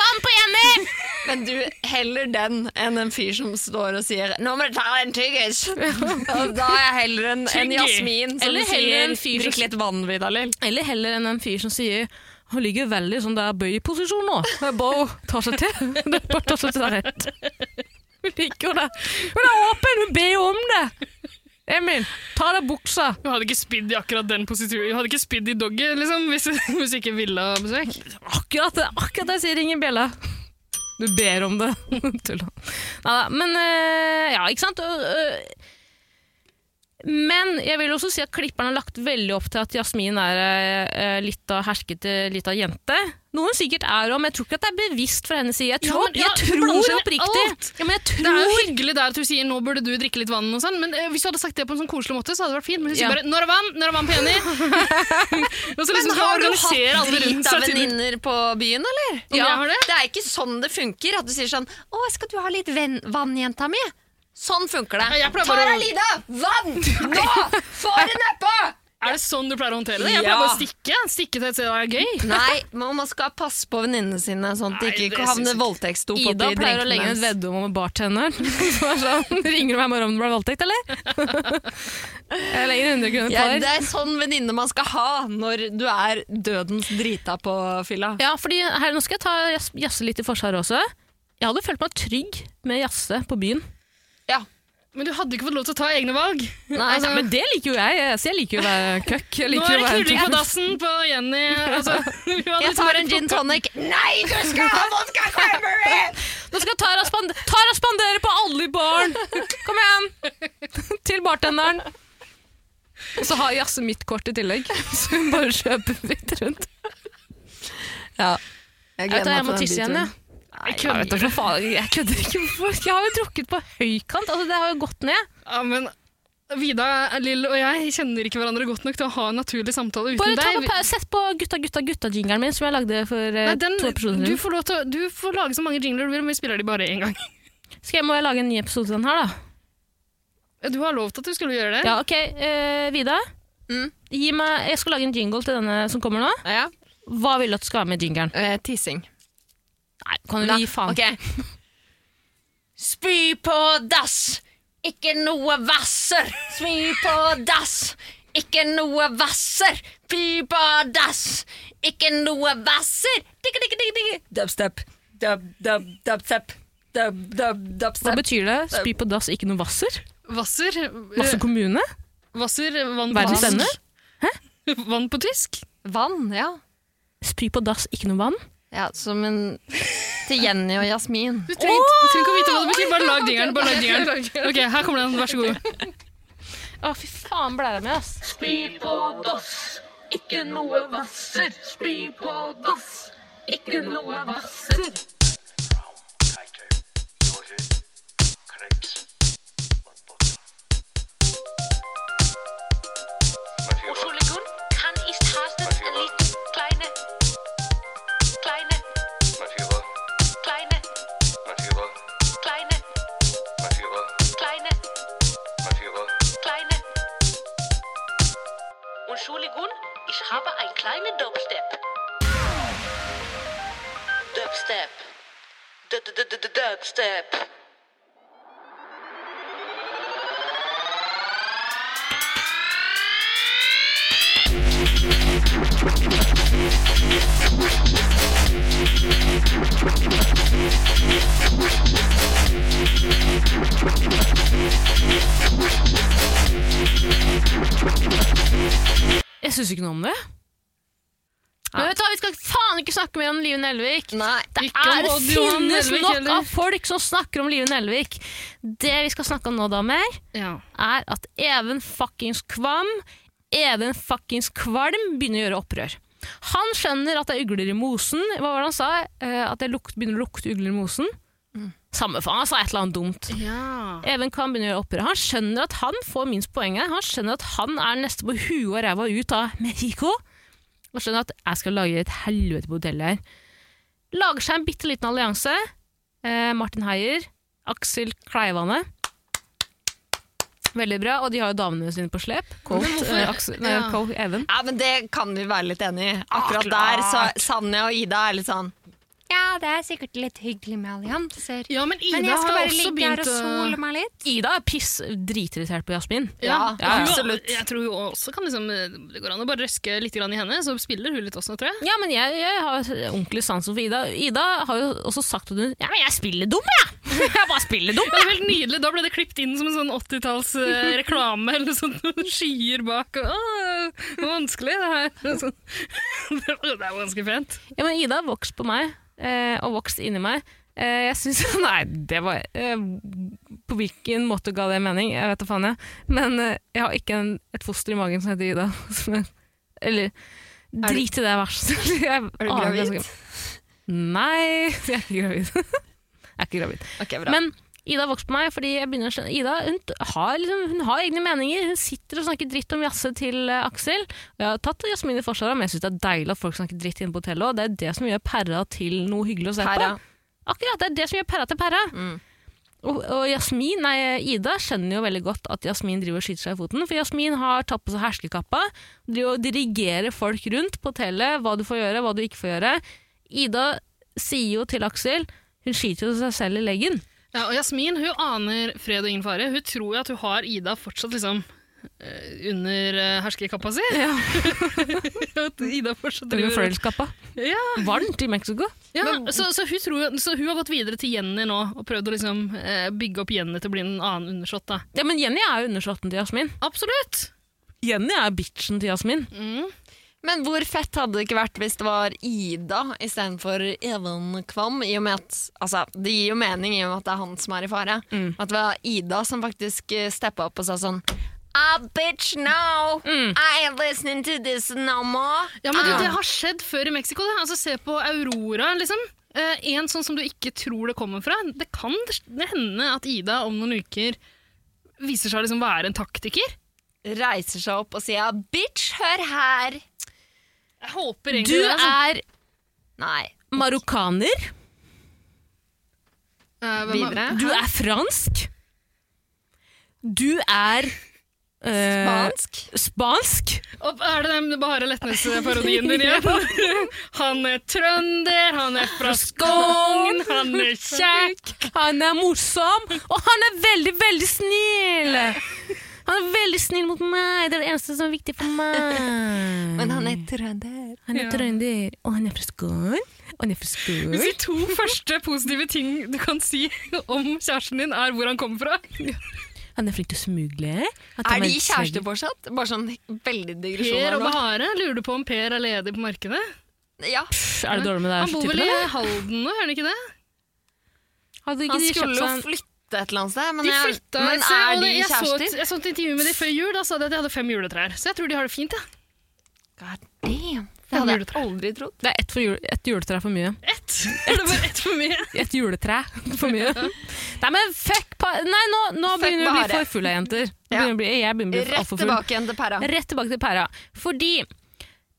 A: Vann på Jenny!
B: Men du heller den enn en fyr som står og sier 'nå må du ta en tyggis'. Og da er jeg heller en, en
A: Tygger.
B: Jasmin som
A: Eller heller
B: sier
A: en fyr som-
B: 'drikk litt vann, Vidalil'.
A: Eller heller enn en fyr som sier han ligger veldig sånn der bøyposisjon nå. Det er bare å ta seg til. Det er bare å ta seg til rett. Hun liker jo det. Hun er åpen, hun ber jo om det! Emil, ta av deg buksa.
C: Hun hadde ikke spydd i akkurat den posituren. Hun hadde ikke spydd i dogget, liksom, hvis, hvis hun ikke ville ha besøk.
A: Akkurat det akkurat det sier ingen bjelle. Du ber om det. Tulla. Neida, men eh, Ja, ikke sant? Og, eh, Men jeg vil også si at klipperen har lagt veldig opp til at Jasmin er eh, eh, litt av herskete lita jente. Noe hun sikkert er om, jeg tror ikke at det er bevisst fra hennes side. Jeg
C: Ja,
A: tror,
C: men ja,
A: jeg
C: hun blander
A: tror
C: seg i
A: oppriktig
C: alt.
A: ja, men jeg
C: Det er jo
A: tror,
C: hyggelig der at hun sier 'nå burde du drikke litt vann', og sånn, men eh, hvis du hadde sagt det på en sånn koselig måte, så hadde det vært fint. Men hun
A: Ja.
C: sier bare 'nå er det vann', 'nå er det vann på Jenny'. og så
B: Men
C: liksom skal hun
B: Sånn, har du
C: organisere
B: hatt
C: alle rundt
B: drit av
C: seg til
B: venninner på byen, eller?
C: Om jeg har det?
B: er ikke sånn det funker, at du sier sånn 'Å, skal du ha litt venn, vann, jenta mi?' Sånn funker det.
C: Ja, jeg pleier
B: Ta
C: bare å-
B: deg, Lida! Vann! Nå! Få det nedpå!
C: Er det sånn du pleier å håndtere det?
B: Ja.
C: Jeg pleier bare å stikke. Stikke til et sted det er gøy.
B: Nei, men man skal passe på venninnene sine, sånn at de
C: Nei, det
B: ikke
C: syns jeg
B: havner
C: ikke.
B: voldtektsdop oppi
A: Ida pleier å
B: drinkene
A: legge inn et
B: hennes.
A: veddemål med bartenderen. Så er sånn, Ringer du meg i morgen om det ble voldtekt, eller? Jeg legger 100 kroner
B: Ja,
A: par.
B: det er sånn venninne man skal ha når du er dødens drita på fylla.
A: Ja, fordi her, nå skal jeg ta Jas- Jasse litt i forsvar også. Jeg hadde følt meg trygg med Jasse på byen.
C: Men du hadde ikke fått lov til å ta egne valg.
B: Nei,
A: Altså, men det liker jo jeg. Jeg- Så jeg liker jo å være køkk. Jeg
C: Nå
A: liker jo å
C: er det
A: være
C: knulling på dassen på Jenny. Altså, hun
B: Jeg
C: hadde liksom
B: tar
C: bare
B: en
C: tatt
B: gin tonic. Nei, du skal ha vodka!
A: Nå skal Tara, spand Tara spandere på alle barn! Kom igjen! Til bartenderen. Og så har Jasse mitt kort i tillegg, så hun bare kjøper fritt rundt.
B: Ja.
A: Jeg vet da, jeg må tisse igjen, jeg.
B: Nei,
A: Jeg vet da, for faen, jeg kødder ikke. Hvorfor- Jeg har jo drukket på høykant. Altså, det har jo gått ned.
C: Ja, men Vida, Lill og jeg kjenner ikke hverandre godt nok til å ha en naturlig samtale uten
A: Bare ta
C: deg.
A: på, pa- sett på Gutta, gutta, gutta-jingeren min, som jeg lagde for eh,
C: Nei, den,
A: to episoder siden.
C: du, får lov til, å- du får lage så mange jingler du vil, men vi spiller de bare én gang.
A: Skal jeg, må jeg lage en ny episode til den her, da?
C: Du har lovt at du skulle gjøre det.
A: Ja, ok. eh, Vida,
B: Mm.
A: gi meg, jeg skal lage en jingle til denne som kommer nå.
B: Ja.
A: Hva vil du at skal være med i jingeren?
B: Eh, tissing.
A: Nei, kan du gi faen?
B: Ok. Spy på dass, ikke noe vasser. Spy på dass, ikke noe vasser. Spy på dass, ikke noe vasser. Digge, digge, digge, digge. Dubstep. Dub, dub, dubstep. Dub, dub,
A: Hva
B: dubstep.
A: betyr det? Spy på dass, ikke noe vasser?
C: Vasser,
A: Vasser
C: eh,
A: kommune?
C: vasser vann, på
A: Verdens ende?
C: tysk. vann på tysk.
B: Vann, ja.
A: Spy på dass, ikke noe vann?
B: Ja, som en Til Jenny og Jasmin.
C: Du trenger, du trenger ikke å vite hva det betyr, bare lag jingeren. Bare lag jingeren. Ok, her kommer den, vær så god.
A: Å, fy faen ble det med, ass.
I: Ikke noe vasser, spy på dass. Ikke noe vasser. Oslo-Legon kan i stasen litt kleine. Kleine. Kleine. Kleine. Kleine. Kleine. Entschuldigung, ich habe ein kleinen Dubstep. Dubstep. D- d- d- d- Dubstep.
A: Jeg syns ikke noe om det. Men vet du hva, Vi skal faen ikke snakke mer om Live Nelvik.
B: Nei.
A: Det
C: Ikke om
A: er,
C: Odd Johan
A: finnes
C: Nelvik
A: nok
C: heller.
A: av folk som snakker om Live Nelvik. Det vi skal snakke om nå, damer,
C: Ja.
A: er at Even fuckings Kvam, Even fuckings Kvalm, begynner å gjøre opprør. Han skjønner at det er ugler i mosen. Hva var det han sa? Eh, At det lukt, begynner å lukte ugler i mosen? Samme faen, han sa et eller annet dumt.
C: Mm. ja.
A: Even Kvam begynner å gjøre opprør. Han skjønner at han får minst poeng her. Han skjønner at han er neste på huet og ræva ut av Mexico. Og skjønner at jeg skal lage et helvete på hotellet her. Lager seg en bitte liten allianse. Eh, Martin Heier, Aksel Kleivane. Veldig bra. Og de har jo damene sine på slep. Colt, eh, Aksel, nei,
C: Ja.
A: Colt Even.
B: Ja, men det kan vi være litt enig i. Akkurat der så Sanja og Ida er litt sånn Ja, det er sikkert litt hyggelig med allianser.
C: ja, men Ida har jo også begynt å
B: meg litt.
A: Ida er piss dritirritert på Jasmin.
B: Ja,
A: Ja, ja.
B: absolutt.
C: Jeg tror hun også kan liksom, det går an å bare røske litt grann i henne, så spiller hun litt også, tror jeg.
A: Ja, men jeg, jeg har ordentlig sansen for Ida. Ida har jo også sagt at hun Ja, men jeg spiller dum, jeg! Jeg bare spiller dum,
C: Det er helt nydelig, Da ble det klippet inn som en sånn 80-talls eh, reklame eller sånn, noen skyer bak. og, Åh, det var vanskelig, det her. Det er Sånn. Det er jo ganske pent.
A: Ja, men Ida har vokst på meg, eh, og vokst inni meg. Eh, jeg syns Nei, det var eh, På hvilken måte ga det mening? Jeg vet da faen, jeg. Men eh, jeg har ikke en, et foster i magen som heter Ida. Som jeg, eller drit i det verset. Er
B: Er du gravid?
A: Nei, jeg er ikke gravid. jeg er ikke gravid.
B: Ok, bra.
A: Men Ida har vokst på meg fordi jeg begynner å skjønne Ida hun t- har, liksom, hun har egne meninger. Hun sitter og snakker dritt om jazze til eh, Aksel. Og jeg har tatt Jasmin i forsvaret, men jeg syns det er deilig at folk snakker dritt inne på hotellet. Og det er det som gjør Perra til noe hyggelig å se
B: Perra. Mm.
A: på. Akkurat, det er det som gjør Perra til Perra. Og, og Jasmin, nei, Ida skjønner jo veldig godt at Jasmin driver og skyter seg i foten. For Jasmin har tatt på seg herskekappa. Driver og dirigerer folk rundt på hotellet hva du får gjøre, hva du ikke får gjøre. Ida sier jo til Aksel hun skyter jo seg selv i leggen.
C: Ja, og Jasmin hun aner fred og ingen fare. Hun tror jo at hun har Ida fortsatt liksom eh, under eh, herskekappa si. at Ida fortsatt
A: Det blir
C: driver
A: fløyelskappa.
C: Ja,
A: Varmt i Mexico.
C: ja. Så, så, hun tror, jo- så hun har gått videre til Jenny nå og prøvd å liksom, eh, bygge opp Jenny til å bli en annen undersått. da.
A: Ja, men Jenny er jo undersåtten til Jasmin. Mm.
C: Absolutt!
A: Jenny er bitchen til Jasmin.
B: Men hvor fett hadde det ikke vært hvis det var Ida istedenfor Even Kvam? I og med at, altså, det gir jo mening i og med at det er han som er i fare. At det var Ida som faktisk eh, steppa opp og sa sånn Ah, bitch, no! I ain't listening to this no more.
C: Ja, men du, Det har skjedd før i Mexico. Det. Altså, se på Aurora. liksom. Eh, en sånn som du ikke tror det kommer fra. Det kan hende at Ida om noen uker viser seg å liksom være en taktiker.
B: Reiser seg opp og sier ah, bitch, hør her.
C: Jeg håper
A: Du
C: egentlig det. altså.
A: er sånn
B: Nei.
A: marokkaner.
C: Eh, hvem er-
B: Videre.
A: Du er fransk. Du er eh,
B: Spansk.
A: Spansk.
C: Og er det den Bahare Letnes-parodien din igjen? han er trønder, han er fra Skogn, han er kjekk.
A: Han er morsom, og han er veldig, veldig snill! Han er veldig snill mot meg. Det er det eneste som er viktig for meg.
B: Men han er trønder.
A: Han er trønder, og han er fra Skål. Og han er fra Skål.
C: Hvis de to første positive ting du kan si om kjæresten din, er hvor han kommer fra
A: Han er flink til å smugle. Han tar
B: Er
A: med
B: de
A: seg-
B: kjærester fortsatt? Bare sånn veldig digresjon
C: Per
B: her
C: og
B: nå.
C: Bahare, lurer du på om Per er ledig på markedet?
B: Ja.
A: Pff, Er det dårlig med det her
C: Han bor vel
A: typen?
C: i
A: eller?
C: Halden nå, gjør han ikke det?
A: Hadde ikke
B: Han
A: de
B: skulle
A: kjøpt
B: jo
A: seg en-
B: flytte et eller annet sted, men,
C: De
B: jeg-
C: flytta
B: men
C: seg, og
B: er de
C: det- jeg så, et,
B: kjærester?
C: jeg så et intervju med dem før jul, da sa de at de hadde fem juletrær. Så jeg tror de har det fint, ja.
B: God damn. Det
C: Fem
B: hadde jeg
C: juletre.
B: aldri trodd.
A: Det er ett jule, et juletre for mye.
C: Ett! Er det bare ett for mye?
A: Et juletre for mye. Nei, men fuck pa Nei, nå, nå
B: Fuck
A: begynner du å bli
B: bare.
A: for full av jenter. Du
B: Ja.
A: Begynner å bli, jeg begynner å bli
B: Rett
A: altfor full.
B: tilbake igjen til pæra.
A: Rett tilbake til pæra. Fordi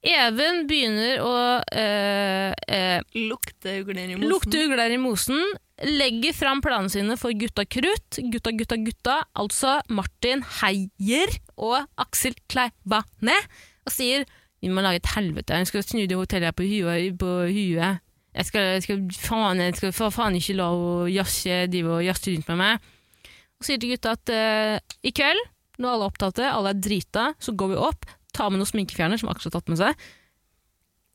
A: Even begynner å eh, eh,
B: Lukte ugler i mosen.
A: lukte ugler i mosen, legger fram planene sine for Gutta Krutt, Gutta Gutta Gutta, altså Martin Heier og Aksel Kleivane, og sier vi må lage et helvete, jeg skal snu det hotellet her på huet. På huet. Jeg skal, jeg skal, faen, jeg skal for faen ikke la henne jazze- drive og jazze rundt med meg. Og sier til gutta at eh, i kveld, når alle er opptatte, alle er drita, så går vi opp, tar med noen sminkefjerner som Aksel har tatt med seg,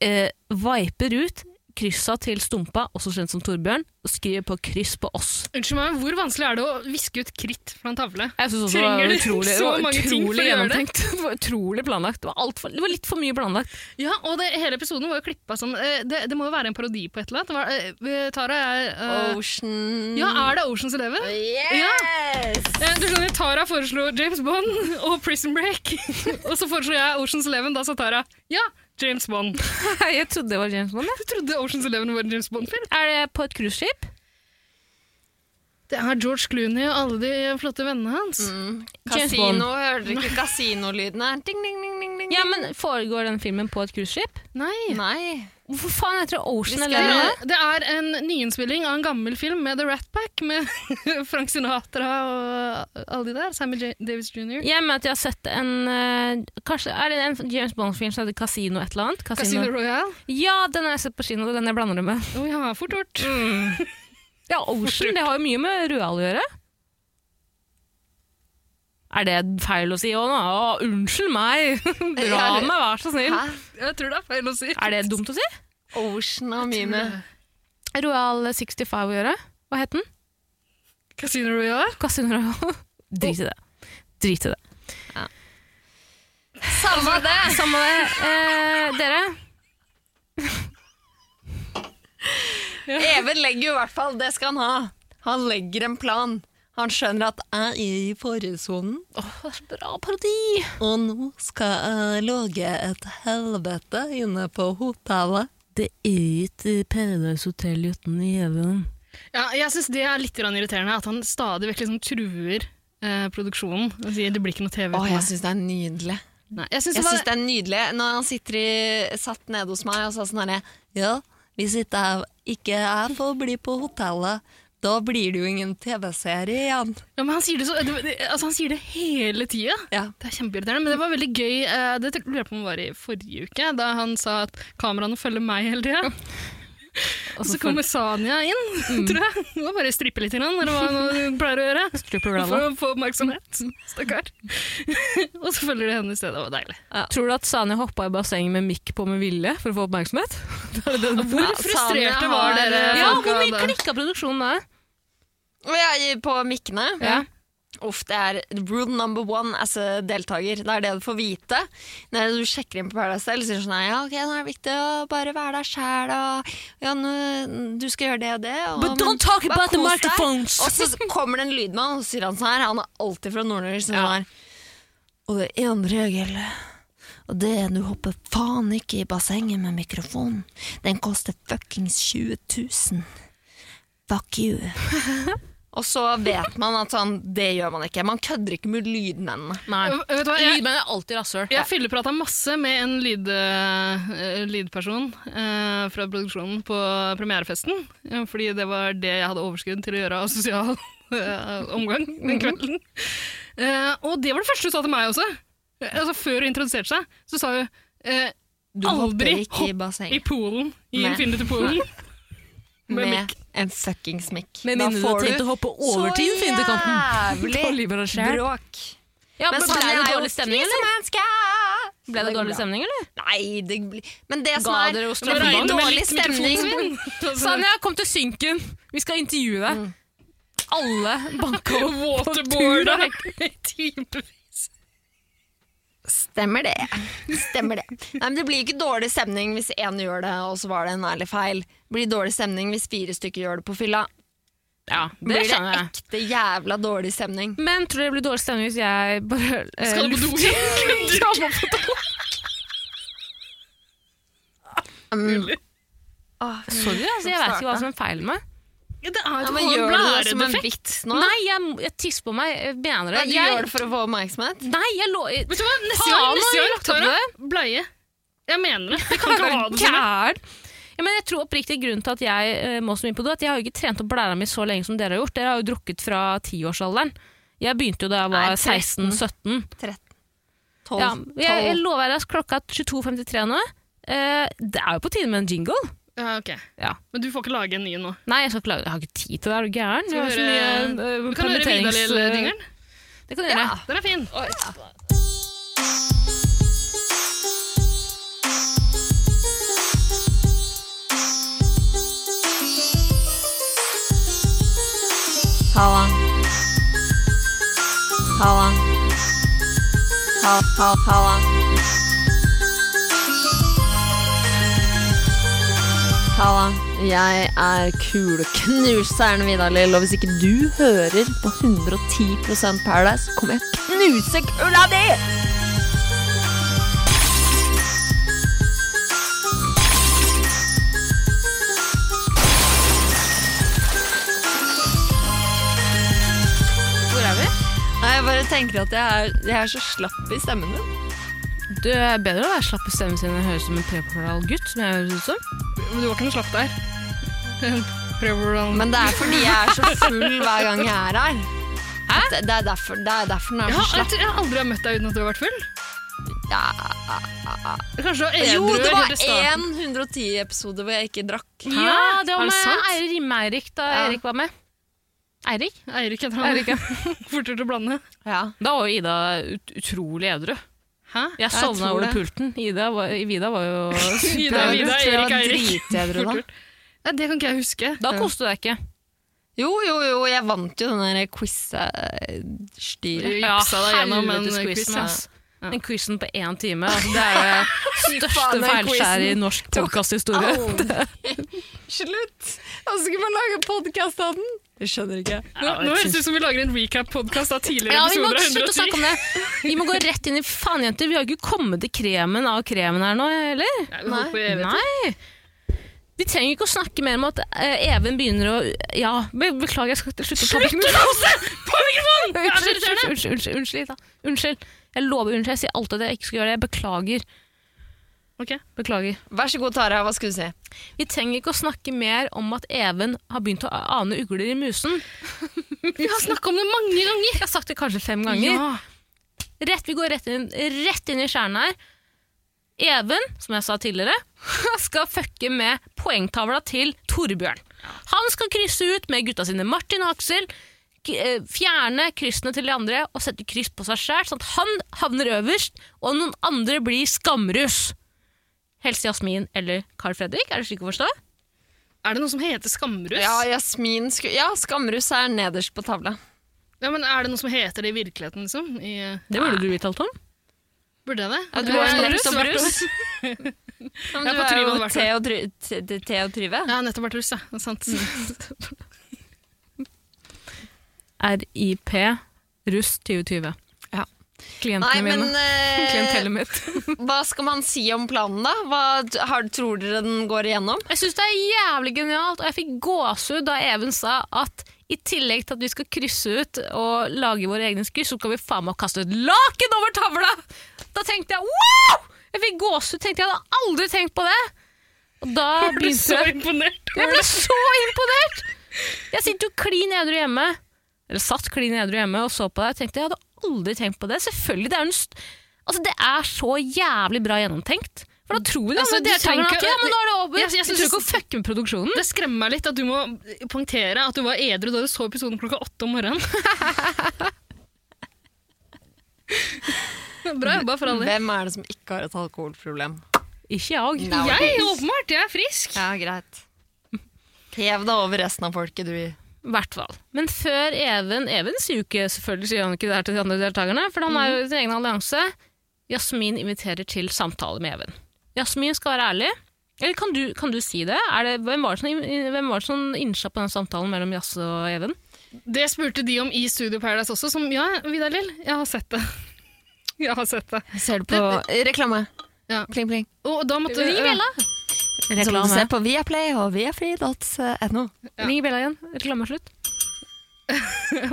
A: eh, viper ut kryssa til Stumpa, også kjent som Torbjørn, og skriver på kryss på oss.
C: Unnskyld meg, hvor vanskelig er det å viske ut kritt fra en tavle?
A: Jeg synes også
C: Trenger
A: det var
C: du
A: utrolig,
C: så
A: det var
C: mange ting for
A: utrolig
C: å gjøre det?
A: gjennomtenkt. Det var utrolig planlagt. Det var, alt for, det var litt for mye planlagt.
C: Ja, og det, hele episoden var jo klippa sånn eh, det, det må jo være en parodi på et eller annet. Det var, eh, Tara er eh,
B: Ocean
C: Ja, er det Oceans Eleven? Eh, Du skjønner, Tara foreslo James Bond og Prison Break. og så foreslo jeg Oceans Eleven, da sa Tara ja, James Bond.
A: Jeg trodde det var James Bond. jeg.
C: Du trodde Oceans Eleven var en James Bond-film?
A: Er det på et cruiseskip?
C: Det er George Clooney og alle de flotte vennene hans.
A: James
B: Kasino, hører dere ikke kasinolyden her? Ding, ding, ding, ding, ding.
A: Ja, men Foregår den filmen på et cruiseskip?
C: Nei.
B: Nei.
A: Hvorfor faen heter det Ocean
B: Vi skal-
A: Eleven? nå?
C: Det er en nyinnspilling av en gammel film med The Rat Pack, med Frank Sinatra og alle de der. Sammy J Davis jr.
A: Jeg mener at jeg har sett en eh, Kanskje er det en James Bond-film som heter Casino et eller annet?
C: Casino Royale.
A: Ja, den har jeg sett på kino. Det er den jeg blander det med.
C: Å ja, fort gjort.
A: Ja, Ocean det har jo mye med Røal å gjøre. Er det feil å si òg nå? Å, unnskyld meg! Dra
B: Ja, det-
A: meg, vær så snill!
B: Hæ?
C: Jeg tror det er feil å si.
A: Er det dumt å si?
B: Ocean har mye med
A: Royal 65 eh, å gjøre? Hva het den?
C: Casino Royale?
A: Casino Royal? Drit i det. Drit i det.
B: Samme det!
A: Samme det. Eh, dere,
B: Even legger jo i hvert fall Det skal han ha. Han legger en plan. Han skjønner at jeg er i faresonen,
A: bra parodi!
B: og nå skal jeg lage et helvete inne på hotellet.
A: Det er
B: eh,
A: ikke Paradise Hotel uten Even.
C: Ja, jeg syns det er litt grann irriterende at han stadig vekk liksom truer eh, produksjonen. Og sier det blir ikke noe TV
B: Å,
C: på
B: jeg
C: meg.
B: syns det er nydelig.
C: Nei, jeg synes
B: Jeg
C: det var,
B: syns det er nydelig når han sitter i, satt nede hos meg og sa sånn herre Ja, hvis ikke jeg, ikke jeg får bli på hotellet, da blir det jo ingen TV-serie igjen.
C: ja, men han sier det, så, det, det- altså, han sier det hele tida.
B: Ja.
C: Det er kjempeirriterende, men det var veldig gøy. eh, Det tror- lurer jeg på om det var i forrige uke, da han sa at kameraene følger meg hele tida. Og så kommer Sanja inn, tror jeg. Hun må bare strippe litt, grann, eller hva hun pleier å gjøre. For å få oppmerksomhet. Stakkar. og så følger de henne i stedet. Det var deilig.
A: Tror du at Sanja hoppa i bassenget med mikk på med vilje for å få oppmerksomhet?
C: Hvor frustrerte var dere?
A: Ja,
C: folka
A: hvor mye
C: da?
A: klikka produksjonen der?
B: Og jeg er på mikkene.
A: Ja.
B: Uff, det er rule number one as a deltaker. Det er det du får vite. Når du sjekker inn på Paradise Hotel, sier du sånn «Nei, ja, ok, nå er det viktig å bare være deg sjæl, og ja, nå, du skal gjøre det og det. Og,
A: But don't talk
B: bare
A: about the
B: kos deg.»
A: microphones.
B: Og så kommer det en lydmann, og så sier han sånn her, han er alltid fra Nord-Norge, sånn her. Og det er en regel, og det er du hopper faen ikke i bassenget med mikrofonen. Den koster fuckings 20 000. Fuck you. Og så vet man at sånn, det gjør man ikke. Man kødder ikke med lydmennene.
A: Nei.
C: Øh, Vet du hva, jeg,
A: Lydmenn er alltid rasshøl.
C: jeg fylleprata masse med en lyd, eh, lydperson eh, fra produksjonen på premierefesten. eh, fordi det var det jeg hadde overskudd til å gjøre av sosial eh, omgang
B: Mhm.
C: den kvelden. Eh, og det var det første hun sa til meg også. Eh, Altså Før hun introduserte seg, så sa hun eh, Aldri
B: hopper ikke i
C: hopp i
B: bassenget
C: Polen. I
B: Nei.
C: Infinity Polen.
B: med,
C: med mikk.
B: en fuckings mikk.
A: Med
B: Da
A: mindre du
B: får
A: har tenkt å hoppe over til
B: Så
A: fintekanten.
B: jævlig bråk.
A: Ja, men ble
B: Sanja
A: det
B: er jo
A: dårlig stemning, eller?
B: krisemenneske!
A: Ble det
B: går
A: dårlig
B: bra.
A: stemning, eller?
B: Nei, det blir Men det som
A: Ga
B: er
A: dere jo
B: det blir
A: straffeball?
B: dårlig stemning.
A: Sanja, kom til synken! Vi skal intervjue deg.
B: Mm.
A: Alle banka opp på tur.
C: Waterboarda i timevis.
B: Stemmer det. Stemmer det. Nei, men det blir ikke dårlig stemning hvis én gjør det, og så var det en ærlig feil. Det blir dårlig stemning hvis fire stykker gjør det på fylla.
A: Ja, det
B: Blir det
A: skjønner jeg.
B: ekte jævla dårlig stemning.
A: Men tror du det blir dårlig stemning hvis jeg bare eh,
C: Skal du på do?
A: lufter- Ja, må på do.
B: Mm.
A: Sorry, altså, jeg vet ikke hva som er feil med meg.
C: Ja, det er
B: Ja,
C: jo
B: men
C: ja,
B: gjør du det som en
C: blæredefekt.
B: vits nå?
A: Nei, jeg, må- jeg tisser på meg. Jeg mener det.
B: Ja, du
A: jeg,
B: gjør det for å få oppmerksomhet?
A: Nei, jeg lå i
C: Vet du hva, neste
A: Faen,
C: gang,
A: har
C: neste
A: jeg
C: gang
A: lagt opp
C: Tara, bleie. Jeg mener det. Vi kan ikke ha det sånn.
A: Gæren! Ja, men jeg tror oppriktig grunnen til at jeg eh, må så mye på do, at jeg har jo ikke trent opp blæra mi så lenge som dere har gjort. Dere har jo drukket fra tiårsalderen. Jeg begynte jo da jeg
B: Nei,
A: var
B: 13.
A: 16-17.
B: 12.
A: Ja, jeg, jeg lover deg at klokka er 22.53 nå. Eh, det er jo på tide med en jingle.
C: Ja, ok.
A: Ja.
C: Men du får ikke lage en ny nå.
A: Nei, jeg, skal ikke lage, jeg har ikke tid til det. Er du gæren?
C: Skal
A: Jeg har
C: vi
A: så
C: høre-
A: mye eh,
C: Du kan høre
A: permitterings- eh,
C: Vidar-Lill-dingeren.
A: Det kan du gjøre.
C: Den er fin.
B: Halla. Halla. Ha- ha- Halla. Halla. Jeg er kuleknuseren Vidar Lill, og hvis ikke du hører på 110 Paradise, kommer jeg til å knuse kula di!
A: Hvor er vi?
B: Nei, Jeg bare tenker at jeg er, jeg er så slapp i stemmen min.
A: Du er bedre å være slapp i stemmen sin enn å høres ut som en prekvartal gutt, som jeg høres ut som.
C: Men du var ikke noe slapp der. Prøv hvordan
B: Men det er fordi jeg er så full hver gang jeg er her. At Det, det, er derfor, det er derfor den er
C: jeg
B: så
C: har,
B: slapp.
C: jeg har aldri møtt deg uten at du har vært full.
B: Ja.
C: Kanskje du var edru
B: Jo, det var
C: helt i starten.
B: én 110-episode hvor jeg ikke drakk.
A: Ja, det
C: Er
A: var
C: det sant?
A: med Eirik Rimme-Eirik da
B: Ja.
A: Eirik var med. Eirik?
C: Eirik heter han.
A: Eirik,
C: Fortere til å blande.
A: Da var jo Ida ut utrolig edru.
C: Hæ?
A: Jeg sovna
B: tror
A: over
B: det.
A: pulten. Ida var, Vida var jo
C: Ida,
A: superedru.
C: Vida,
B: Jeg
C: Eirik,
B: var
C: Eirik.
B: dritedru da.
C: Ja, det kan ikke jeg huske.
A: Da koste du deg ikke.
B: Jo, jo, jo, jeg vant jo den der quiz-styret.
C: Du jipsa deg gjennom en
A: helvetes
C: quiz.
A: quizen,
C: ass.
A: ass. Den quizen på én time, altså, det er jo det største
B: faen, den
A: feilskjæret i
B: quizen
A: norsk
B: tok
A: podkasthistorie.
B: Slutt! Hvordan skal man lage podkast av den? Jeg skjønner ikke.
C: Nå, nå høres det ut som vi lager en recap-podkast av tidligere
A: Ja, vi må
C: episoder av
A: slutte å
C: 110.
A: snakke om det. Vi må gå rett inn i faen, jenter. Vi har jo ikke kommet til kremen av kremen her nå, heller.
C: Nei, vi holder på i evighet.
A: Nei. Vi trenger ikke å snakke mer om at eh, Even begynner å Ja, be beklager, jeg skal slutte å ta på mikrofonen!
C: På mikrofonen! Det er så
A: Unnskyld, unnskyld,
C: irriterende.
A: unnskyld, unnskyld, unnskyld, da. unnskyld. Jeg lover unnskyld. Jeg sier alltid at jeg ikke skal gjøre det. Jeg beklager.
C: Ok.
A: Beklager.
B: Vær så god, Tara. Hva skulle du si?
A: Vi trenger ikke å snakke mer om at Even har begynt å ane ugler i musen.
C: Vi har snakka om det mange ganger.
A: Jeg har sagt det kanskje fem ganger.
C: Ja.
A: Rett, vi går rett inn, rett inn i kjernen her. Even, som jeg sa tidligere, skal fucke med poengtavla til Torbjørn. Han skal krysse ut med gutta sine Martin og Aksel, k- eh, fjerne kryssene til de andre og sette kryss på seg sjæl, sånn at han havner øverst, og noen andre blir skamrus. Helst Jasmin eller Carl Fredrik, er det slik å forstå?
C: Er det noe som heter skamrus?
B: Ja, Jasmin sku... Ja, Skamrus er nederst på tavla.
C: Ja, men Er det noe som heter det i virkeligheten, liksom? I,
A: Det burde du uttalt om.
C: burde jeg det?
B: Ja, du
C: Jeg
B: har jo
C: har
B: nettopp
C: nettopp vært
B: brus.
C: russ.
B: Ja,
C: Jeg
B: men
C: er
B: du
C: på
B: er
C: Tryvann
B: jo
C: hvert
B: Theo Try- T- T- Theo Tryve.
C: Jeg har nettopp vært russ, ja. Det er sant.
A: RIP russ 2020.
B: Ja. Nei,
A: Klientene
B: men
A: mine.
B: eh,
A: Klientellet mitt.
B: hva skal man si om planen, da? Hva har, tror dere den går igjennom?
A: Jeg syns det er jævlig genialt, og jeg fikk gåsehud da Even sa at i tillegg til at vi skal krysse ut og lage våre egne kryss, så skal vi faen meg kaste et laken over tavla! Da tenkte jeg wow! Jeg fikk gåsehud, tenkte jeg hadde aldri tenkt på det. Og da
C: Jeg ble så
A: begynte jeg
C: imponert.
A: Jeg ble så imponert! Jeg sitter jo klin edru hjemme, eller satt klin edru hjemme og så på deg og tenkte jeg hadde aldri tenkt på det. Selvfølgelig, det er jo en st Altså, det er så jævlig bra gjennomtenkt. For da tror de
C: Altså,
A: andre
C: du
A: deltakerne at
C: tenker-
A: ja, men nå er det over.
C: Jeg-
A: du
C: jeg synes-
A: tror ikke å fucke med produksjonen.
C: Det skremmer meg litt at du må poengtere at du var edru da du så episoden klokka åtte om morgenen. Bra jobba for alle.
B: Hvem er det som ikke har et alkoholproblem?
A: Ikke jeg.
B: Nei.
C: Jeg er åpenbart, jeg er frisk.
B: Ja, greit. Hev deg over resten av folket, du.
A: I hvert fall. Men før Even Even sier jo ikke selvfølgelig sier han ikke det her til de andre deltakerne, for han er jo
B: Mhm.
A: i sin egen allianse. Jasmin inviterer til samtale med Even. Jasmin skal være ærlig. Eller kan du, kan du si det? Er det hvem var det som, hvem var det som innsa på den samtalen mellom Jasse og Even?
C: Det spurte de om i Studio Paradise også, som ja, Vidar Lill, jeg har sett det. Jeg har sett det.
B: Ser du på reklame?
C: Ja.
B: Pling, pling.
C: Og da måtte
A: Ring bjella!
B: Som du
A: Reklame.
B: ser på Viaplay og eh, viafree.no.
A: Ring bjella igjen. Reklame er slutt.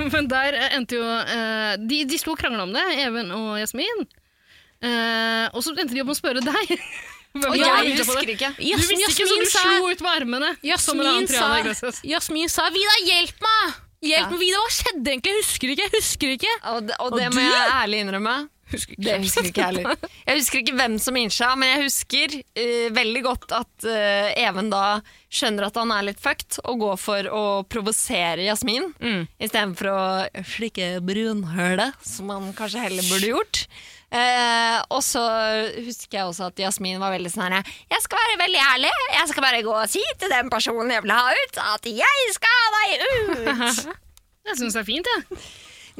C: Men der eh, endte jo eh, De, de sto og krangla om det, Even og Jasmin. Eh, og så endte de opp med å spørre deg. Hvem
B: Og
C: var
B: jeg
C: ute på det?
B: husker ikke.
C: Du visste ikke, så du slo ut med armene. som en annen
A: Jasmin
C: Triana
A: sa,
C: Iglesias.
A: Jasmin sa 'Vida, hjelp meg!' Hjelp
B: Ja.
A: meg, Vida, Hva skjedde egentlig? Jeg husker ikke. jeg husker ikke.
B: Og det, og
A: Og
B: det
A: du?
B: må jeg ærlig innrømme. Det husker ikke jeg heller. Jeg husker ikke hvem som innsa, men jeg husker eh, veldig godt at eh, Even da skjønner at han er litt fucked, og går for å provosere Jasmin istedenfor å slikke brunhølet, som han kanskje heller burde gjort. Eh, og så husker jeg også at Jasmin var veldig sånn her Jeg skal være veldig ærlig. Jeg skal bare gå og si til den personen jeg vil ha ut, at jeg skal ha deg ut!
C: Jeg syns det er fint, jeg.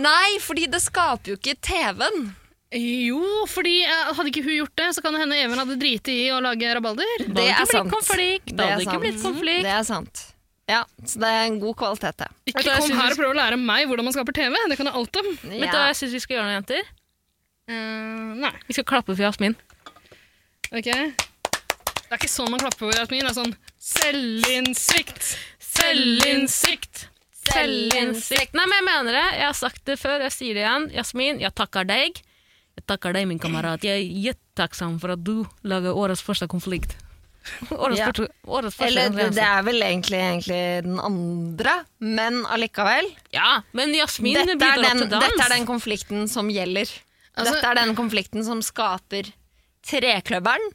B: Nei, fordi det skaper jo ikke TV-en.
C: Jo, fordi eh, hadde ikke hun gjort det, så kan det hende Even hadde driti i å lage rabalder.
A: Det
B: er
A: hadde ikke
B: sant.
A: blitt konflikt. Det
B: Det er
A: hadde ikke
B: sant.
A: blitt konflikt.
B: Det er sant. Ja, så det er en god kvalitet, det.
C: Ikke
A: Vet du hva jeg
C: kom
A: synes-
C: her og prøv å lære meg hvordan man skaper TV. Det kan jeg alt om.
A: Vet du hva jeg syns vi skal gjøre nå, jenter?
C: Eh, nei,
A: Vi skal klappe for Jasmin.
C: ok. Det er ikke sånn man klapper på Jasmin. Det er sånn selvinnsikt, selvinnsikt.
A: Selvinnsikt. Nei, men jeg mener det. Jeg har sagt det før, jeg sier det igjen. Jasmin, jeg takker deg. Jeg takker deg, min kamerat. Jeg er gjettaksom for at du lager årets første konflikt. Årets
B: Ja.
A: første, årets første
B: Eller det
A: konferanse.
B: er vel egentlig, egentlig den andre, men allikevel.
A: Ja, men Jasmin
B: Dette er,
A: bidrar
B: den,
A: til dans. Altså-
B: dette er den konflikten som gjelder. dette er den konflikten som skaper trekløveren.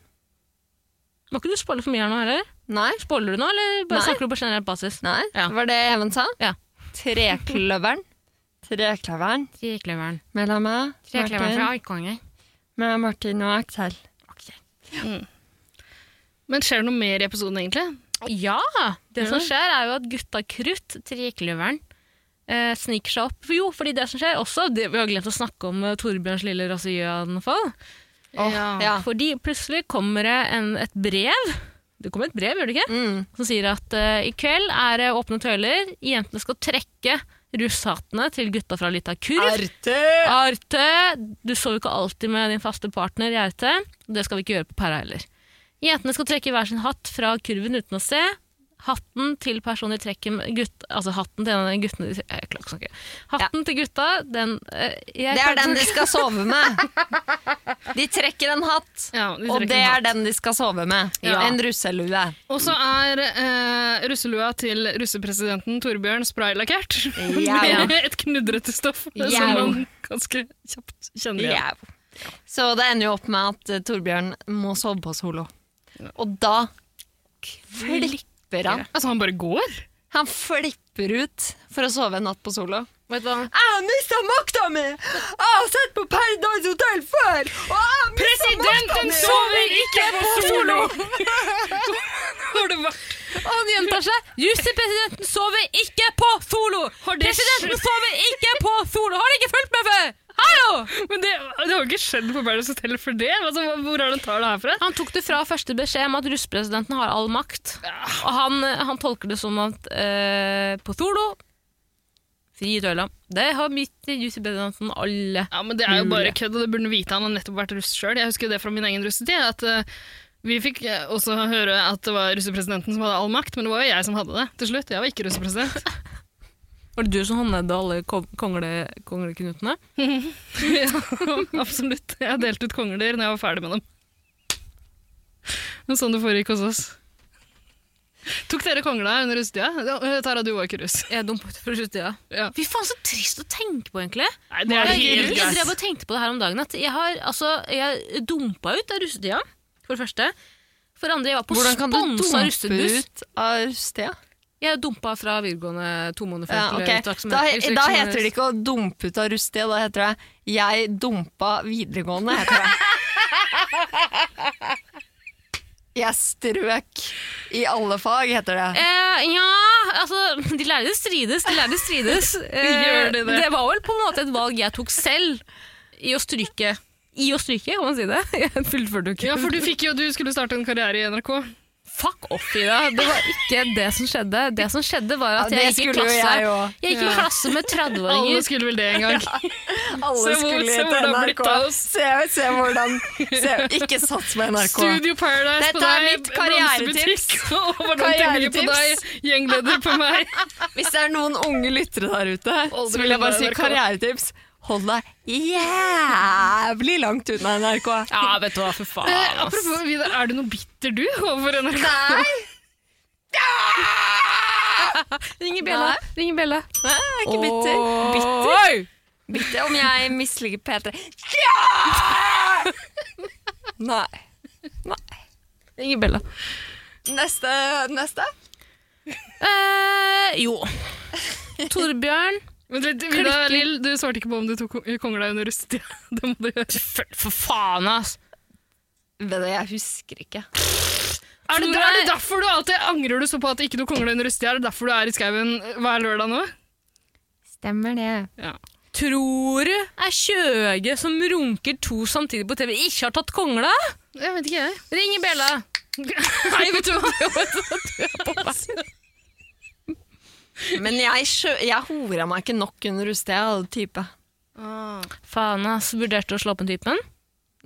A: Må ikke du spoile for mye her nå, eller?
B: Nei,
A: Spoiler du nå, eller bare
B: Nei.
A: snakker du på generell basis?
B: nei.
A: Ja.
B: var det Even sa?
A: Ja.
B: Trekløveren. Trekløveren
A: Trekløveren.
B: mellom meg, Martin,
A: Aikanger.
B: med Martin og Aksel.
C: Men skjer det noe mer i episoden, egentlig?
A: Ja! Det som skjer, er jo at gutta krutt, trekløveren, eh, sniker seg opp. For jo, fordi det som skjer også det, Vi har glemt å snakke om eh, Torbjørns lille raserianfall.
B: Ja.
A: Fordi plutselig kommer det en, et brev. Det kommer et brev, gjør det ikke?
B: Mm.
A: Som sier at eh, i kveld er det åpne tøyler. Jentene skal trekke russhattene til gutta fra Lita Kurv.
B: Arte!
A: Arte! Du sover ikke alltid med din faste partner i Arte. Det skal vi ikke gjøre på Pæra heller. Jentene skal trekke hver sin hatt fra kurven uten å se. Hatten til personen de trekker med gutt, Altså hatten til en av de guttene de, jeg klarer ikke å snakke. Hatten til gutta, den eh, jeg
B: Det er
A: klarer ikke å
B: den de
A: snakke.
B: skal sove med. De trekker en hatt,
C: Ja, de
B: og
C: trekker
B: det
C: en
B: er den de skal sove med.
A: Ja.
B: En russelue.
C: Og så er eh, russelua til russepresidenten Torbjørn spraylakkert.
B: Ja.
C: Med et knudrete stoff som
B: Ja.
C: man ganske kjapt kjenner igjen.
B: Jau. Så det ender jo opp med at eh, Torbjørn må sove på solo. Og da flipper han.
C: Altså, han bare går?
B: Han flipper ut for å sove en natt på solo.
A: Vet du hva?
B: Jeg har mista makta mi! Jeg har sett på Paradise Hotel før! Presidenten sover ikke på solo!
A: Han gjentar seg. Justispresidenten sover ikke på solo! Presidenten sover ikke på solo! Har du ikke fulgt med før? Hallo!
C: Men det, det har jo ikke skjedd på Paradise Hotel for det. Altså, hva- hvor er det han tar det her fra?
A: Han tok det fra første beskjed om at russpresidenten har all makt. Og han, han tolker det som at eh, på solo Fri tøyla. Det har mitt justispresidenten alle.
C: Ja, men Det er jo bare
A: Mulig.
C: kødd, og det burde han vite. Han har nettopp vært russ sjøl. Jeg husker jo det fra min egen russetid. at eh, Vi fikk eh, også høre at det var russepresidenten som hadde all makt, men det var jo jeg som hadde det til slutt. Jeg var ikke russepresident.
A: Var det du som håndhevde alle ko- kongle, kongleknutene?
C: Ja, Absolutt. Jeg delte ut kongler når jeg var ferdig med dem. Men sånn det foregikk hos oss. Tok dere kongla under russetida? Ja, eh, Tara, du var ikke russ.
A: Jeg dumpet for sluttida.
C: Ja.
A: Fy faen, så trist å tenke på, egentlig.
C: Nei, det
A: Jeg,
C: er helt
A: jeg, jeg drev
C: greit.
A: og tenkte på det her om dagen. At jeg, har, altså, jeg dumpa ut av russetida, for det første. For det andre, jeg var på
B: Hvordan kan du
A: sponsa
B: dumpe
A: russebuss.
B: ut av russetida?
A: Jeg dumpa fra videregående to måneder før.
B: Ja,
A: til
B: ok.
A: utveksling-
B: da, he- da
A: utveksling-
B: heter det ikke å dumpe ut av rustet, da heter det 'jeg dumpa videregående'. heter det. Jeg strøk i alle fag, heter det.
A: Eh, ja, altså De lærde strides, de lærde strides. Eh,
C: Gjør de det?
A: det var vel på en måte et valg jeg tok selv i å stryke. I å stryke, kan man si det. Jeg fullførte jo ikke.
C: Ja, for du, fikk jo, du skulle starte en karriere i NRK.
A: Fuck off, Ida. Det var ikke det som skjedde. Det som skjedde var at
B: Ja,
A: jeg
B: det
A: gikk i
B: skulle jo
A: klasse,
B: jeg også.
A: jeg gikk i klasse med
C: Alle
A: 30-åringer.
C: skulle vel det en gang.
B: Alle
C: Se hvor-
B: skulle
C: se
B: hete
C: hvordan det har
B: NRK.
C: blitt av oss.
B: Se, se hvordan se, Ikke sats med NRK.
C: Studio Paradise
B: Dette
C: på
B: er
C: deg.
B: mitt karrieretips.
C: blomsterbutikk, Og hvordan tenker på deg,
B: Karrieretips.
C: gjengleder på meg.
B: Hvis det er noen unge lyttere der ute,
C: Aldri
B: så vil jeg bare si
C: unna NRK.
B: karrieretips. Hold deg jævlig langt unna NRK.
A: Ja, vet du hva, for faen.
C: Eh,
A: ass.
C: apropos Vidar, er du noe bitter du overfor NRK?
B: Nei,
A: Ring i bjella. Ring i bjella.
B: nei, jeg er ikke bitter. Bitter?
A: Oi!
B: Bitter om jeg misliker P3. Ja! Nei.
A: Ring i bjella.
B: Neste, neste.
A: Eh, jo. Torbjørn.
C: Men litt, Vidar, Lill, du svarte ikke på om du tok kong- kongla under russetida. Det må du gjøre.
A: For, for faen, ass.
B: Vet du, jeg husker ikke.
C: Er det,
A: Tror
C: er det
A: jeg-
C: derfor du alltid angrer du så på at ikke du kongla under russetida? Er det derfor du er i skauen hver lørdag nå?
B: Stemmer det.
A: Tror du er Kjøge som runker to samtidig på TV, ikke har tatt kongla?
C: Jeg vet ikke, jeg.
A: Ring i bjella.
C: Nei, vet du hva?
B: Men jeg, skjø jeg hora meg ikke nok under rustet, type.
A: Faen, ass. Vurderte å slå opp med typen.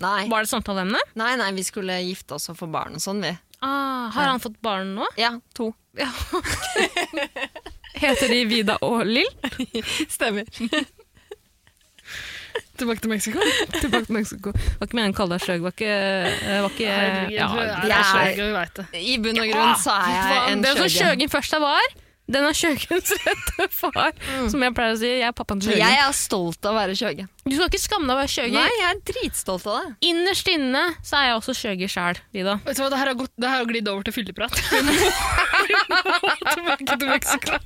B: Nei.
A: Var det samtaleemne?
B: nei, nei, vi skulle gifte oss og få barn og sånn, vi.
A: Ah, har han fått barn nå?
B: Ja, to.
A: Heter de Vida og Lill?
B: Stemmer.
C: Tilbake til Mexico.
A: Tilbake til Mexico. Var ikke meningen å kalle deg sløg. Var ikke, eh, var ikke
C: Herregud,
A: ja,
C: du er
B: jeg
C: så
B: er-
C: skjøgg, og vi vet det.
B: I bunn og grunn så er jeg en
A: Den som
B: skjøgen.
A: Kjøgen først er var, den er Kjøgens rette far. Som jeg pleier å si, Mm. jeg er pappaen til Kjøgen.
B: Jeg er stolt av å være skjøge.
A: Du skal ikke skamme deg å være Kjøger.
B: Nei, jeg er dritstolt av det.
A: Innerst inne så er jeg også Kjøger sjæl, Vida.
C: Vet du hva, Det her har, gått, det her har glidd over til fylleprat. Vi må- vi må tilbake til Mexico.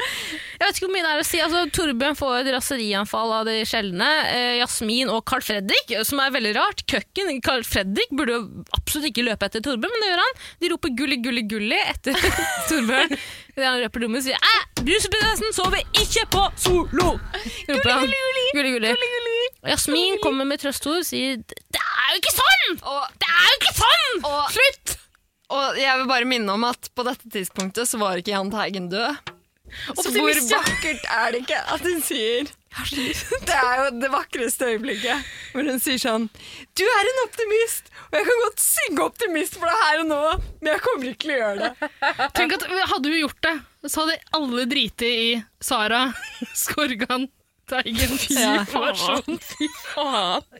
A: Jeg vet ikke hvor mye det er å si. Altså, Torbjørn får et raserianfall av de sjeldne. Eh, Jasmin og Carl Fredrik, eh, som er veldig rart. Køkken Carl Fredrik burde jo absolutt ikke løpe etter Torbjørn, men det gjør han. De roper 'gulli, gulli, gulli' etter Torbjørn. Det han røper dummen sier 'æ, rusprinsessen sover ikke på solo'! roper han. Gulli, gulli. Og Jasmin kommer med trøstord og sier 'det er jo ikke sånn!
B: Og,
A: Det er jo ikke sånn!
B: og,
A: Slutt!'
B: og jeg vil bare minne om at på dette tidspunktet så var ikke Jahn Teigen død. Så hvor
C: Optimist, ja.
B: vakkert er det ikke at hun sier Det er jo det vakreste øyeblikket hvor hun sier sånn Du er en optimist, og jeg kan godt synge optimist for deg her og nå, men jeg kommer ikke til å gjøre det.
C: Tenk at Hadde hun gjort det, så hadde alle driti i Sara Skorgan Teigen. Fy
B: Ja.
C: faen.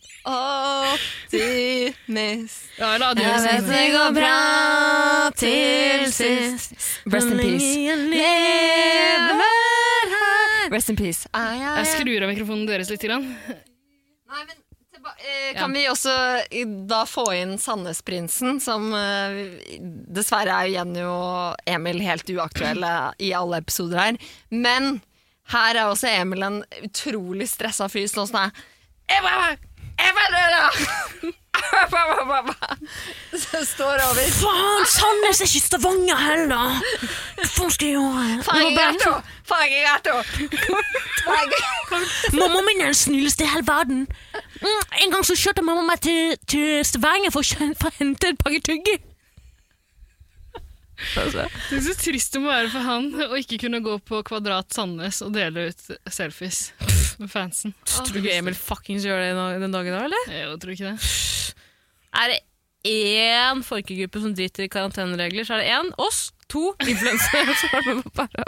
B: Optimist.
C: Ja, eller hadde hun sagt det.
B: går bra til sist. Rest in peace. Lever her Rest in peace. Ai, ai,
C: Jeg
B: ai.
C: skrur av mikrofonen deres litt. Grann.
B: Nei, men tilba- eh, Kan vi også eh, da få inn Sandnesprinsen, som eh, dessverre er jo Jenny og Emil helt uaktuelle i alle episoder her. Men her er også Emil en utrolig stressa fyr som sånn er Emma, Emma, Emma, Emma, Emma, Emma. Så Står over.
A: Faen, Sandnes er ikke Stavanger heller! Hva faen skal jeg gjøre?
B: Fagegato! Fagegato!
A: Mamma min er den snilleste i hele verden. Mm, en gang så kjørte mamma meg til, til Stavanger for å kjø- for å hente en pakke tygge.
C: Det er så trist det må være for han å ikke kunne gå på Kvadrat Sandnes og dele ut selfies med fansen.
A: Tror du ikke Emil fuckings gjør det den dagen da, eller?
C: Jeg tror ikke det.
A: Er det én folkegruppe som driter i karanteneregler, så er det én. Oss. To influensere som har vært med på para.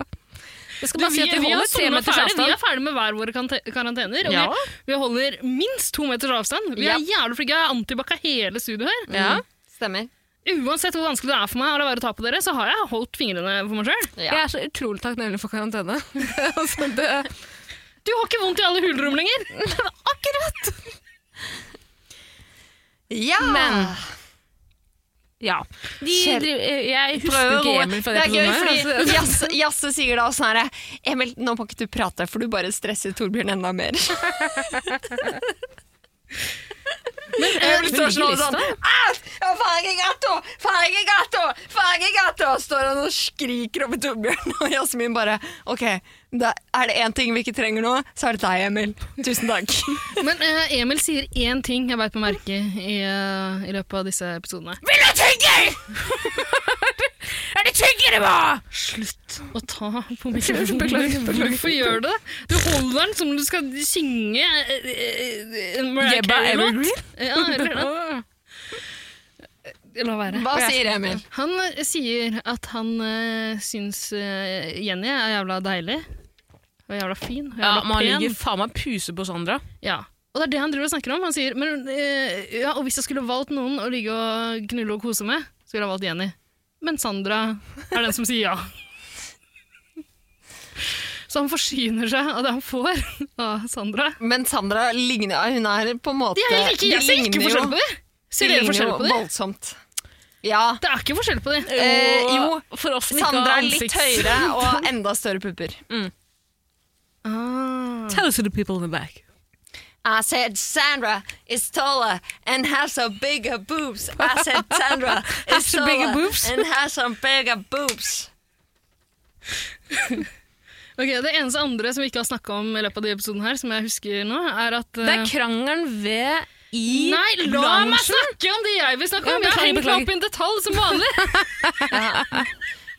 A: Jeg skal bare si
C: Du, vi,
A: at vi sånn
C: vi, er
A: holder tre
C: sola
A: meters
C: ferdig. vi
A: avstand.
C: er ferdig med hver våre karante- karantener, og
A: Ja.
C: vi, vi holder minst to meters avstand. Vi
B: Ja.
C: er jævlig flinke. Jeg er antibac av hele studioet her.
A: Ja.
B: Stemmer.
C: Uansett hvor vanskelig det er for meg å la være å ta på dere, så har jeg holdt fingrene for meg sjøl.
B: Ja.
A: Jeg er så utrolig takknemlig for karantene. altså, det
C: Du har ikke vondt i alle hulrom lenger!
A: Akkurat!
B: Ja!
A: Men- Ja. De
B: Kjell-
A: driver, jeg husker
B: Prøver å
A: ikke
B: roe-
A: Emil fra
B: Det
A: det
B: er gøy, fordi Jasse, Jasse sier da sånn herre Emil, nå må ikke du prate, for du bare stresser Torbjørn enda mer. Men Emil står sånn og sånn «Ah, ja, Fargegato! Fargegato! Fargegato! Står han og skriker over Torbjørn, og Jasmin bare OK, da er det én ting vi ikke trenger nå, så er det deg, Emil. Tusen takk.
C: Men eh, Emil sier én ting jeg beit meg merke i, eh, i løpet av disse episodene.
B: Vil du tygge?!
A: dere på!
C: Slutt å ta på mikrofonen. Hvorfor gjør du det? Du holder den som om du skal synge eh, eh, en Mariah
A: Jebba
C: Carey-låt.
A: Evergreen?
C: Ja, eller det. La være.
B: Hva sier Emil?
C: Han eh, sier at han uh, syns eh, Jenny er jævla deilig. Og jævla fin. Og
A: Ja,
C: jævla
A: men han
C: pen.
A: ligger faen meg puse på Sandra.
C: Ja. Og det er det han driver og snakker om. Han sier, men, eh, ja, og hvis jeg skulle valgt noen å ligge og knulle og kose med, så ville jeg valgt Jenny. Men Sandra er den som sier ja. Så han forsyner seg av det han får av Sandra.
B: Men Sandra ligner ja, Hun er på en måte
C: De er helt like! Jeg ser
B: ligner
C: ikke
B: jo-
C: forskjell på dem!
B: de
C: Ser dere
B: ligner
C: forskjell
B: jo
C: på dem?
B: Voldsomt. Ja.
C: Det er ikke forskjell på dem.
B: Eh, jo,
A: for oss som ikke
B: Sandra
A: har
B: er litt
A: ansikts-
B: høyere og enda større pupper.
C: Ah.
A: Tell us to the people in the back.
B: I said Sandra is taller and has a bigger boobs. I said Sandra is
A: Has a bigger
B: taller
A: boobs.
B: and has some bigger boobs.
C: Ok, Det eneste andre som vi ikke har snakka om i løpet av de episoden her, som jeg husker nå, er at
A: Det er
C: eh,
A: krangelen ved i
C: Nei, la meg snakke om det jeg vil snakke
A: Ja,
C: om! Jeg har
A: beklager,
C: hengt meg
A: beklager.
C: opp i en detalj som vanlig.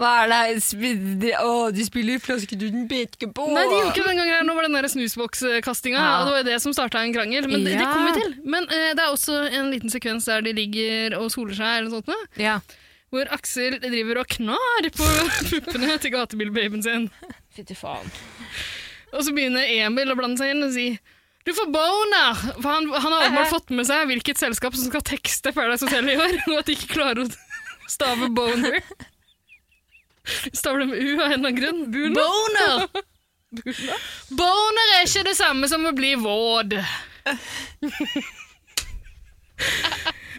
B: Hva er det her? Sp- de- Å, de spiller Flaskeduden Betkebo.
C: Nei, de gjorde ikke det den gangen her. Nå var den der snusbokskastinga,
B: Ja.
C: og det var jo det som starta en krangel. Men det, det
A: Ja.
C: kom vi til. Men eh, det er også en liten sekvens der de ligger og soler seg, eller noe sånt, nå,
A: Ja.
C: hvor Aksel driver og knar på puppene til gatebilbabyen sin.
A: Fytti faen.
C: Og så begynner Emil å blande seg inn og si du får boner! For han, han har åpenbart fått med seg hvilket selskap som skal tekste Paradise Hotel i år, og at de ikke klarer å stave boner. Staver det med u av en eller annen grunn. Boner! Boner er ikke det samme som å bli våd.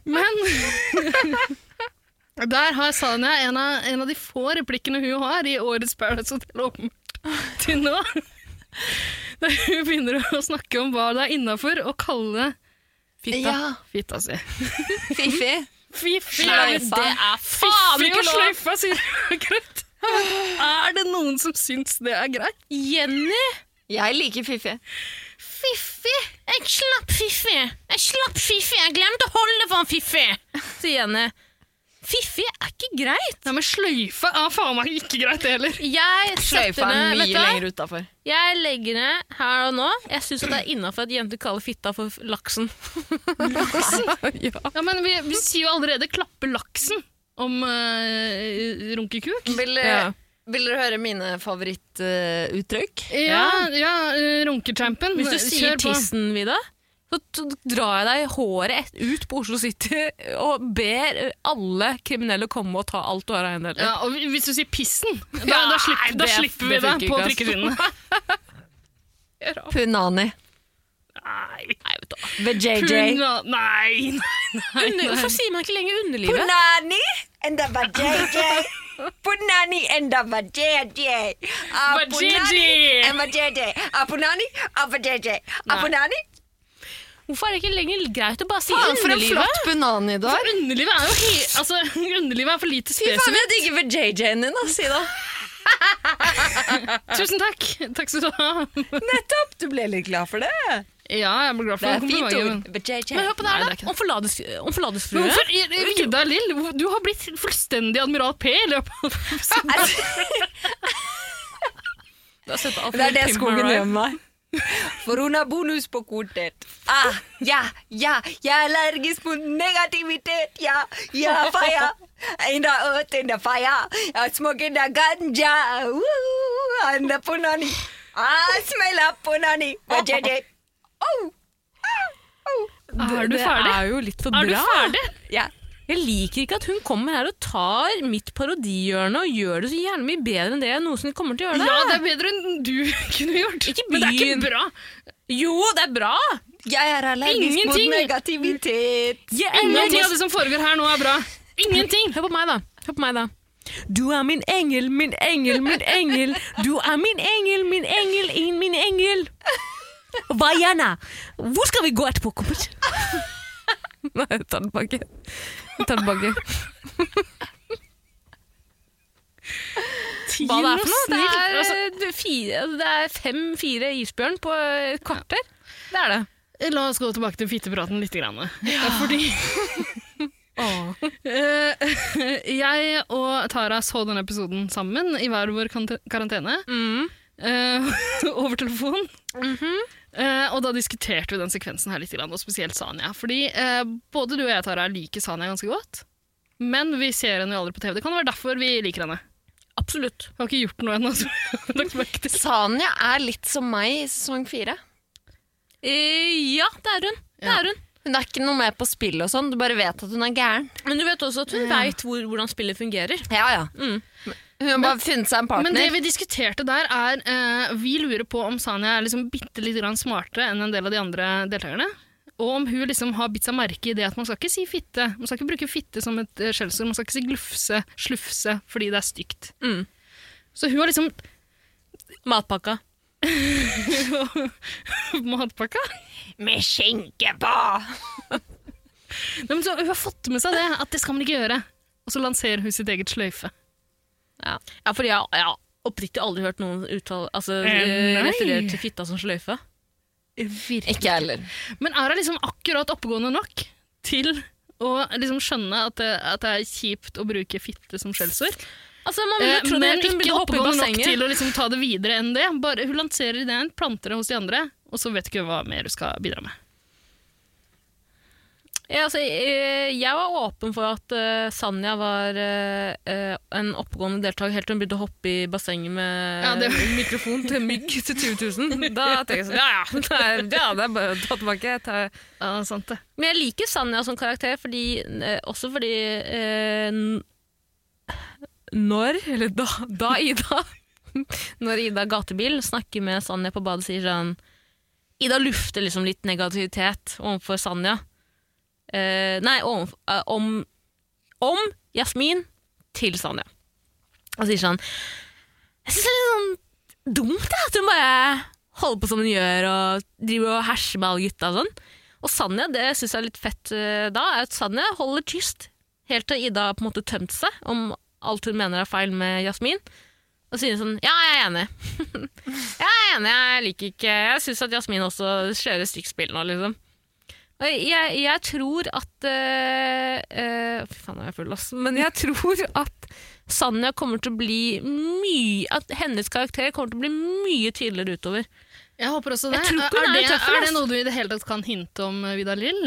C: Men der har Sanja en av, en av de få replikkene hun har i årets Paradise Hotel åpenbart til nå. Da hun begynner å snakke om hva det er innafor å kalle
A: Fitta.
B: Ja,
C: fitta si.
B: Fifi.
C: Fy fy,
B: Sløyfa.
C: det er faen ikke sløyfa, sier hun akkurat. Er det noen som syns det er greit?
A: Jenny!
B: Jeg liker Fifi.
A: Fiffi! Jeg slapp Fiffi! Jeg slapp Fiffi! Jeg glemte å holde for en Fiffi! Sier Jenny. Fiffi er ikke greit.
C: Nei, men sløyfe er faen meg ikke greit, det heller.
A: Jeg
B: Sløyfa
A: setter
B: er
A: ned
B: mye
A: vet du hva?
B: lenger utafor.
A: Jeg legger ned her og nå. Jeg syns det er innafor at jenter kaller fitta for laksen.
C: Ja, men vi, vi sier jo allerede 'klappe laksen' om eh, runkekuk.
B: Vil, eh,
A: Ja.
B: vil dere høre mine eh, favorittuttrykk?
C: Ja, ja eh, runkechampen.
A: Hvis du sier
C: Kjør på.
A: tissen, Vida, så t- drar jeg deg håret et- ut på Oslo City og ber alle kriminelle komme og ta alt du har av eiendeler.
C: Ja, og hvis du sier pissen, da,
A: Ja,
C: da, slipper, da
A: det-
C: slipper vi
A: det funker
C: deg på
A: ikke, altså. ass.
C: trikkeskinnene.
B: Punani.
C: Nei,
A: Nei, vet du hva.
B: Ved JJ.
C: Puna, nei, nei.
A: Under- Hvorfor sier man ikke lenger underlivet?
B: Punani and the vajayjay. Punani and the vajayjay. Ah,
C: Vajayjay.
B: Punani and vajayjay. Ah, Punani and vajayjay. Ah, Punani.
A: Hvorfor er det ikke lenger greit å bare si
B: Faen, for en
A: underlivet?
B: flott punani du har.
C: Underlivet er jo he altså, underlivet er for lite
B: Fy faen,
C: spesifikt.
B: jeg digger vajayjayen din, da, Sida.
C: Tusen takk. Takk skal du ha.
B: Nettopp! Du ble litt glad for det.
C: Ja, jeg ble
B: Det
C: glad for
B: er et fint
C: komplimenten.
B: ord. Vajayjay.
A: Men hør på det
B: Nei,
A: her,
B: det er
A: da. Om forlades- Om
C: Men
A: forladesfrue.
C: Hvorfor, i- i- Ida Lill, hvor- du har blitt fullstendig Admiral P i løpet av episoden.
A: Du har sett
B: Det er det
A: Pimp My
B: skogen
A: Ride.
B: gjør med meg. For hun har bonus på kortet. Ah, ja, ja, jeg er allergisk mot negativitet. Ja, ja, fire. In the earth, in the fire. I smoke in the ganja. Woo, and the punani. I smell up punani. What you did. Oh,
C: Er du
A: Det
C: ferdig?
A: er jo litt for
C: Er du
A: bra.
C: ferdig?
B: ja.
A: Jeg liker ikke at hun kommer her og tar mitt parodihjørne og gjør det så jævlig mye bedre enn det jeg noensinne kommer til å gjøre det.
C: Ja, det er bedre enn du kunne gjort.
A: Ah! Ikke
C: Men det er
A: begynn.
C: ikke bra.
A: Jo, det er bra!
B: Jeg er allergisk
C: Ingenting.
B: mot negativitet.
A: Jeg
C: Ingenting av det som foregår her nå, er bra. Ingenting.
A: Hør på meg, da. Hør på meg, da. Du er min engel, min engel, min engel. Du er min engel, min engel, in min engel. Hva gjerne? Hvor skal vi gå etterpå, kompis? Nei, jeg tar den tilbake. Jeg tar den tilbake. Hva det er for noe? Det er, eh, fire, det er fem-fire isbjørn på et kvarter. Det er det.
C: La oss gå tilbake til fittepraten litt. Grann. Fordi Eh, jeg og Tara så denne episoden sammen i hver vår kante- karantene. Eh, over telefon. Eh, og da diskuterte vi den sekvensen her litt, grann, og spesielt Sanja. Fordi eh, både du og jeg, Tara, liker Sanja ganske godt. Men vi ser henne jo aldri på TV. Det kan være derfor vi liker henne.
A: Absolutt.
C: Vi har ikke gjort noe ennå. så vi har lagt merke til.
B: Sanja er litt som meg i sesong fire.
A: Eh, ja, det er hun. Det
C: Ja.
A: er hun.
B: Hun er ikke noe med på spill og sånn, du bare vet at hun er gæren.
A: Men du vet også at hun veit hvor, hvordan spillet fungerer.
B: Ja, ja. Mm. Hun har bare funnet seg en partner.
C: Men det vi diskuterte der, er eh, Vi lurer på om Sanja er liksom bitte litt grann smartere enn en del av de andre deltakerne. Og om hun liksom har bitt seg merke i det at man skal ikke si fitte. Man skal ikke bruke fitte som et eh, skjellsord. Man skal ikke si glufse, slufse, fordi det er stygt.
A: Mm.
C: Så hun har liksom
A: Matpakka.
C: Matpakka?
B: Med skinke på!
C: Nei, men så, hun har fått med seg det, at det skal man ikke gjøre. Og så lanserer hun sitt eget sløyfe.
A: Ja, fordi jeg jeg har oppriktig aldri hørt noen uttale, altså,
C: Eh,
A: eh,
C: nei.
A: referere til fitta som sløyfe.
B: Ikke jeg heller.
C: Men er hun liksom akkurat oppegående nok til å liksom skjønne at det, at det er kjipt å bruke fitte som skjellsord?
A: Altså, man ville
C: Eh,
A: trodd
C: men
A: at hun
C: ikke
A: ville hoppe i
C: oppegående nok
A: bassenget.
C: til å liksom ta det videre enn det. Bare, hun lanserer ideen, planter det hos de andre, og så vet ikke hva mer hun skal bidra med.
A: Ja, altså, eh, jeg var åpen for at eh, Sanja var eh, eh, en oppegående deltaker helt til hun begynte å hoppe i bassenget med
C: Ja, det-
A: mikrofon til mygg til 20 000. Da tenkte jeg sånn, ja ja, det er, ja, det er bare å ta tilbake. Ta.
C: Ja, sant det.
A: Men jeg liker Sanja som karakter, fordi, eh, også fordi eh, n- Når, eller da, da Ida Når Ida Gatebil snakker med Sanja på badet, sier sånn Ida lufter liksom litt negativitet overfor Sanja. Eh, nei, overfor, eh, om, om Jasmin til Sanja. Og sier sånn Jeg syns det er litt sånn dumt jeg, at hun bare holder på som hun gjør og driver og herser med alle gutta og sånn. Og Sanja, det syns jeg er litt fett eh, da, er at Sanja holder tyst helt til Ida har på en måte tømt seg om alt hun mener er feil med Jasmin. Og sier sånn Ja, jeg er enig. jeg er enig, jeg liker ikke Jeg syns at Jasmin også kjører stygt spill nå, liksom. Og jeg, jeg tror at eh, eh, Fy faen, nå er jeg full, ass. Men jeg tror at Sanja kommer til å bli mye At hennes karakter kommer til å bli mye tydeligere utover.
C: Jeg håper også det.
A: Jeg tror ikke hun
C: er,
A: er
C: det,
A: en tøffel,
C: er det
A: ass.
C: noe du i det hele tatt kan hinte om, eh, Vidar Lill?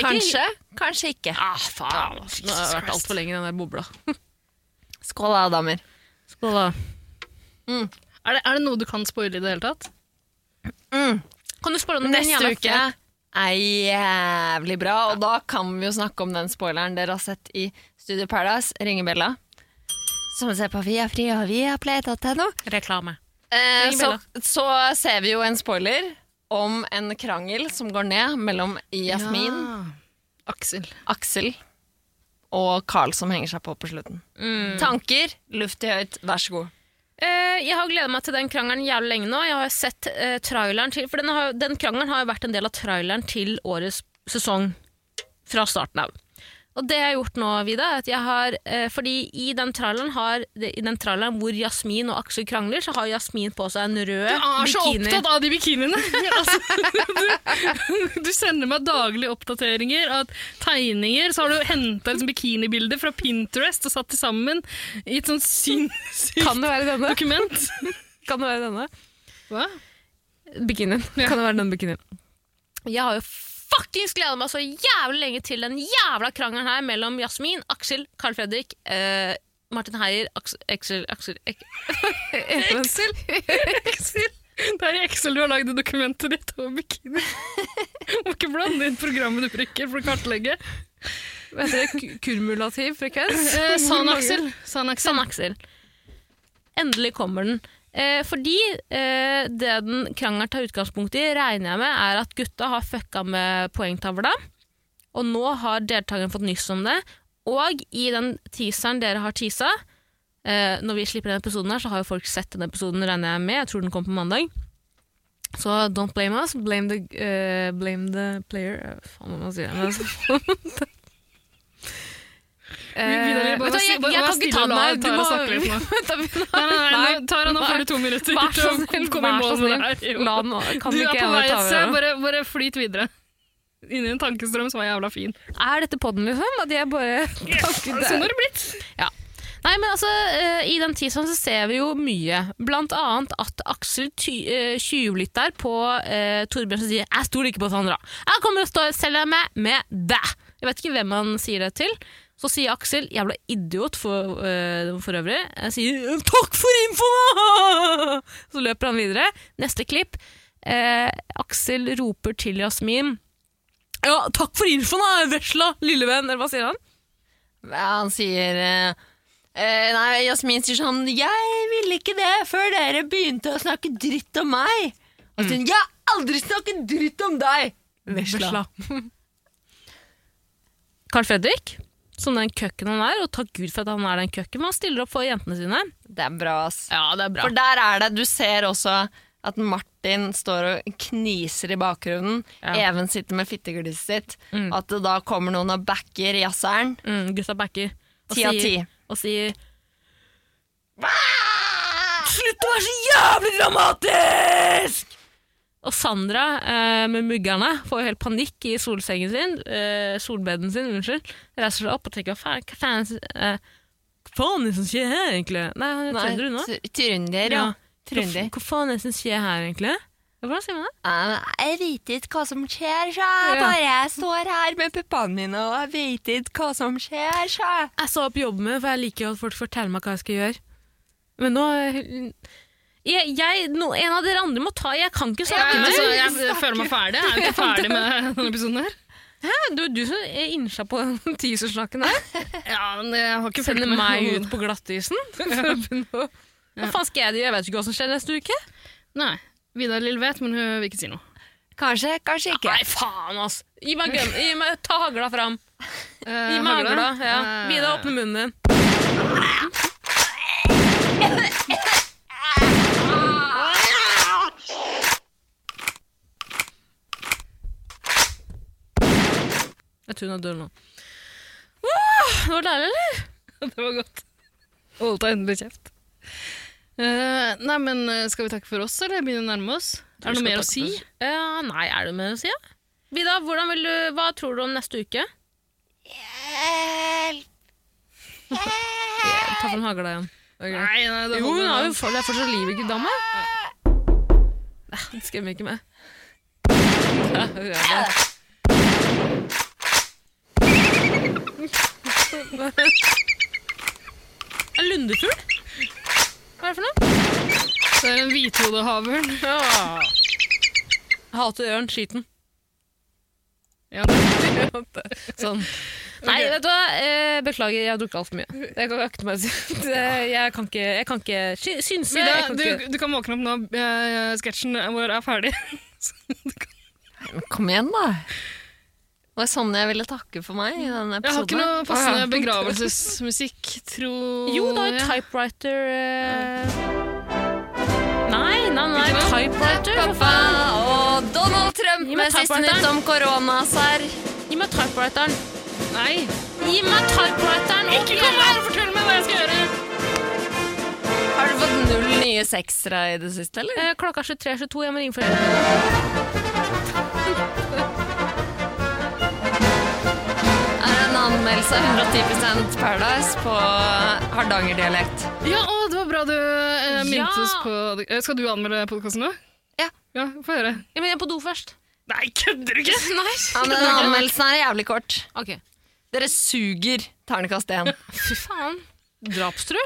B: Kanskje, kanskje ikke.
A: Ah, faen, ass. Nå har jeg vært altfor lenge i den der bobla.
B: Skål da, damer.
A: Skål, da.
C: Er det, er det noe du kan spoile i det hele tatt?
A: Kan du spørre om den
B: Neste
A: jævla
B: uke er jævlig bra, og da kan vi jo snakke om den spoileren dere har sett i Studio Paradise, Ringebella. Som vi ser på Viafri og Viaplay.no.
A: Reklame.
B: Eh, så,
A: Ringebella.
B: så ser vi jo en spoiler om en krangel som går ned mellom Jasmin,
C: Aksel.
B: Aksel og Carl som henger seg på på slutten. Tanker, luft i høyt, vær så god.
A: Mm. Eh, jeg har gleda meg til den krangelen jævlig lenge nå. Jeg har sett eh, traileren til For den, har, den krangelen har jo vært en del av traileren til årets sesong fra starten av. Og det jeg har gjort nå, Vida, er at jeg har eh, Fordi i den traileren har I den traileren hvor Jasmin og Aksel krangler, så har Jasmin på seg en rød
C: Jeg er så
A: bikini.
C: opptatt av de bikiniene! altså, du, du sender meg daglige oppdateringer av tegninger. Så har du henta liksom bikinibilder fra Pinterest og satt de sammen i et sånn sinnssykt
A: Kan det være denne?
C: dokument.
A: Kan det være denne?
C: Hva?
A: Bikinien. Kan det være den bikinien? Jeg har jo fuckings gleda meg så jævlig lenge til den jævla krangelen her mellom Jasmin, Aksel, Carl Fredrik, eh, Martin Heier, Aksel Aksel Aksel, Ek- Aksel.
C: Det er i Excel du har lagd i dokumentet ditt over bikini. Må ikke blande inn programmet du bruker for å kartlegge.
A: Hva heter det? Ku- Kumulativ frekvens?
C: Eh, San Aksel. San Aksel.
A: San Aksel. Endelig kommer den. Eh, fordi eh, det den krangelen tar utgangspunkt i, regner jeg med, er at gutta har fucka med poengtavla. Og nå har deltakerne fått nyss om det. Og i den teaseren dere har teasa eh, Når vi slipper denne episoden, her, så har jo folk sett denne episoden, regner jeg med. Jeg tror den kommer på mandag. Så don't blame us. Blame the, eh, blame the player Eh, Faen, hva sier jeg? Men altså- Eh,
C: Vidar, bare
A: vet du hva,
C: si-
A: jeg-
C: bare-
A: jeg kan
C: bare
A: ikke
C: stille
A: ta
C: og
A: den
C: la
A: her. Du
C: Tara
A: må-
C: snakke litt nå.
A: Vent da, vi-
C: Nei, nei, nei,
A: Nei.
C: nå- Tara, nå får du to minutter
A: Vær
C: til
A: så
C: å
A: snill,
C: komme i
A: vær så
C: mål med det her.
A: snill. sånn La nå, kan
C: Du
A: ikke
C: er på
A: jeg
C: vei
A: ta
C: et
A: over
C: sted,
A: nå?
C: bare, bare flyt videre. inni en tankestrøm som var jævla fin.
A: Er dette podden, liksom? At jeg bare
C: Sånn har det blitt.
A: Nei, men altså, eh, I den tidsånden så ser vi jo mye. Blant annet at Aksel ty- eh, tjuvlytter på eh, Torbjørn som sier 'jeg stoler ikke på Sandra'. 'Jeg kommer og står- selger meg med deg'. Jeg vet ikke hvem han sier det til. Så sier Aksel 'jævla idiot' for, eh, for øvrig. Jeg sier «Eh, 'takk for infoen'! Så løper han videre. Neste klipp. Eh, Aksel roper til Jasmin 'ja, takk for infoen, da, vesla lille venn'. Eller hva sier han?
B: Ja, han sier eh, eh, Nei, Jasmin sier sånn Jeg ville ikke det før dere begynte å snakke dritt om meg. Og så sier hun Jeg har aldri snakket dritt om deg! Vesla.
A: Carl Fredrik, som den køkken han er, og takk Gud for at han er den køkken, men han stiller opp for jentene sine.
B: Det er bra, ass.
A: Ja, det er
B: For der er det Du ser også at Martin står og kniser i bakgrunnen.
A: Ja.
B: Even sitter med fitteglisset sitt. At det da kommer noen og backer jazzeren.
A: Mm, gutta backer. og
B: Ti av
A: sier-
B: ti.
A: Og sier Slutt å være så jævlig dramatisk! Og Sandra eh, med muggerne får jo helt panikk i solsengen sin, eh, solbeden sin, unnskyld. Reiser seg opp og tenker hva faen, hva faen, eh, hva faen er det som skjer her, egentlig? Nei, han er
B: Nei,
A: trønder, hun nå.
B: tr- Trønder, ja.
A: Ja. Hva,
B: Trønder.
A: hva faen er det som skjer her, egentlig? Hvordan sier man det?
B: Eh, Jeg vet ikke hva som skjer, så jeg
A: Ja.
B: bare jeg står her med puppene mine, og jeg vet ikke hva som skjer, så jeg.
A: jeg sa opp jobben min, for jeg liker jo at folk forteller meg hva jeg skal gjøre. Men nå jeg, jeg, no, En av dere andre må ta Jeg kan ikke snakke
C: Men
A: med
C: altså, jeg føler meg ferdig. Jeg er jo ikke ferdig med denne episoden her.
A: Hæ, Du, du som er innsa på den teaserslaken der.
C: Ja, men jeg har ikke fulgt
A: Sender
C: med.
A: meg ut på glattisen. for å begynne å- Hva faen skal jeg gjøre? Jeg vet jo ikke hva som skjer neste uke.
C: Nei. Vidar Lill vet, men hun vil ikke si noe.
B: Kanskje, kanskje ikke.
A: Nei, faen, ass! Gi meg, gun, gi meg Ta hagla fram.
C: Eh,
A: Gi meg
C: Hagla?
A: hagla. Ja.
C: Eh,
A: Vidar, åpne munnen din. Jeg tror hun er død nå. Wow, det var deilig, eller?
C: Det var godt. Holdt deg endelig kjeft. Eh, nei, men eh, skal vi takke for oss, eller begynne å nærme oss? Er det noe mer å si?
A: Ja, nei, er det noe mer å si? ja? Vidar, hvordan vil du, hva tror du om neste uke? Ta fram hagla igjen. Det er greit.
C: Nei, nei, det sånn, eh,
A: Jo, hun
C: holder.
A: har jo for, det er fortsatt liv i dama. Nei, det skremmer ikke meg. Ja, hun er det. En lundefugl? Hva er det for noe?
C: Det er en hvithodehavørn.
A: Ja. Hater ørn, skyt den.
C: Ja, det-
A: Sånn. Nei, vet du hva? Eh, beklager, jeg har drukket altfor mye. Jeg kan ikke meg si det. Jeg kan ikke, jeg kan ikke sy- synse.
C: Frida,
A: Jeg kan
C: du,
A: ikke.
C: du kan våkne opp nå. eh, Sketsjen vår er ferdig.
B: Kom igjen, da. Det var sånn jeg ville takke for meg i denne episoden.
C: Jeg har ikke
A: Sånn,
C: noe
B: Å,
C: passende
B: ja.
C: begravelsesmusikk, tror
A: Jo, da,
C: jeg.
A: typewriter eh. Nei, nei, nei, typewriter. for
B: Pappa
A: faen.
B: og Donald Trump
A: Gi meg
B: med siste
A: typewriteren.
B: nytt om koronaserr.
A: Gi meg typewriteren.
C: Nei.
A: Gi meg typewriteren.
C: Ikke kom her og fortell meg hva jeg skal gjøre!
B: Har du fått null nye seksere i det siste, eller?
A: Eh, klokka er 23.22, jeg må ringe foreldrene.
B: Er det en anmeldelse av 110 Paradise på hardangerdialekt?
C: Ja, å, det var bra du eh,
A: Ja.
C: minnet oss på det. Eh, Skal du anmelde podkasten nå?
B: Ja.
C: Ja, Få høre.
A: Ja, men jeg er på do først.
C: Nei, kødder du ikke?
A: Nei.
B: Ja, men den anmeldelsen her er jævlig kort.
A: Ok.
B: Dere suger ternekast 1.
A: Fy faen. Drapstrø?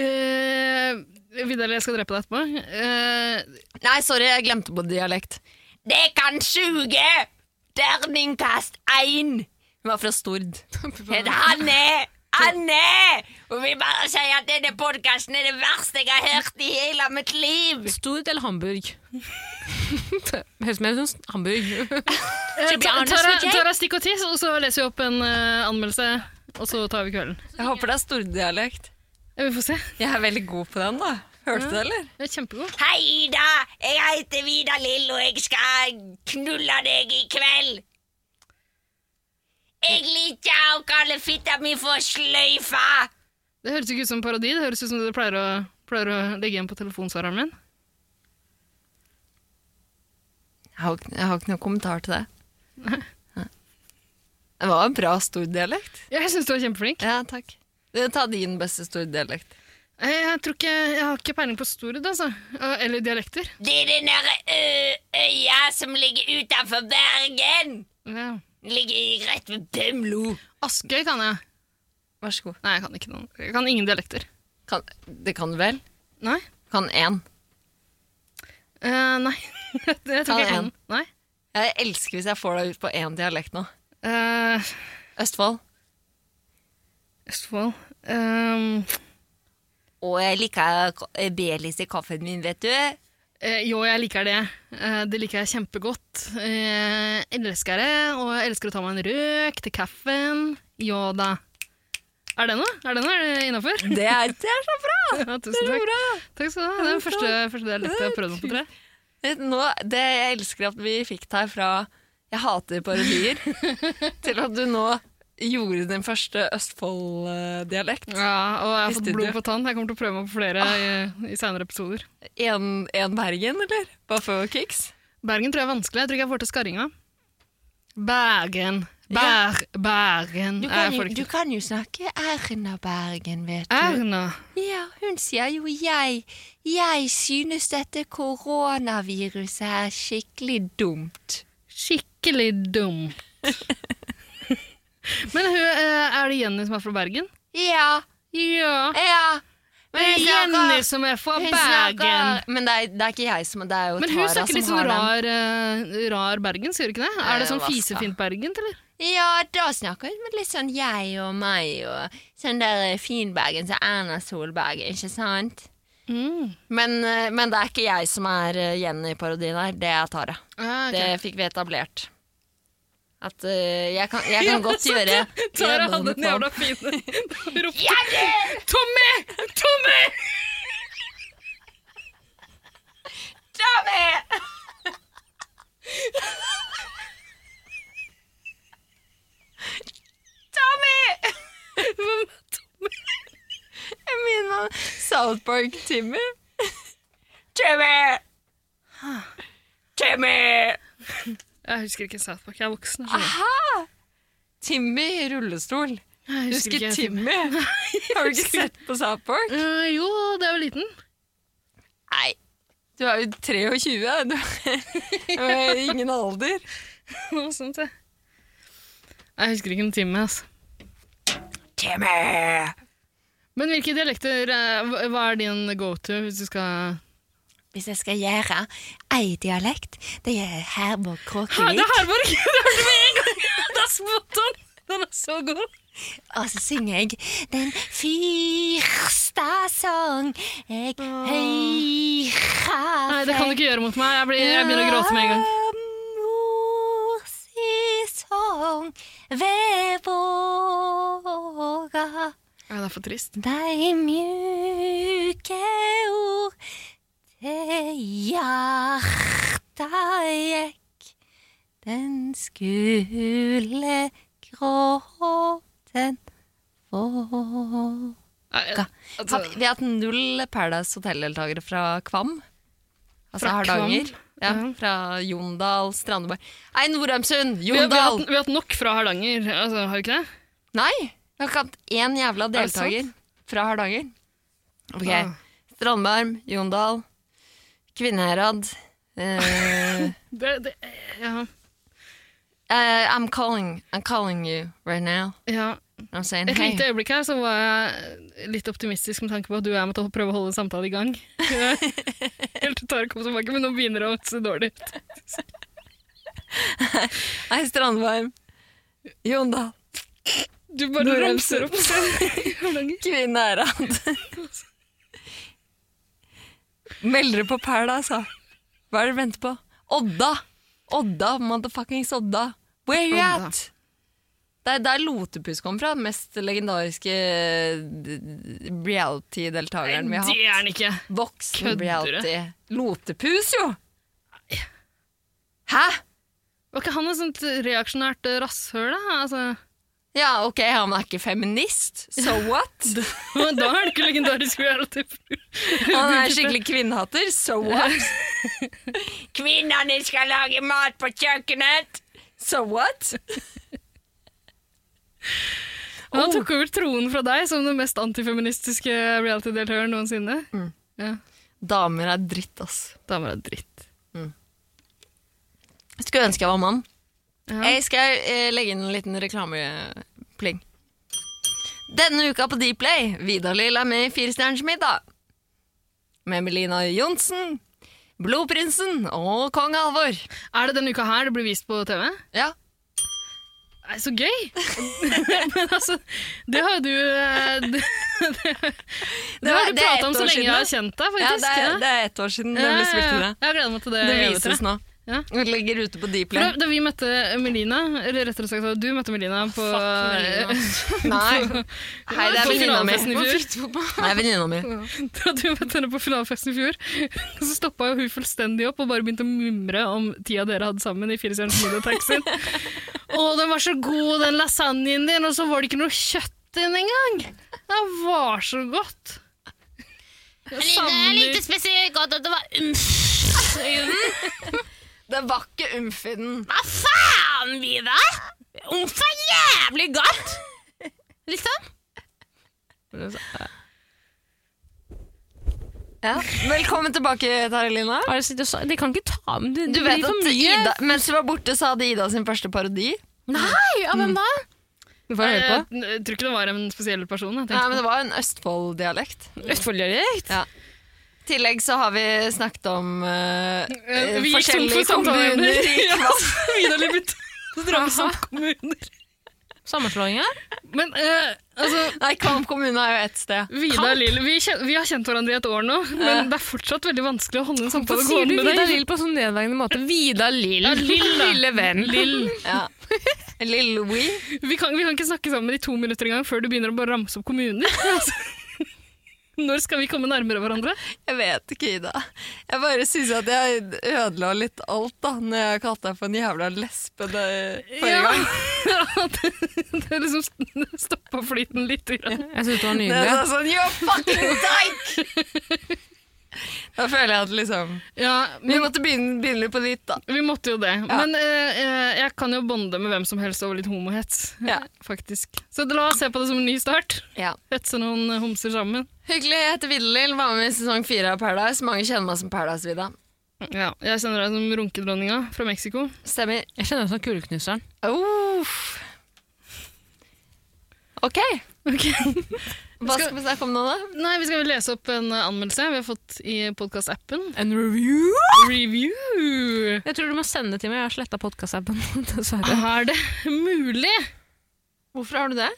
C: Eh, Vidar, jeg skal drepe deg etterpå. Eh,
B: Nei, sorry, jeg glemte på dialekt. Det kan suge! Terningkast 1! Hun var fra Stord. Hun heter Hanne! Hanne! Og vil bare si at denne podkasten er det verste jeg har hørt i hele mitt liv!
A: Stord eller Hamburg? Høres mer ut som Hamburg.
C: eh,
A: be honest
C: Tara,
A: with you.
C: Tara stikk og tiss, og så leser vi opp en eh, anmeldelse, og så tar vi kvelden.
B: Jeg håper det er Stord-dialekt.
C: Eh, Vi får se.
B: Jeg er veldig god på den, da. Hørte du det, eller?
C: Det er kjempegod.
B: Hei, Ida! Jeg heter Vida Lill, og jeg skal knulle deg i kveld. Jeg liker å kalle fitta mi for sløyfa.
C: Det høres ikke ut som parodi, det høres ut som du pleier å, pleier å legge igjen på telefonsvareren min.
B: Jeg har, ikke- jeg har ikke noen kommentar til det. Nei. Det var en bra stordialekt.
C: Ja, jeg syns du var kjempeflink.
B: Ja, takk. Eh, Ta din beste stordialekt.
C: Eh, Jeg, tror ikke, jeg har ikke peiling på storhet, altså. Eh, Eller dialekter.
B: Det er den derre øya som ligger utenfor Bergen!
C: Ja.
B: Ligger rett ved Bømlo.
C: Askøy kan jeg.
B: Vær så god.
C: Nei, jeg kan ikke noen. Jeg kan ingen dialekter.
B: Kan, det kan du vel?
C: Nei.
B: Kan én.
C: Eh, nei. jeg tror
B: Ta
C: ikke jeg
B: en.
C: kan. Nei.
B: Jeg elsker hvis jeg får deg ut på én dialekt nå.
C: Eh,
B: Østfold.
C: Østfold. Um,
B: Og jeg liker ka- eh, Baileys i kaffen min, vet du.
C: Eh, jo, jeg liker det. Eh, det liker jeg kjempegodt. Eh, elsker det, og jeg elsker å ta meg en røk til kaffen. Jo da. Er det noe? Er det noe? Er det innafor?
B: Det er, det er så bra!
C: Ja, tusen takk. Takk skal du ha. Det er den første, første det er lett å prøve meg på, tror jeg.
B: Nå, det jeg elsker at vi fikk deg fra jeg hater parodier, til at du nå gjorde din første Østfold-dialekt.
C: Ja, og jeg har
B: I
C: fått
B: studio. Ah.
C: blod på tann. Jeg kommer til å prøve meg på flere i, i senere episoder.
B: En, en Bergen, eller? Bare for kicks?
C: Bergen tror jeg er vanskelig. Jeg tror ikke jeg får til skarringa. Bergen. Bær, Bergen. Nei, jeg får det ikke til.
B: kan jo snakke Erna Bergen, vet
C: Erna.
B: Ja, hun sier jo jeg. Jeg synes dette koronaviruset er skikkelig dumt.
C: Skikkelig dumt. Men hun, eh, er det Jenny som er fra Bergen?
B: Ja,
C: Ja.
B: ja.
C: Det er Jenny som er fra
B: Hun
C: Bergen.
B: snakker- Men det er, det er ikke jeg som det er jo
C: Men hun
B: Tara
C: snakker litt
B: som
C: sånn
B: har den.
C: rar, eh, rar Bergen, sier hun ikke det?
B: Nei,
C: Er det sånn
B: hva skal-
C: fisefint Bergen, eller?
B: Ja, da snakker hun med litt sånn jeg og meg og sånn der Finbergen som Erna Solberg, ikke sant?
C: Mm.
B: Men, eh, men det er ikke jeg som er eh, Jenny i parodien her, det er Tara.
C: Ah,
B: Det fikk vi etablert. At eh, jeg kan, jeg kan godt gjøre
C: Tara
B: gjøre
C: hadde
B: noe
C: den
B: på-
C: jævla fine ropte Tommy! Tommy!
B: Jeg minner om South Park Timmy. Timmy! Timmy!
C: Jeg husker ikke South Park. Jeg er voksen. jeg
B: Ah,
C: skjønner.
B: Timmy i rullestol.
C: Jeg
B: Husker
C: ikke-
B: Timmy? Har du ikke sett på South Park?
C: Eh, jo, da jeg var liten.
B: Nei. Du er jo 23. Du har ingen alder.
C: Noe sånt, jeg. Jeg husker ikke en time, altså.
B: Timmy!
C: Men hvilke dialekter eh, hva- Hva er din go to hvis du skal
B: Hvis jeg skal gjøre ei dialekt, det er Herborg
C: Hæ, Det
B: Kråkevik,
C: er Herborg! Det hørte du med en gang! Det er spontan! Den er så god!
B: og så synger jeg den første sang jeg hører
C: Nei, det kan du ikke gjøre mot meg. Jeg, blir, jeg begynner å gråte med en gang.
B: Mors sang ved våga
C: Ja, det er for trist.
B: Dei mjuke ord til hjarta gikk. Den skulle gråten få
C: Nei, jeg- altså,
B: Har vi, vi har hatt null Paradise Hotel-deltakere fra Kvam. Altså
C: Fra
B: Hardanger.
C: Kvam?
B: Ja,
C: Ja.
B: fra Jondal, Strandeborg Nei, Norheimsund!
C: vi, har, vi, har,
B: Jondal!
C: hatt- vi har hatt nok fra Hardanger, altså, har vi ikke det?
B: Nei! Vi har ikke hatt én jævla
C: det sant?
B: deltaker fra Hardanger. Ok.
C: Ah.
B: Strandberg, Jondal, Kvinnherad eh,
C: det, det ja.
B: eh, I'm calling I'm calling you right now.
C: ja.
B: I'm saying
C: Et
B: hey.
C: lite øyeblikk her så var jeg litt optimistisk med tanke på at du og jeg måtte prøve å holde en samtale i gang. Helt til Tara kom tilbake, men nå begynner det å se dårlig ut.
B: Hei, Strandberg. Jondal.
C: Du bare ramser opp. Hardanger.
B: Kvinnherad. Meld dere på Perla, altså. Hva er det dere venter på? Odda! Odda, motherfuckings Odda. Where you
C: Odda.
B: at? Det er der Lotepus kom fra. Den mest legendariske d- d- reality-deltakeren vi har
C: Det
B: hatt.
C: er han ikke.
B: Voksen
C: Kødder du?
B: reality. Lotepus, jo! Hæ?
C: Var ikke han et sånt reaksjonært eh, rasshøl, da? Altså,
B: Ja, ok, han er ikke feminist. So what?
C: da er det ikke legendarisk reality.
B: Han er skikkelig kvinnehater. So what? Kvinnene skal lage mat på kjøkkenet. So what? Oh.
C: Han tok over tronen fra deg som den mest antifeministiske reality-deltøren noensinne.
B: Mm. Damer er dritt, ass.
C: Damer er dritt.
B: Jeg skulle ønske jeg var mann.
C: Ja.
B: Jeg skal eh, legge inn en liten reklamepling. Denne uka på Dplay, Vidar-Lill er med i Firestjerners middag. Med Melina Johnsen, Blodprinsen og kong Halvor.
C: Er det denne uka her det blir vist på TV?
B: Ja,
C: Nei, så gøy! Men altså, det har jo du eh, Det, det, det har
B: var-
C: du
B: det er ett
C: prata om så
B: år
C: lenge
B: siden
C: jeg har
B: nå.
C: kjent deg,
B: ja
C: faktisk.
B: det, er, det er ett år siden det ble spilt inn.
C: Ja, ja, ja. Jeg gleder meg til det.
B: Det
C: jeg vet
B: vises nå.
C: Ja.
B: Vi ligger ute på
C: For da,
B: Dplay.
C: da vi møtte Melina, eller rettere sagt da du møtte
B: Ah,
C: Melina på eh,
A: Melina.
B: Øh, Nei, hei, det
C: På
B: er venninna mi.
C: finalefesten sånn i fjor.
B: Det er venninna mi.
C: Da du møtte henne på finalefesten i fjor, så stoppa jo hun fullstendig opp og bare begynte å mumre om tida dere hadde sammen i Firestjerners middagtaxien. Å, den var så god, den lasagnen din, og så var det ikke noe kjøtt i den engang! Det var så godt! Jeg savner
A: spesielt godt at det var umf.
B: Det var ikke umf i den.
A: Hva faen, Vidar? Umf er jævlig godt! Liksom.
B: Ja. Velkommen tilbake, Taralina.
A: De kan ikke ta med det.
B: Du vet at Ida, mens du var borte, så hadde Ida sin første parodi.
A: Nei, av hvem da?
B: Du får høre på.
C: Jeg, jeg tror ikke det var en spesiell person. Jeg
B: Nei,
C: tenkte
B: men Det var en Østfold-dialekt.
A: Østfolddialekt?
B: I tillegg så har vi snakket om eh, eh,
C: Vi gikk tom for
B: forskjellige kommuner.
C: samtaleemner.
B: i Kvass.
C: Vidar litt kommuner.
A: Sammenslåinger?
C: Men eh, altså
B: Nei, Kvam kommune er jo ett sted.
C: Vidar Lill, vi, kjen- vi har kjent hverandre i et år nå, men det er fortsatt veldig vanskelig å holde en
A: Hvorfor
C: samtale
A: sier du
C: gående med
A: Vidar
C: deg.
A: Lill på sånn nedverdigende måte? Vidar Lill. Lille venn.
B: Ja. Lille Wee.
C: Vi kan, vi kan ikke snakke sammen i to minutter engang før du begynner å bare ramse opp kommuner. Altså, Når skal vi komme nærmere hverandre?
B: Jeg vet ikke, Ida. Jeg bare syns at jeg ødela litt alt da når jeg kalte deg for en jævla lesbe det forrige
C: Ja.
B: gang.
C: det, det liksom stoppa flyten litt. Grann.
A: Jeg synes det var
B: Det
A: nydelig.
B: er sånn, You're fucking dyke! da føler jeg at liksom
C: Ja,
B: Vi
C: men,
B: måtte begynne, begynne litt på nytt, da.
C: vi måtte jo det. Men eh, eh, jeg kan jo bonde med hvem som helst over litt homohets,
B: Ja.
C: faktisk. Så la oss se på det som en ny start.
B: Ja.
C: Hetse noen eh, homser sammen.
B: Hyggelig. Jeg heter Videlill, var med i sesong fire av Paradise. Mange kjenner meg som Paradise-Vida.
C: Ja, jeg kjenner deg som runkedronninga fra Mexico.
B: Stemmer.
A: Jeg kjenner meg som kuleknuseren.
B: Uff. OK. Hva skal vi snakke om nå, da?
C: Nei, vi skal vel lese opp en eh, anmeldelse vi har fått i podkast-appen.
A: En review?
C: Review!
A: Jeg tror du må sende det til meg. Jeg har sletta podkastappen, dessverre.
C: Er det mulig?
B: Hvorfor har du det?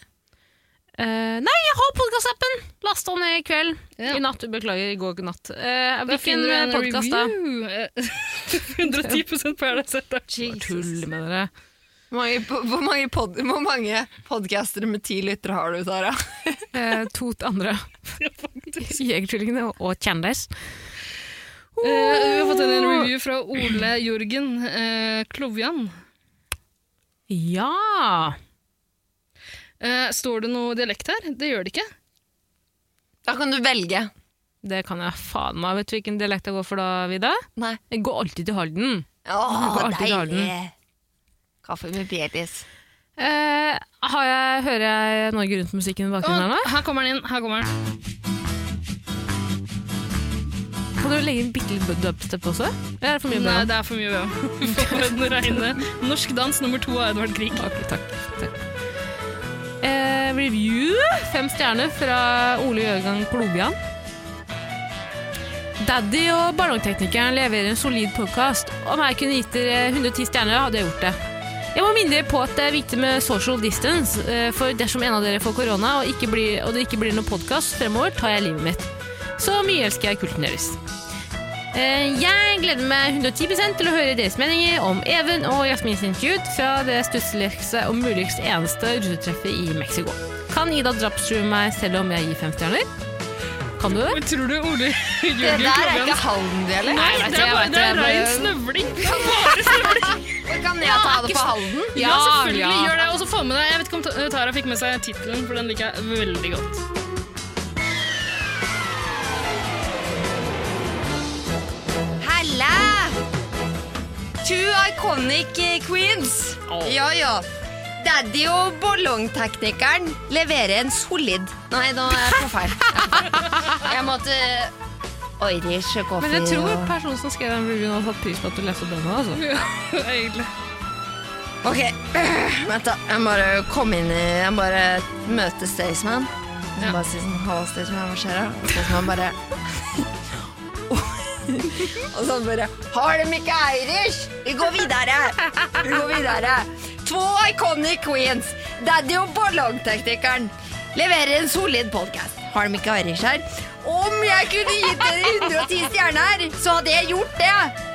A: Eh, nei, jeg har podkastappen! Lasta ned i kveld.
C: Ja.
A: I natt. Beklager, i går natt. Eh,
C: Da
A: hvilken
C: finner du en
A: podkast da?
C: review. Eh, 110 Paradise Hotel.
A: Tull med dere.
B: Hvor mange, po- hvor mange, pod, hvor mange podcastere med ti lyttere har du, Tara?
A: Eh, to andre. Jegertvillingene og- og Kjendis.
C: Eh, vi har fått en review fra Ole Jørgen eh, Klovjan.
A: Ja!
C: Eh, står det noe dialekt her? Det gjør det ikke.
B: Da kan du velge.
A: Det kan jeg faen meg. Vet du hvilken dialekt jeg går for da, Vida?
B: Nei.
A: Jeg går alltid til Halden.
B: Åh,
A: går alltid i
B: deilig.
A: Halden.
B: Kaffe med Bjerdis.
A: Eh, har jeg, hører jeg Norge Rundt-musikken i
C: Å,
A: bakgrunnen her nå?
C: her kommer den inn. Her kommer den.
A: Kan du legge inn bitte litt dubstep også? Det er det for mye
C: Nei,
A: bra.
C: det er for mye, vi òg. For den reine norsk dans nummer to av Edvard Grieg.
A: Ok, takk. takk. Eh, review fem stjerner fra Ole Jørgen Klobian. Daddy og ballongteknikeren leverer en solid podkast. Om jeg kunne gitt dere 110 stjerner, hadde jeg gjort det. Jeg må minne dere på at det er viktig med social distance, eh, for dersom en av dere får korona og, ikke blir, og det ikke blir noen podkast fremover, tar jeg livet mitt. Så mye elsker jeg kulten deres. Eh, Jeg gleder meg 110 til å høre deres meninger om Even og Jasmin sin feud fra det stussligste og muligens eneste russetreffet i Mexico. Kan Ida drapstrue meg selv om jeg gir fem stjerner? Kan du det?
C: Men tror du Ole Jørgen
B: Det der er
C: Klovjan
B: ikke Halden-dialekt.
C: Nei,
A: jeg vet det,
C: det er,
A: jeg
C: bare,
A: vet
C: det
A: det,
C: er
A: jeg bare-
C: rein snøvling.
B: Kan jeg ta det på Halden?
C: Ja, selvfølgelig gjør det. Og så få med deg Jeg vet ikke om Ta- Tara fikk med seg tittelen, for den liker jeg veldig godt.
B: Halla! Two iconic eh, queens. Ja, ja. Det Radio-ballongteknikeren leverer en solid Nei, nå er jeg på feil. Jeg måtte Irish coffee
A: Men jeg tror
B: og-
A: personen som skrev den reviewen, har satt pris på at du leste opp denne. Altså.
C: Egentlig.
B: Ok, vent da. Jeg må bare komme inn i Jeg må bare møte Staysman. Så bare si sånn Halla, Staysman, hva skjer da? Og Staysman bare Og så han bare Har de ikke Irish? Vi går videre. Vi går videre. To iconic queens, Daddy og ballongteknikeren, leverer en solid podcast. Har de ikke Irish her? Om jeg kunne gitt dere 110 stjerner, så hadde jeg gjort det.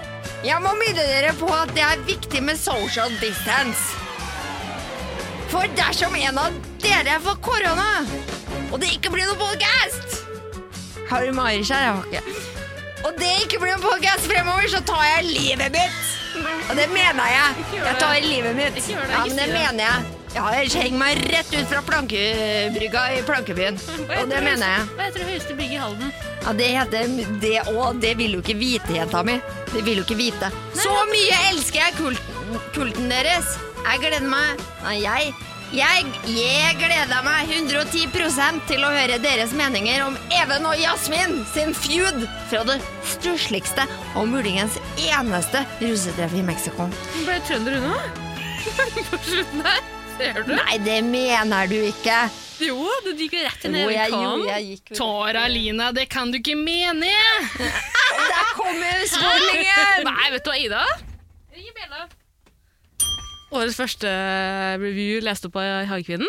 B: Jeg må minne dere på at det er viktig med social distance. For dersom en av dere får korona, og det ikke blir noen podcast Har du Marish her? Jeg har ikke. Og det ikke blir noen podcast fremover, så tar jeg livet mitt. Og det mener jeg. Jeg tar livet mitt. Ja, men det mener jeg. Ja, jeg henger meg rett ut fra plankebrygga i Plankebyen. Og det mener jeg.
A: Hva heter det høyeste bygget i Halden?
B: Ja, det heter det òg. Det vil du ikke vite, jenta mi. Det vil du ikke vite. Så mye elsker jeg kulten, kulten deres. Jeg gleder meg Nei, jeg. Jeg, jeg gleder meg 110 til å høre deres meninger om Even og Jasmin sin feud fra det stussligste og muligens eneste russetreffet i Mexico.
A: Hun ble trønder, hun òg. På slutten her. Ser du?
B: Nei, det mener du ikke.
A: Jo, du gikk jo rett inn i
B: Jo, jeg, jo,
A: vulkanen.
B: jeg gikk vel-
C: Tara Lina, det kan du ikke mene!
B: Der kommer spolingen!
A: Nei, vet du hva, Ida? Ring Bella. Årets første review leste opp av Hagekvinnen.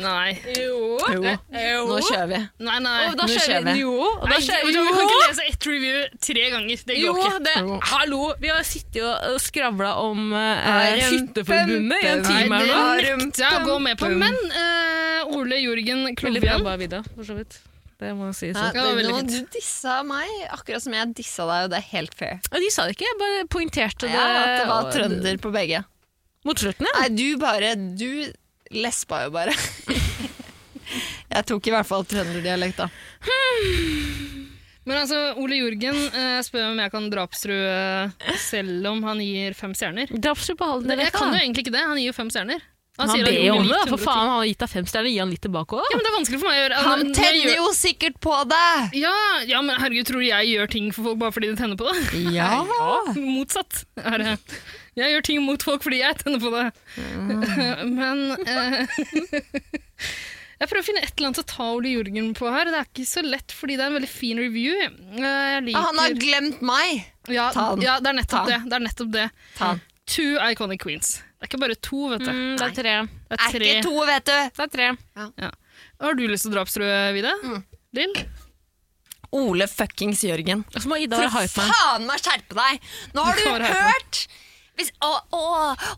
C: Nei.
A: Jo.
B: Nå kjører vi.
C: Nei, nei.
A: Og da
B: nå
A: kjører
B: kjører
A: vi
B: vi.
A: jo. Og da
C: Nei,
A: kjører
C: vet
A: vi
C: du hva, Vi kan
A: jo.
C: ikke lese ett review tre ganger. Det
A: Jo,
C: går ikke.
A: det, hallo, vi har sittet og skravla om
B: Nei,
A: eh, Hytteforbundet i en
B: kjempebra.
A: time
C: Nei,
A: her nå.
C: det nekter jeg å gå med på. Men eh, Ole Jørgen
A: Veldig bra
C: Klovien
A: jobba, Vida, for så vidt. Det må jeg si.
B: Ja,
A: Så.
C: det var veldig
B: nå,
C: fint.
B: du dissa meg akkurat som jeg dissa deg, og det er helt fair.
A: Ja, De sa det ikke, jeg bare poengterte det.
B: Ja, at det var
A: og-
B: trønder på begge.
A: Mot slutten, ja.
B: Nei, du bare Du lespa jo bare. jeg tok i hvert fall trønderdialekt, da.
C: Men altså, Ole Jørgen eh, spør om jeg kan drapstrue eh, selv om han gir fem stjerner.
A: Drapsrud på halden.
C: Jeg
A: direkte,
C: kan
A: da.
C: jo egentlig ikke det. Han gir jo fem stjerner.
A: Han,
C: sier at
A: ber
C: Ole
A: om det,
C: likte
A: for
C: 110.
A: faen. Han har gitt deg fem stjerner, gi han litt tilbake
C: Ja,
A: òg.
C: men Det er vanskelig for meg å gjøre. Altså,
B: Han
C: Når jeg
B: tenner
C: gjør-
B: jo sikkert på deg!
C: ja, ja, men herregud, tror du jeg gjør ting for folk bare fordi de tenner på det?
B: Ja!
C: Motsatt er det. Jeg gjør ting mot folk fordi jeg tenner på det.
B: Ah.
C: Men eh, Jeg prøver å finne et eller annet å ta Ole Jørgen på her. Det er ikke så lett, fordi det er en veldig fin review. Eh, Jeg liker
B: Ah, Han har glemt meg!
C: ja,
B: Ta den.
C: ja, det er
B: Ta
C: nettopp det.
B: den.
C: det, er nettopp det.
B: Ta den.
C: Two iconic queens. Det er ikke bare to, vet du.
A: Mm, det er tre.
C: Det
B: Er
C: er tre.
B: ikke to, vet du.
A: Det er tre.
C: Har du lyst til å drapstrø, Vida?
B: Mm.
C: Lill?
B: Ole fuckings Jørgen.
A: Og så må Ida
B: For
A: være hypeman.
B: faen meg skjerpe deg! Nå har
C: Du har
B: du
C: hype meg.
B: hørt hvis, å, å,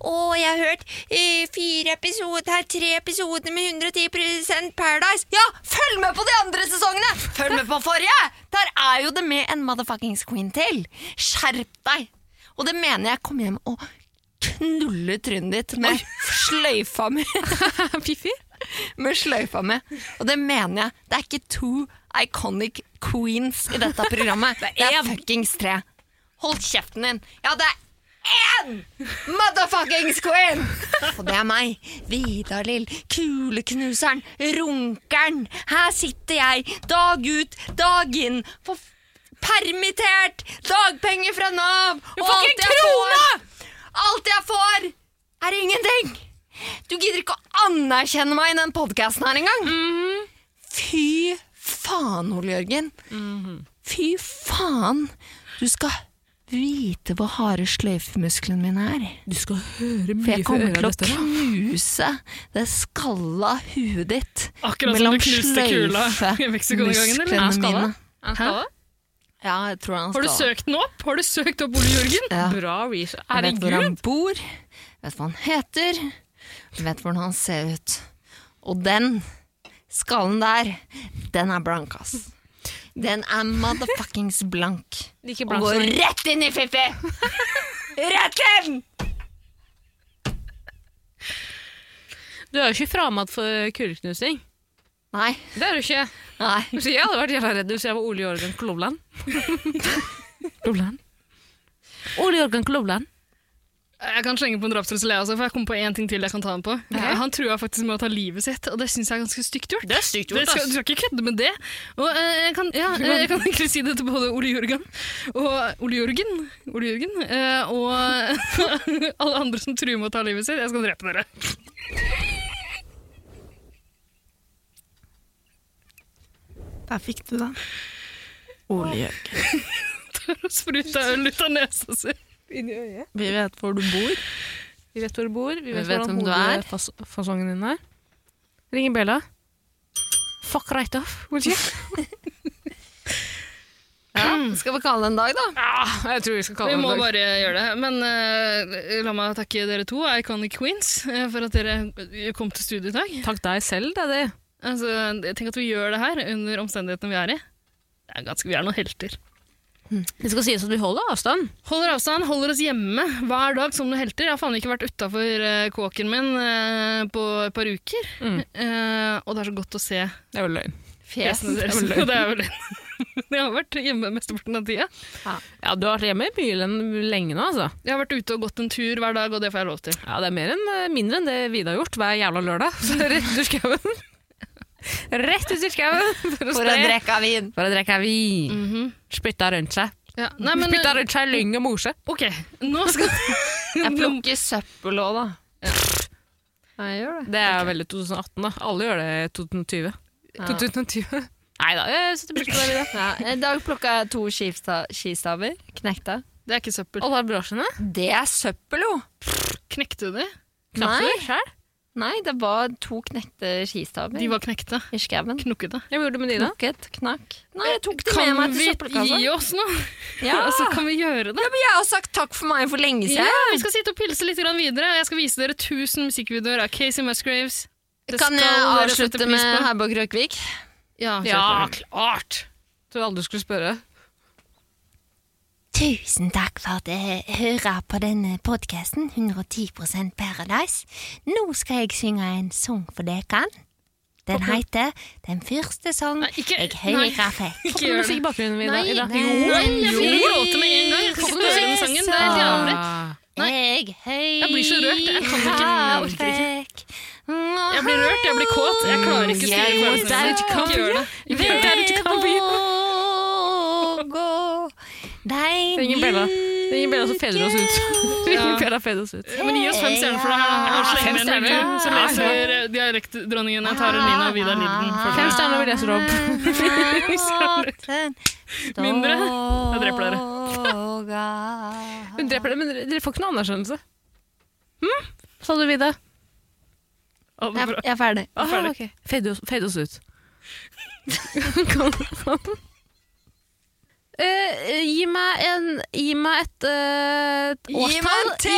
B: å, jeg har hørt eh, fire episoder her, tre episoder med 110 Paradise. Ja, følg med på de andre sesongene! Følg med på forrige! Der er jo det med en motherfuckings queen til. Skjerp deg! Og det mener jeg kom hjem og knulle trynet ditt med sløyfa mi.
A: Fiffi?
B: med sløyfa mi. Og det mener jeg. Det er ikke to iconic queens i dette programmet. Det er fuckings tre. Hold kjeften din. Ja, det er én motherfuckings queen! Og det er meg. Vidar Lill. Kuleknuseren. Runkeren. Her sitter jeg, dag ut, dag inn. For f- permittert! Dagpenger fra Nav! Og alt jeg får Alt jeg får, er ingenting! Du gidder ikke å anerkjenne meg i den podkasten her engang! Fy faen, Ole Jørgen. Fy faen! Du skal vite hvor harde sløyfemusklene mine er.
A: Du skal høre
B: For jeg
A: mye
B: kommer til å knuse det skalla huet ditt
C: Akkurat som
B: mellom
C: du knuste kula i Mexico den gangen, eller?
B: sløyfemusklene mine.
A: Hæ?
B: Ja, jeg tror han
C: Har du
B: skalla.
C: søkt den opp? Har du søkt opp Ole Jørgen?
B: Ja.
A: Bra research.
B: Jeg vet hvor han
A: Herregud.
B: bor, vet hva han heter, vet hvordan han ser ut. Og den skallen der, den er blank, ass. Den er motherfuckings blank.
A: Like
B: Og
A: blank
B: går
A: som-
B: rett inn i Fiffi! Rett inn!
A: Du er jo ikke framad for kuleknusing.
B: Nei,
A: Det er du ikke.
B: nei.
A: Så jeg hadde vært jævla redd hvis jeg var Ole Jørgen Klovland. Klovland. Ole Jørgen Klovland.
C: Jeg kan slenge på en drapstrussel, jeg også, for jeg kom på én ting til jeg kan ta den på. Eh, Han trua faktisk med å ta livet sitt, og det syns jeg er ganske stygt gjort.
J: Det er stygt
C: Det
J: gjort,
C: skal,
J: ass.
C: du skal ikke kødde med det. Og eh, jeg, kan, ja, eh, jeg kan egentlig si det til både Ole Jørgen og Ole Jørgen, Ole Jørgen eh, og alle andre som truer med å ta livet sitt. Jeg skal drepe dere.
J: Der fikk du den. Ole Jørgen.
C: Tar og spruter øl ut av nesa si.
J: Vi vet hvor du bor.
A: Vi vet hvor du bor, vi vet,
B: vet
A: hvordan
B: hvem du er.
A: hodefasongen din er. Ring Bella. Fuck right off, will you?
B: Ja. Skal vi kalle det en dag, da?
A: Jeg tror vi skal kalle
C: Vi
A: det
C: må
A: en dag.
C: bare gjøre det. Men eh, la meg takke dere to, Iconic Queens, eh, for at dere kom til studio i dag.
A: Takk deg selv, daddy.
C: Altså, jeg tenker at vi gjør det her under omstendighetene vi er i. Det er ganske, vi er noen helter.
A: Det skal sies at vi holder avstand.
C: Holder avstand, holder oss hjemme hver dag som noen helter. Jeg har faen ikke vært utafor kåken min eh, på et par uker.
A: Mm.
C: Eh, og det er så godt å se
A: Det er jo løgn.
C: fjesene deres.
A: Det er vel løgn.
C: Og det er vel Jeg har vært hjemme mesteparten av tida.
A: Ja, du har vært hjemme i byen lenge nå, altså.
C: Jeg har vært ute og gått en tur hver dag, og det får jeg lov til.
A: Ja, det er mer enn, eh, mindre enn det Vida har gjort hver jævla lørdag. Så rett ut i skauen. Rett ut i skauen for å
B: For en
A: spre.
B: drekk av vin.
A: For å drikke vin. Spytta rundt seg.
C: Ja. Nei, men, eh,
A: Spytta rundt seg i lyng og morse.
C: ok, nå skal
B: Jeg plukker søppel òg, da.
A: Jeg gjør det. Det er veldig 2018, da. Alle gjør det i 2020. 2020. Nei da, jeg setter pris på det. Vida.
B: Ja, I dag plukka jeg to skivsta- skistaver. Knekta.
C: Det er ikke søppel.
A: Alle har brosjene.
B: Det er søppel, jo!
C: Knekte du de?
A: Knapper sjøl.
B: Nei, det var to knekte skistaver
C: De var knekte.
B: i skauen.
C: Knokkete.
A: Hva gjorde du med de, da?
B: Knokket, knakk. Nei, jeg tok de med
C: Kan
B: meg
C: vi
B: til søppelkassa.
C: gi oss nå?
B: Ja.
C: Og så kan vi gjøre det.
B: Ja, men jeg har sagt takk for meg for lenge
C: Ja,
B: siden.
C: vi skal sitte og pilse litt grann videre. Jeg skal vise dere 1000 musikkvideoer av Casey Musgraves. Det
B: Kan jeg
C: skal dere sette
B: avslutte
C: pris
B: med
C: på.
B: Herborg Røkvik?
C: Ja,
A: Ja,
C: kjør på.
A: klart! Trodde aldri du skulle spørre.
K: Tusen takk for at dere hører på denne podkasten, 110 Paradise. Nå skal jeg synge en sang for dere. Den heter Den første sang
C: Nei, ikke-
K: jeg
C: nei.
K: hører fikk.
C: Ikke
A: Ikke
C: gjør
A: musikk i
C: det.
A: bakgrunnen, Vida.
C: Nei,
A: Ida.
C: nei, nei, jeg begynner å gråte med en gang. Jeg kan ikke
K: Første
C: synge den sangen. Det er helt jævlig.
A: Ah.
K: Jeg hører
C: Jeg blir så rørt. Jeg kan ikke. Jeg orker
K: fikk.
C: Jeg blir rørt, jeg blir kåt. Jeg klarer ikke å styre
K: Jeg
C: følelsene
K: må
C: mine. Ikke gjør det. Ikke gjør det.
K: Ved vågå
A: Det er ingen Bella. Det er ingen Bella som feder oss ut. Det er ingen Bella feder oss ut. Ah,
C: Ja, Men gi oss fem stjerner for det her. da. Og
K: Ja,
C: sleng
K: fem
C: med en
K: stjerner.
C: lille som leser eh, dialektdronningene Tara Lina og Vidar Linden. for
A: Fem
C: dere.
A: stjerner vil jeg slå opp.
C: Mindre? Jeg dreper dere.
A: Hun dreper det, men dere- dere får ikke noe anerkjennelse. Hm? Sa du, Vida?
C: Ha det bra.
B: Jeg er ferdig.
A: Ah, ok. Fade oss, fade oss ut. Kom, kom. Eh, gi meg en Gi meg et eh, et
B: Gi meg
A: årstall.
B: en T!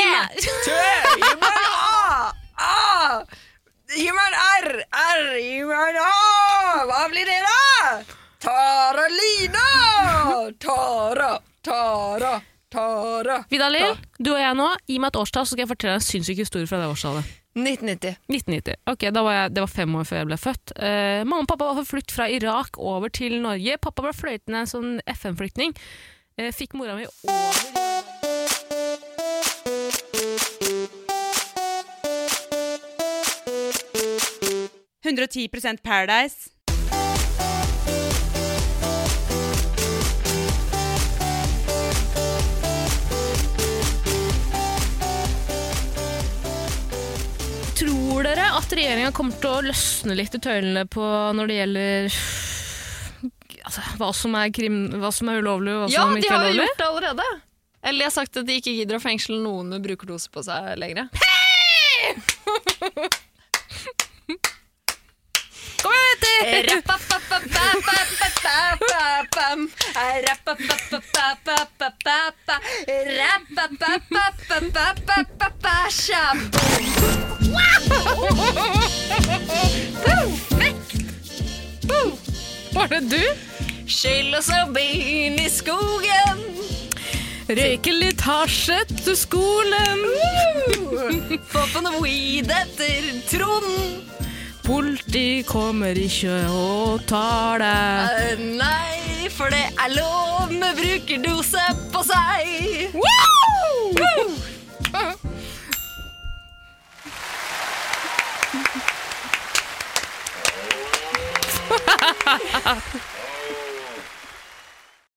G: Tre! Gi meg en A! A! Gi meg en R! R! Gi meg en A! Hva blir det, da? Tara Lina! Tara, Tara, Tara.
A: Vida Lill, du og jeg nå, gi meg et årstall, så skal jeg fortelle deg en sinnssyk historie fra det årstallet.
B: 1990.
A: 1990. Ok, da var jeg, Det var fem år før jeg ble født. Eh, mamma og pappa var på flukt fra Irak over til Norge. Pappa ble fløytende som FN-flyktning. Eh, fikk mora mi over
D: Paradise. 110 Paradise.
A: Tror dere at regjeringa kommer til å løsne litt i tøylene på når det gjelder altså, hva, som er krim, hva som er ulovlig og hva
B: Ja,
A: som
B: de
A: ikke
B: har
A: er
B: jo
A: ulovlig?
B: gjort det allerede. Eller de har sagt at de ikke gidder å fengsle noen med brukerdose på seg lenger.
A: Kom igjen, jenter! Var det du?
B: Skyll oss opp inn i skogen.
A: Røyke litt hasj etter skolen.
B: Få på noe weed etter Trond.
A: Politi kommer ikke og tar deg.
B: Eh, Nei, for det er lov med brukerdose på seg. Woo!
A: Takk.